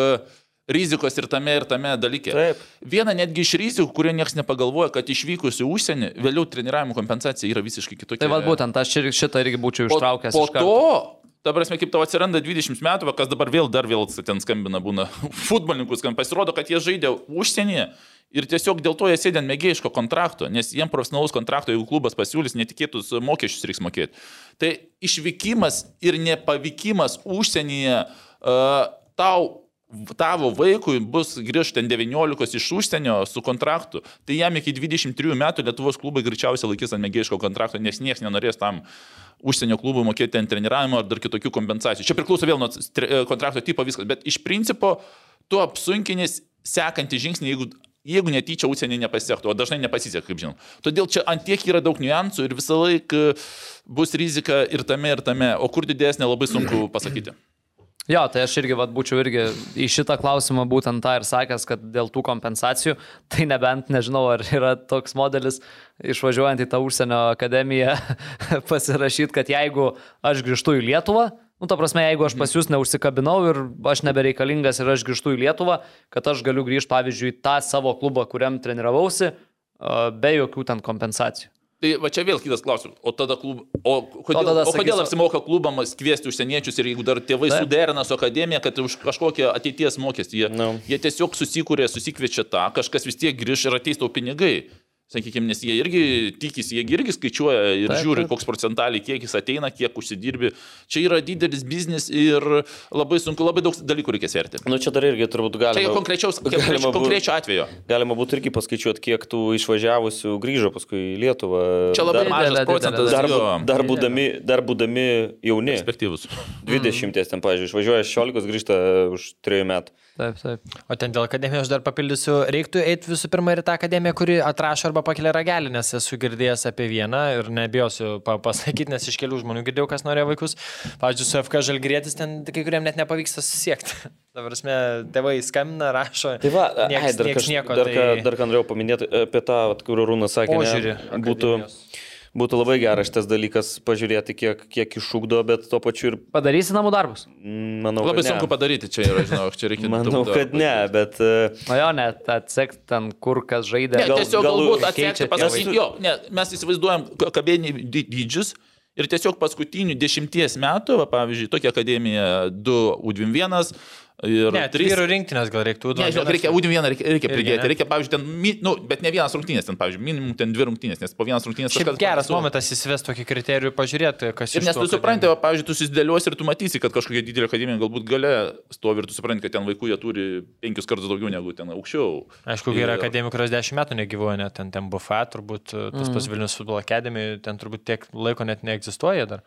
rizikos ir tame ir tame dalyke. Taip. Viena netgi iš rizikų, kurie niekas nepagalvoja, kad išvykus į užsienį, vėliau treniravimo kompensacija yra visiškai kitokia. Tai vad būtent, aš ir šitą irgi būčiau ištraukęs. Po, iš po karto. to, ta prasme, kaip tau atsiranda 20 metų, va, kas dabar vėl dar vėl ten skambina, būna futbolininkus, kad pasirodo, kad jie žaidė užsienyje ir tiesiog dėl to jie sėdė ant mėgėjiško kontrakto, nes jiems profesionalus kontrakto, jeigu klubas pasiūlys, netikėtus mokesčius reiks mokėti. Tai išvykimas ir nepavykimas užsienyje uh, tau tavo vaikui bus grįžti ten 19 iš užsienio su kontraktu, tai jam iki 23 metų Lietuvos klubai greičiausiai laikys ant mėgėjiško kontrakto, nes niekas nenorės tam užsienio klubui mokėti ten treniravimo ar dar kitokių kompensacijų. Čia priklauso vėl nuo tre- e, kontrakto tipo viskas, bet iš principo tu apsunkinis sekantį žingsnį, jeigu, jeigu netyčia užsienį nepasiektų, o dažnai nepasisek, kaip žinom. Todėl čia antiek yra daug niuansų ir visą laiką bus rizika ir tame, ir tame, o kur didesnė labai sunku pasakyti. Jo, tai aš irgi vat, būčiau irgi į šitą klausimą būtent tą ir sakęs, kad dėl tų kompensacijų, tai nebent nežinau, ar yra toks modelis išvažiuojant į tą užsienio akademiją pasirašyti, kad jeigu aš grįžtu į Lietuvą, nu ta prasme, jeigu aš pas jūs neužsikabinau ir aš nebereikalingas ir aš grįžtu į Lietuvą, kad aš galiu grįžti, pavyzdžiui, į tą savo klubą, kuriam treniravausi, a, be jokių ten kompensacijų. Tai va čia vėl kitas klausimas. O tada klub... O kodėl, O o tada tada, o kodėl sakys- apsimoka klubams kviesti užsieniečius ir jeigu dar tėvai Taip. suderina su akademija, kad už kažkokią ateities mokestį jie, no. Nu. jie tiesiog susikūrė, susikviečia tą, kažkas vis tiek grįž ir ateis tau pinigai. Sakykime, nes jie irgi tikisi, jie irgi skaičiuoja ir Taip, žiūri, taip. koks procentaliai kiekis ateina, kiek užsidirbi. Čia yra didelis biznis ir labai sunku, labai daug dalykų reikia sverti. Nu čia dar irgi turbūt Čia galima. konkrečiaus, galima konkrečio, bū- konkrečio atveju. Galima būtų irgi paskaičiuoti, kiek tų išvažiavusių grįžo paskui į Lietuvą. Čia labai Didelė, mažas didelė, procentas Dar, jo bu- dar, būdami, dar būdami jauni, perspektyvus. 20 ten, pažiūrėjau, išvažiuoja 16, grįžta už 3 metų. Taip, taip. O ten dėl akademijos aš dar papildysiu, reiktų eiti visų pirma ir į tą akademiją, kuri atrašo arba arba pakelia ragelį, nes esu girdėjęs apie vieną ir nebijosiu pa pasakyti, nes iš kelių žmonių girdėjau, kas norėjo vaikus. Pavyzdžiui, su FK Žalgrėtis ten kai kuriem net nepavyksta susiekti. Dabar mes tėvai skambina, rašo. Tai va, nieks, ai, dar, nieks kaž, nieko. dar, tai... ką, dar ką norėjau paminėti apie tą, vat, kur Rūnas sakė, ne, Požiūrį būtų, akademijos. būtų labai geras šitas dalykas pažiūrėti, kiek, kiek iššūkdo, bet tuo pačiu ir Padarysi namų darbus. mm, manau, Labai kad sunku ne. padaryti čia, yra, žinau, čia reikia. Manau, daug darbo. kad ne, bet e, Na jo, net atsekti ten, kur kas žaidė. Ne, Gal- tiesiog gal- galbūt keičia atsekti, pasakyti, jo, ne, mes įsivaizduojam k- akademiniai dy- dydžius ir tiesiog paskutinių dešimties metų, va, pavyzdžiui, tokia akademija 2 U21 ir Ne, tai 3 vyrų rinktinės gal reiktų. Ne, žinok, reikia U21 reikia, reikia Irgi, pridėti, ne? reikia, pavyzdžiui, ten, mi- nu, bet ne vienas rungtynės, ten, pavyzdžiui, minimum ten dvi rungtynės, nes po vienas rungtynės Šiaip kažkas geras panašu- momentas įsivest tokį kriterijų ir pažiūrėti, kas Ir iš nes to tu akademijos. supranti, va, pavyzdžiui, tu susidėliuosi ir tu matysi, kad kažkokia didelė akademija galbūt gale stovi ir tu supranti, kad ten vaikų jie turi penkius kartus daugiau negu ten aukščiau. Aišku, Ir- yra akademijų, kurios dešimt metų negyvoja, net ten, ten bufa, turbūt tas mm. pas Vilnius futbolo akademijų, ten turbūt tiek laiko net neegzistuoja dar.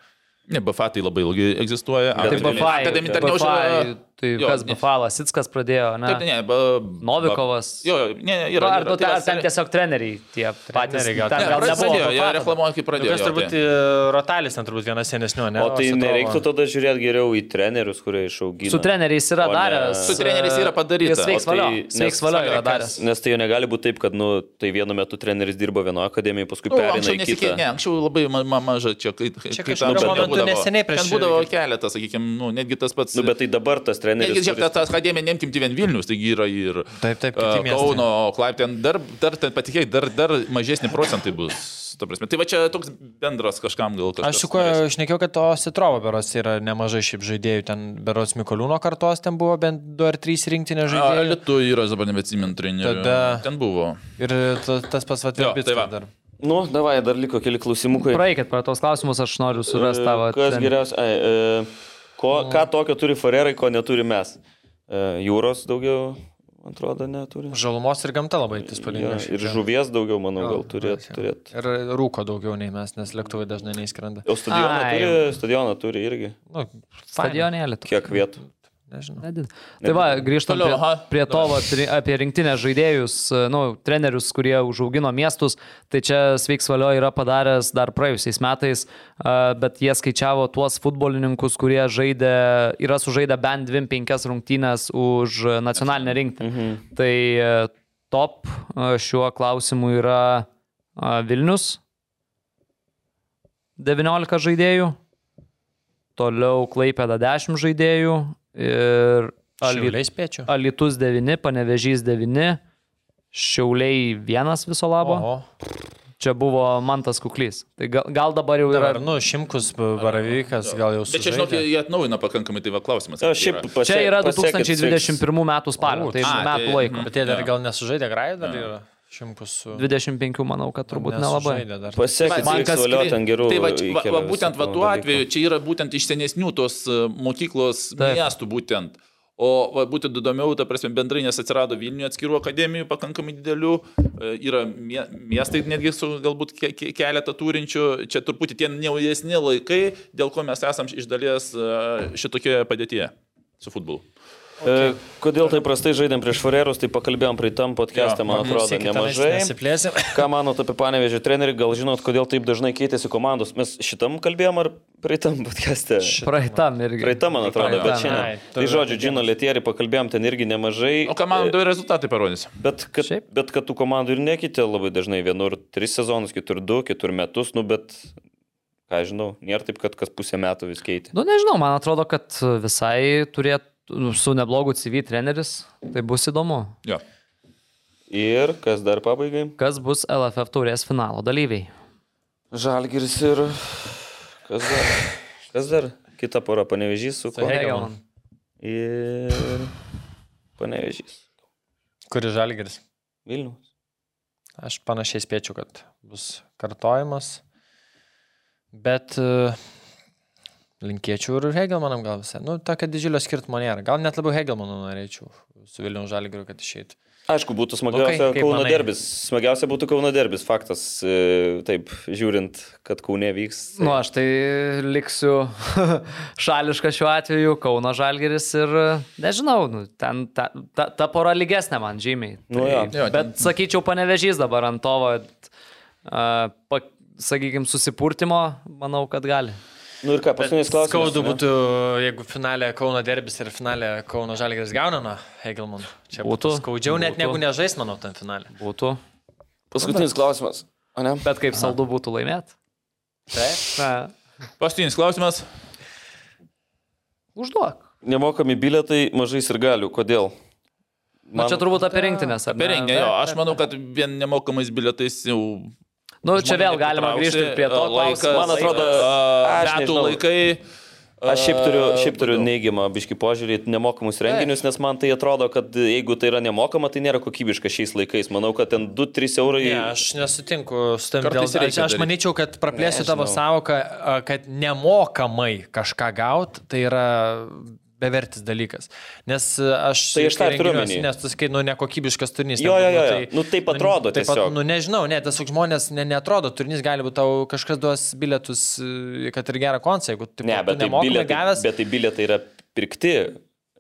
Ne, BFA tai labai ilgai egzistuoja. Tai BFA. Akademinė BFA. tarnyba. Tai jo, kas ne. BFA, Sitskas pradėjo, ne? Taip, tai ne, ba, Novikovas. Ba, jo, jo, ne, ne, Yra, yra. ar, tai yra, tu, ar ten yra- tiesiog treneriai tie patys? Treneriai gal- ten Ne, gal pradėjo, nebuvo jie BFA tada. reklamuoja, kaip pradėjo. Nu, tai. Kas jo, turbūt taip. e, rotalis ten turbūt vienas senesnių, ne? tai- o tai Ostrova. nereiktų tada žiūrėti geriau į trenerius, kurie išaugino. Su treneriais yra O ne- daręs. Su treneriais yra padaryta, Jis veiks o tai- valio. nes- Sveiks valio yra kas- daręs. Nes tai jau negali būti taip, kad, nu, tai vienu metu treneris dirba vienoje akademijoje, paskui Nu, perina anksčiau į nesikei, kitą. ne, anksčiau labai ma ma maža čia, kai, kai Čia kai kažkuriuo ten momentu būdavo. neseniai Ten prieš- būdavo keletas, sakykime, nu, netgi tas pats. Nu, bet tai dabar tas treneris. Netgi, žiūrėk, kuris- ta, ta akademija, nemkim, vien Vilnius, taigi yra ir Taip, taip, kiti e, miestai. Kauno, Klaip, ten dar, dar ten patikėjai, dar, dar mažesni procentai bus. ta prasme. Tai va čia toks bendras kažkam gal kažkas. Aš su kuo norės. išnekėjau, kad to Sitrovo beros yra nemažai šiaip žaidėjų, ten beros Mikoliūno kartos ten buvo bent 2 ar 3 rinktinė A, žaidėjai. Lietu yra, dabar nebeatsimint trenerių. Tada- Ten buvo. Ir ta- tas pats Jo, Vatvirbitas tai va. dar. Nu, davai, dar liko keli klausimukai. Praeikit prie tos klausimus, aš noriu surasti tavo. E, Kas trenerį. geriausia? Ai, e, ko, ką tokio turi farerai, ko neturi mes? E, jūros daugiau, man atrodo, neturi. Žalumos ir gamta labai Jo, įspūdingas. ir žuvies daugiau, manau, gal turėt. jo. nu, turėt. Ir rūko daugiau nei mes, nes lėktuvai dažnai neįskrenda. O stadioną Ai. turi, stadioną turi irgi. Nu, fainai, Stadionėlį. tu. Kiek vietų? Nežinau. Nedid- Tai va, grįžtam Toliau, prie, aha. prie to vat, ri- apie rinktinę žaidėjus, e, nu, trenerius, kurie užaugino miestus, tai čia Sveiks Valio yra padaręs dar praėjusiais metais, e, bet jie skaičiavo tuos futbolininkus, kurie žaidė, yra sužaidę bent 2-5 rungtynės už e, nacionalinę rinktinę. Mhm. Tai e, top e, šiuo klausimu yra e, Vilnius, 19 žaidėjų, toliau Klaipėda 10 žaidėjų ir Šiauliai spėčiau. Alitus 9, Panevežys 9, Šiauliai 1 viso labo. Oho. Čia buvo Mantas Kuklys. Tai gal, gal dabar jau yra... Dabar, nu, Šimkus, Baravykas, gal jau su... Bet čia, žinok, jie jie atnaujina pakankamai, tai va klausimas. O kaip šiaip yra. pase- Čia yra pasekit 2021 metų spalio, O, tai tai- metų tai- laiko. Bet jie dar Jo. gal nesužaidė Graido, dar yra Šimkus su... 25, manau, kad turbūt nelabai. nesužaidė dar. Sveiks- Pasekit, Man man kas kas valio kri- ten geriau. Tai va, va, įkelia va visokių būtent va, tuo dalykų. atveju čia yra būtent iš senesnių tos e, mokyklos Taip. Taip. miestų būtent. O va, būtent įdomiau, ta prasme, bendrai, nes atsirado Vilniuje atskirų akademijų pakankamai didelių, e, yra mie- miestai netgi su galbūt ke- ke- keletą turinčių, čia truputį tie naujesni laikai, dėl ko mes esam iš dalies e, šitokioje padėtyje su futbolu. E, Kodėl taip prastai žaidėm prieš farerus, tai pakalbėjom prie tam podcast'e, Jo, man atrodo, nemažai. Nu, Nesiplėsim. Ką manot apie panevežį trenerį, gal žinot, kodėl taip dažnai keitėsi komandos? Mes šitam kalbėjom ar praeitam podcast'e? Praeitam irgi. Praeitam, man atrodo, Praeitam, bet ai, šiandien. Tai žodžiu, Džino Lietierį pakalbėjom ten irgi nemažai. O ką man du rezultatai parodys? Bet kad, Šiaip. bet kad tų komandų ir nekitė labai dažnai, vienur tris sezonus, kitur du, kitur metus, nu bet, ką žinau, nėra taip, kad kas pusę metų vis keitė. Nu, nežinau, man atrodo, kad visai turėtų su neblogu CV treneris, tai bus įdomu, Jo. Ir kas dar pabaigai? kas bus LFF taurės finalo dalyviai. Žalgiris ir... Kas dar? Kas dar? Kita pora panevežys su kuo? Hegelman. Ir... Panevežys. Kuris žalgeris? Vilnius. Aš panašiai spėčiau, kad bus kartojimas. Bet e, Linkėčiau ir Hegelmanam gal visai. Nu, tokio didžiulio skirtumo nėra. Gal net labiau Hegelmanų norėčiau su Vilnių Žalgiriu, kad išeitų. Aišku, būtų smagiausia Nu, kai- kaip Kauno manai? derbis. Smagiausia būtų Kauno derbis, faktas, e, taip, žiūrint, kad Kaune vyks. Nu, aš tai liksiu šališka šiuo atveju, Kauno Žalgeris ir nežinau, nu, ten ta, ta, ta pora lygesnė man žymiai. Tai Nu, jo. Jo, ten- bet sakyčiau, panevežys dabar ant to, uh, sakykime, susipurtimo, manau, kad gali. Nu ir ką, paskutinis klausimas. skaudu ne? būtų, jeigu finalė Kauno derbis ir finalė Kauno Žalgris gauna nuo Hegelman. Čia būtų Būtų. skaudžiau net Būtų. negu nežais, manau, tam finalė. Būtų. Paskutinis klausimas. O ne? Bet kaip saldu būtų laimėti? Taip. Na, Paskutinis klausimas. užduok. Nemokami bilietai mažais ir galiu. Kodėl? Man... Nu, čia turbūt apie rinktinės. ar ne? Apie renginį, jo, aš manau, kad vien nemokamais bilietais jau Nu, čia vėl galima grįžti prie to laiko. laiko. Man atrodo, aš metų nežinau. laikai. Aš šiaip turiu, šiaip turiu Kodėl? neigiamą biški požiūrį į nemokamus renginius, nes man tai atrodo, kad jeigu tai yra nemokama, tai nėra kokybiška šiais laikais. Manau, kad ten 2-3 eurai. Ne, aš nesutinku su tam dėl Kartais to. Aš, reikia aš daryt. manyčiau, kad praplėsiu Ne, tavo žinau. savoką, a, kad nemokamai kažką gaut, tai yra bevertis dalykas. Nes a, aš... Tai aš tą kai ir turiu renginiuose, omeny. Nes tu sakai, nu, nekokybiškas turinys. Jo, ten, jo, nu, jo, jo. Nu, taip atrodo taip tiesiog. nu, nežinau, ne, tiesiog žmonės ne, netrodo, turinys gali būti tau kažkas duos bilietus, e, kad ir gerą koncą, jeigu tu Ne, bet tai, nemokamai bilietai, gavęs. bet tai bilietai yra pirkti,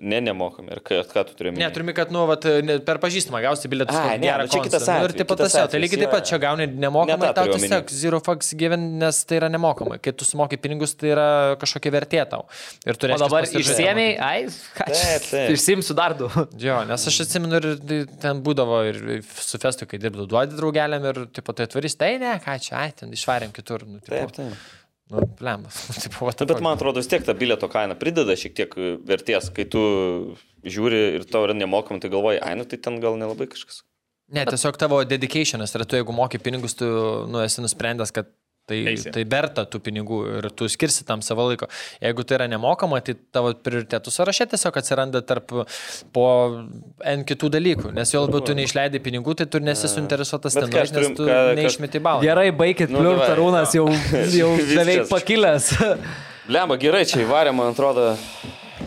ne nemokami. Ir ką, ką tu turėjai? Ne, turime, kad, nu, vat, ne, per pažįstamą gausi bilietus. Ai, kad ne, gerą nu, čia koncą. kitas Nu, atvejis, Ir taip pat kitas tas jau, tai atvejis, lygiai taip jo, pat jo. čia gauni nemokamai, Ne tą tau turėjau tiesiog zero fucks given, nes tai yra nemokamai. Kai tu sumokai pinigus, tai yra kažkokia vertė tau. Ir tu O reiškias dabar pasižiūrėti. išsiemiai, ai, ką čia. Taip, taip. Išsiimsiu dar du. Jo, nes aš atsimenu ir tai ten būdavo ir su festu, kai dirbdavau, duodi draugeliam ir taip pat atvarys, tai ne, ką čia, ai, ten išvarėm kitur, nu, tipo, Taip, taip. nu, blemas. tipo, va, Na, bet man atrodo, vis tiek ta bilieto kaina prideda šiek tiek e, vertės, kai tu žiūri ir tau yra nemokam, tai galvoji, ai, nu tai ten gal nelabai kažkas. Ne, tiesiog tavo dedicationas yra tu, jeigu moki pinigus, tu nu, esi nusprendęs, kad tai, Eisi. tai verta tų pinigų ir tu skirsi tam savo laiko. Jeigu tai yra nemokama, tai tavo prioritetų sąraše tiesiog atsiranda tarp po N kitų dalykų, nes jau labiau tu neišleidai pinigų, tai tu nesi suinteresuotas Bet ten, ką aš nueit, nes turim- tu ką- ką aš- neišmeti balą. Gerai, baikit, Nu, nu, davai, Tarūnas jau, jau Viskas. beveik pakilęs. Lemba, gerai, čia įvarė, man atrodo,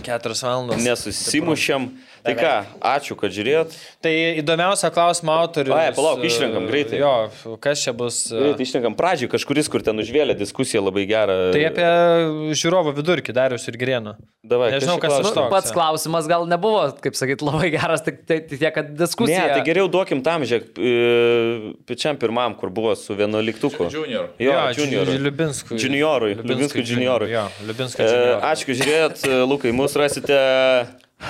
Keturias valandas. nesusimušėm. Tai ką, ačiū, kad žiūrėt. Tai įdomiausia klausimo autorius. e, Ai, palauk, išrenkam greitai. Jo, kas čia bus. e, Greit išninkam pradžiui, tai kažkuris, kur ten užvėlė diskusiją labai gerą. Tai apie žiūrovo vidurkį darius ir grėną. Davai, Nežinau, kas čia klausia? kas e. už to. Nu, Pats klausimas gal nebuvo, kaip sakyt, labai geras, tik tai tai tiek, kad Ne, diskusija. tai geriau duokim tam, žiūrėk, e, pačiam pirmam, kur buvo su vienuoliktuku. Junior. Jo, Junior. juniorui. Liubinskui. Juniorui, Liubinskui juniorui. Jo, Liubinskui E, juniorui. Ačiū, kad žiūrėjot, e, Lukai, mus rasite.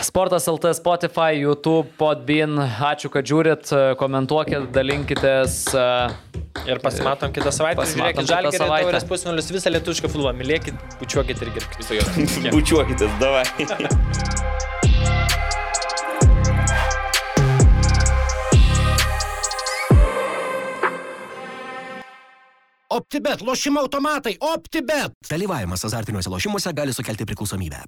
Sportas LT, Spotify, YouTube, Podbean. Ačiū, kad žiūrit, komentuokit, dalinkitės. e, Ir pasimatom kitą savaitę. Pasimatom Pasimatom kitą žalį, savaitę. taurės pusnulis visą lietuvišką filmą. Mylėkit, bučiuokit ir gerbkite. Viso gero. Bučiuokitės, davai. OptiBet, lošimo automatai, OptiBet. Dalyvavimas azartiniuose lošimuose gali sukelti priklausomybę.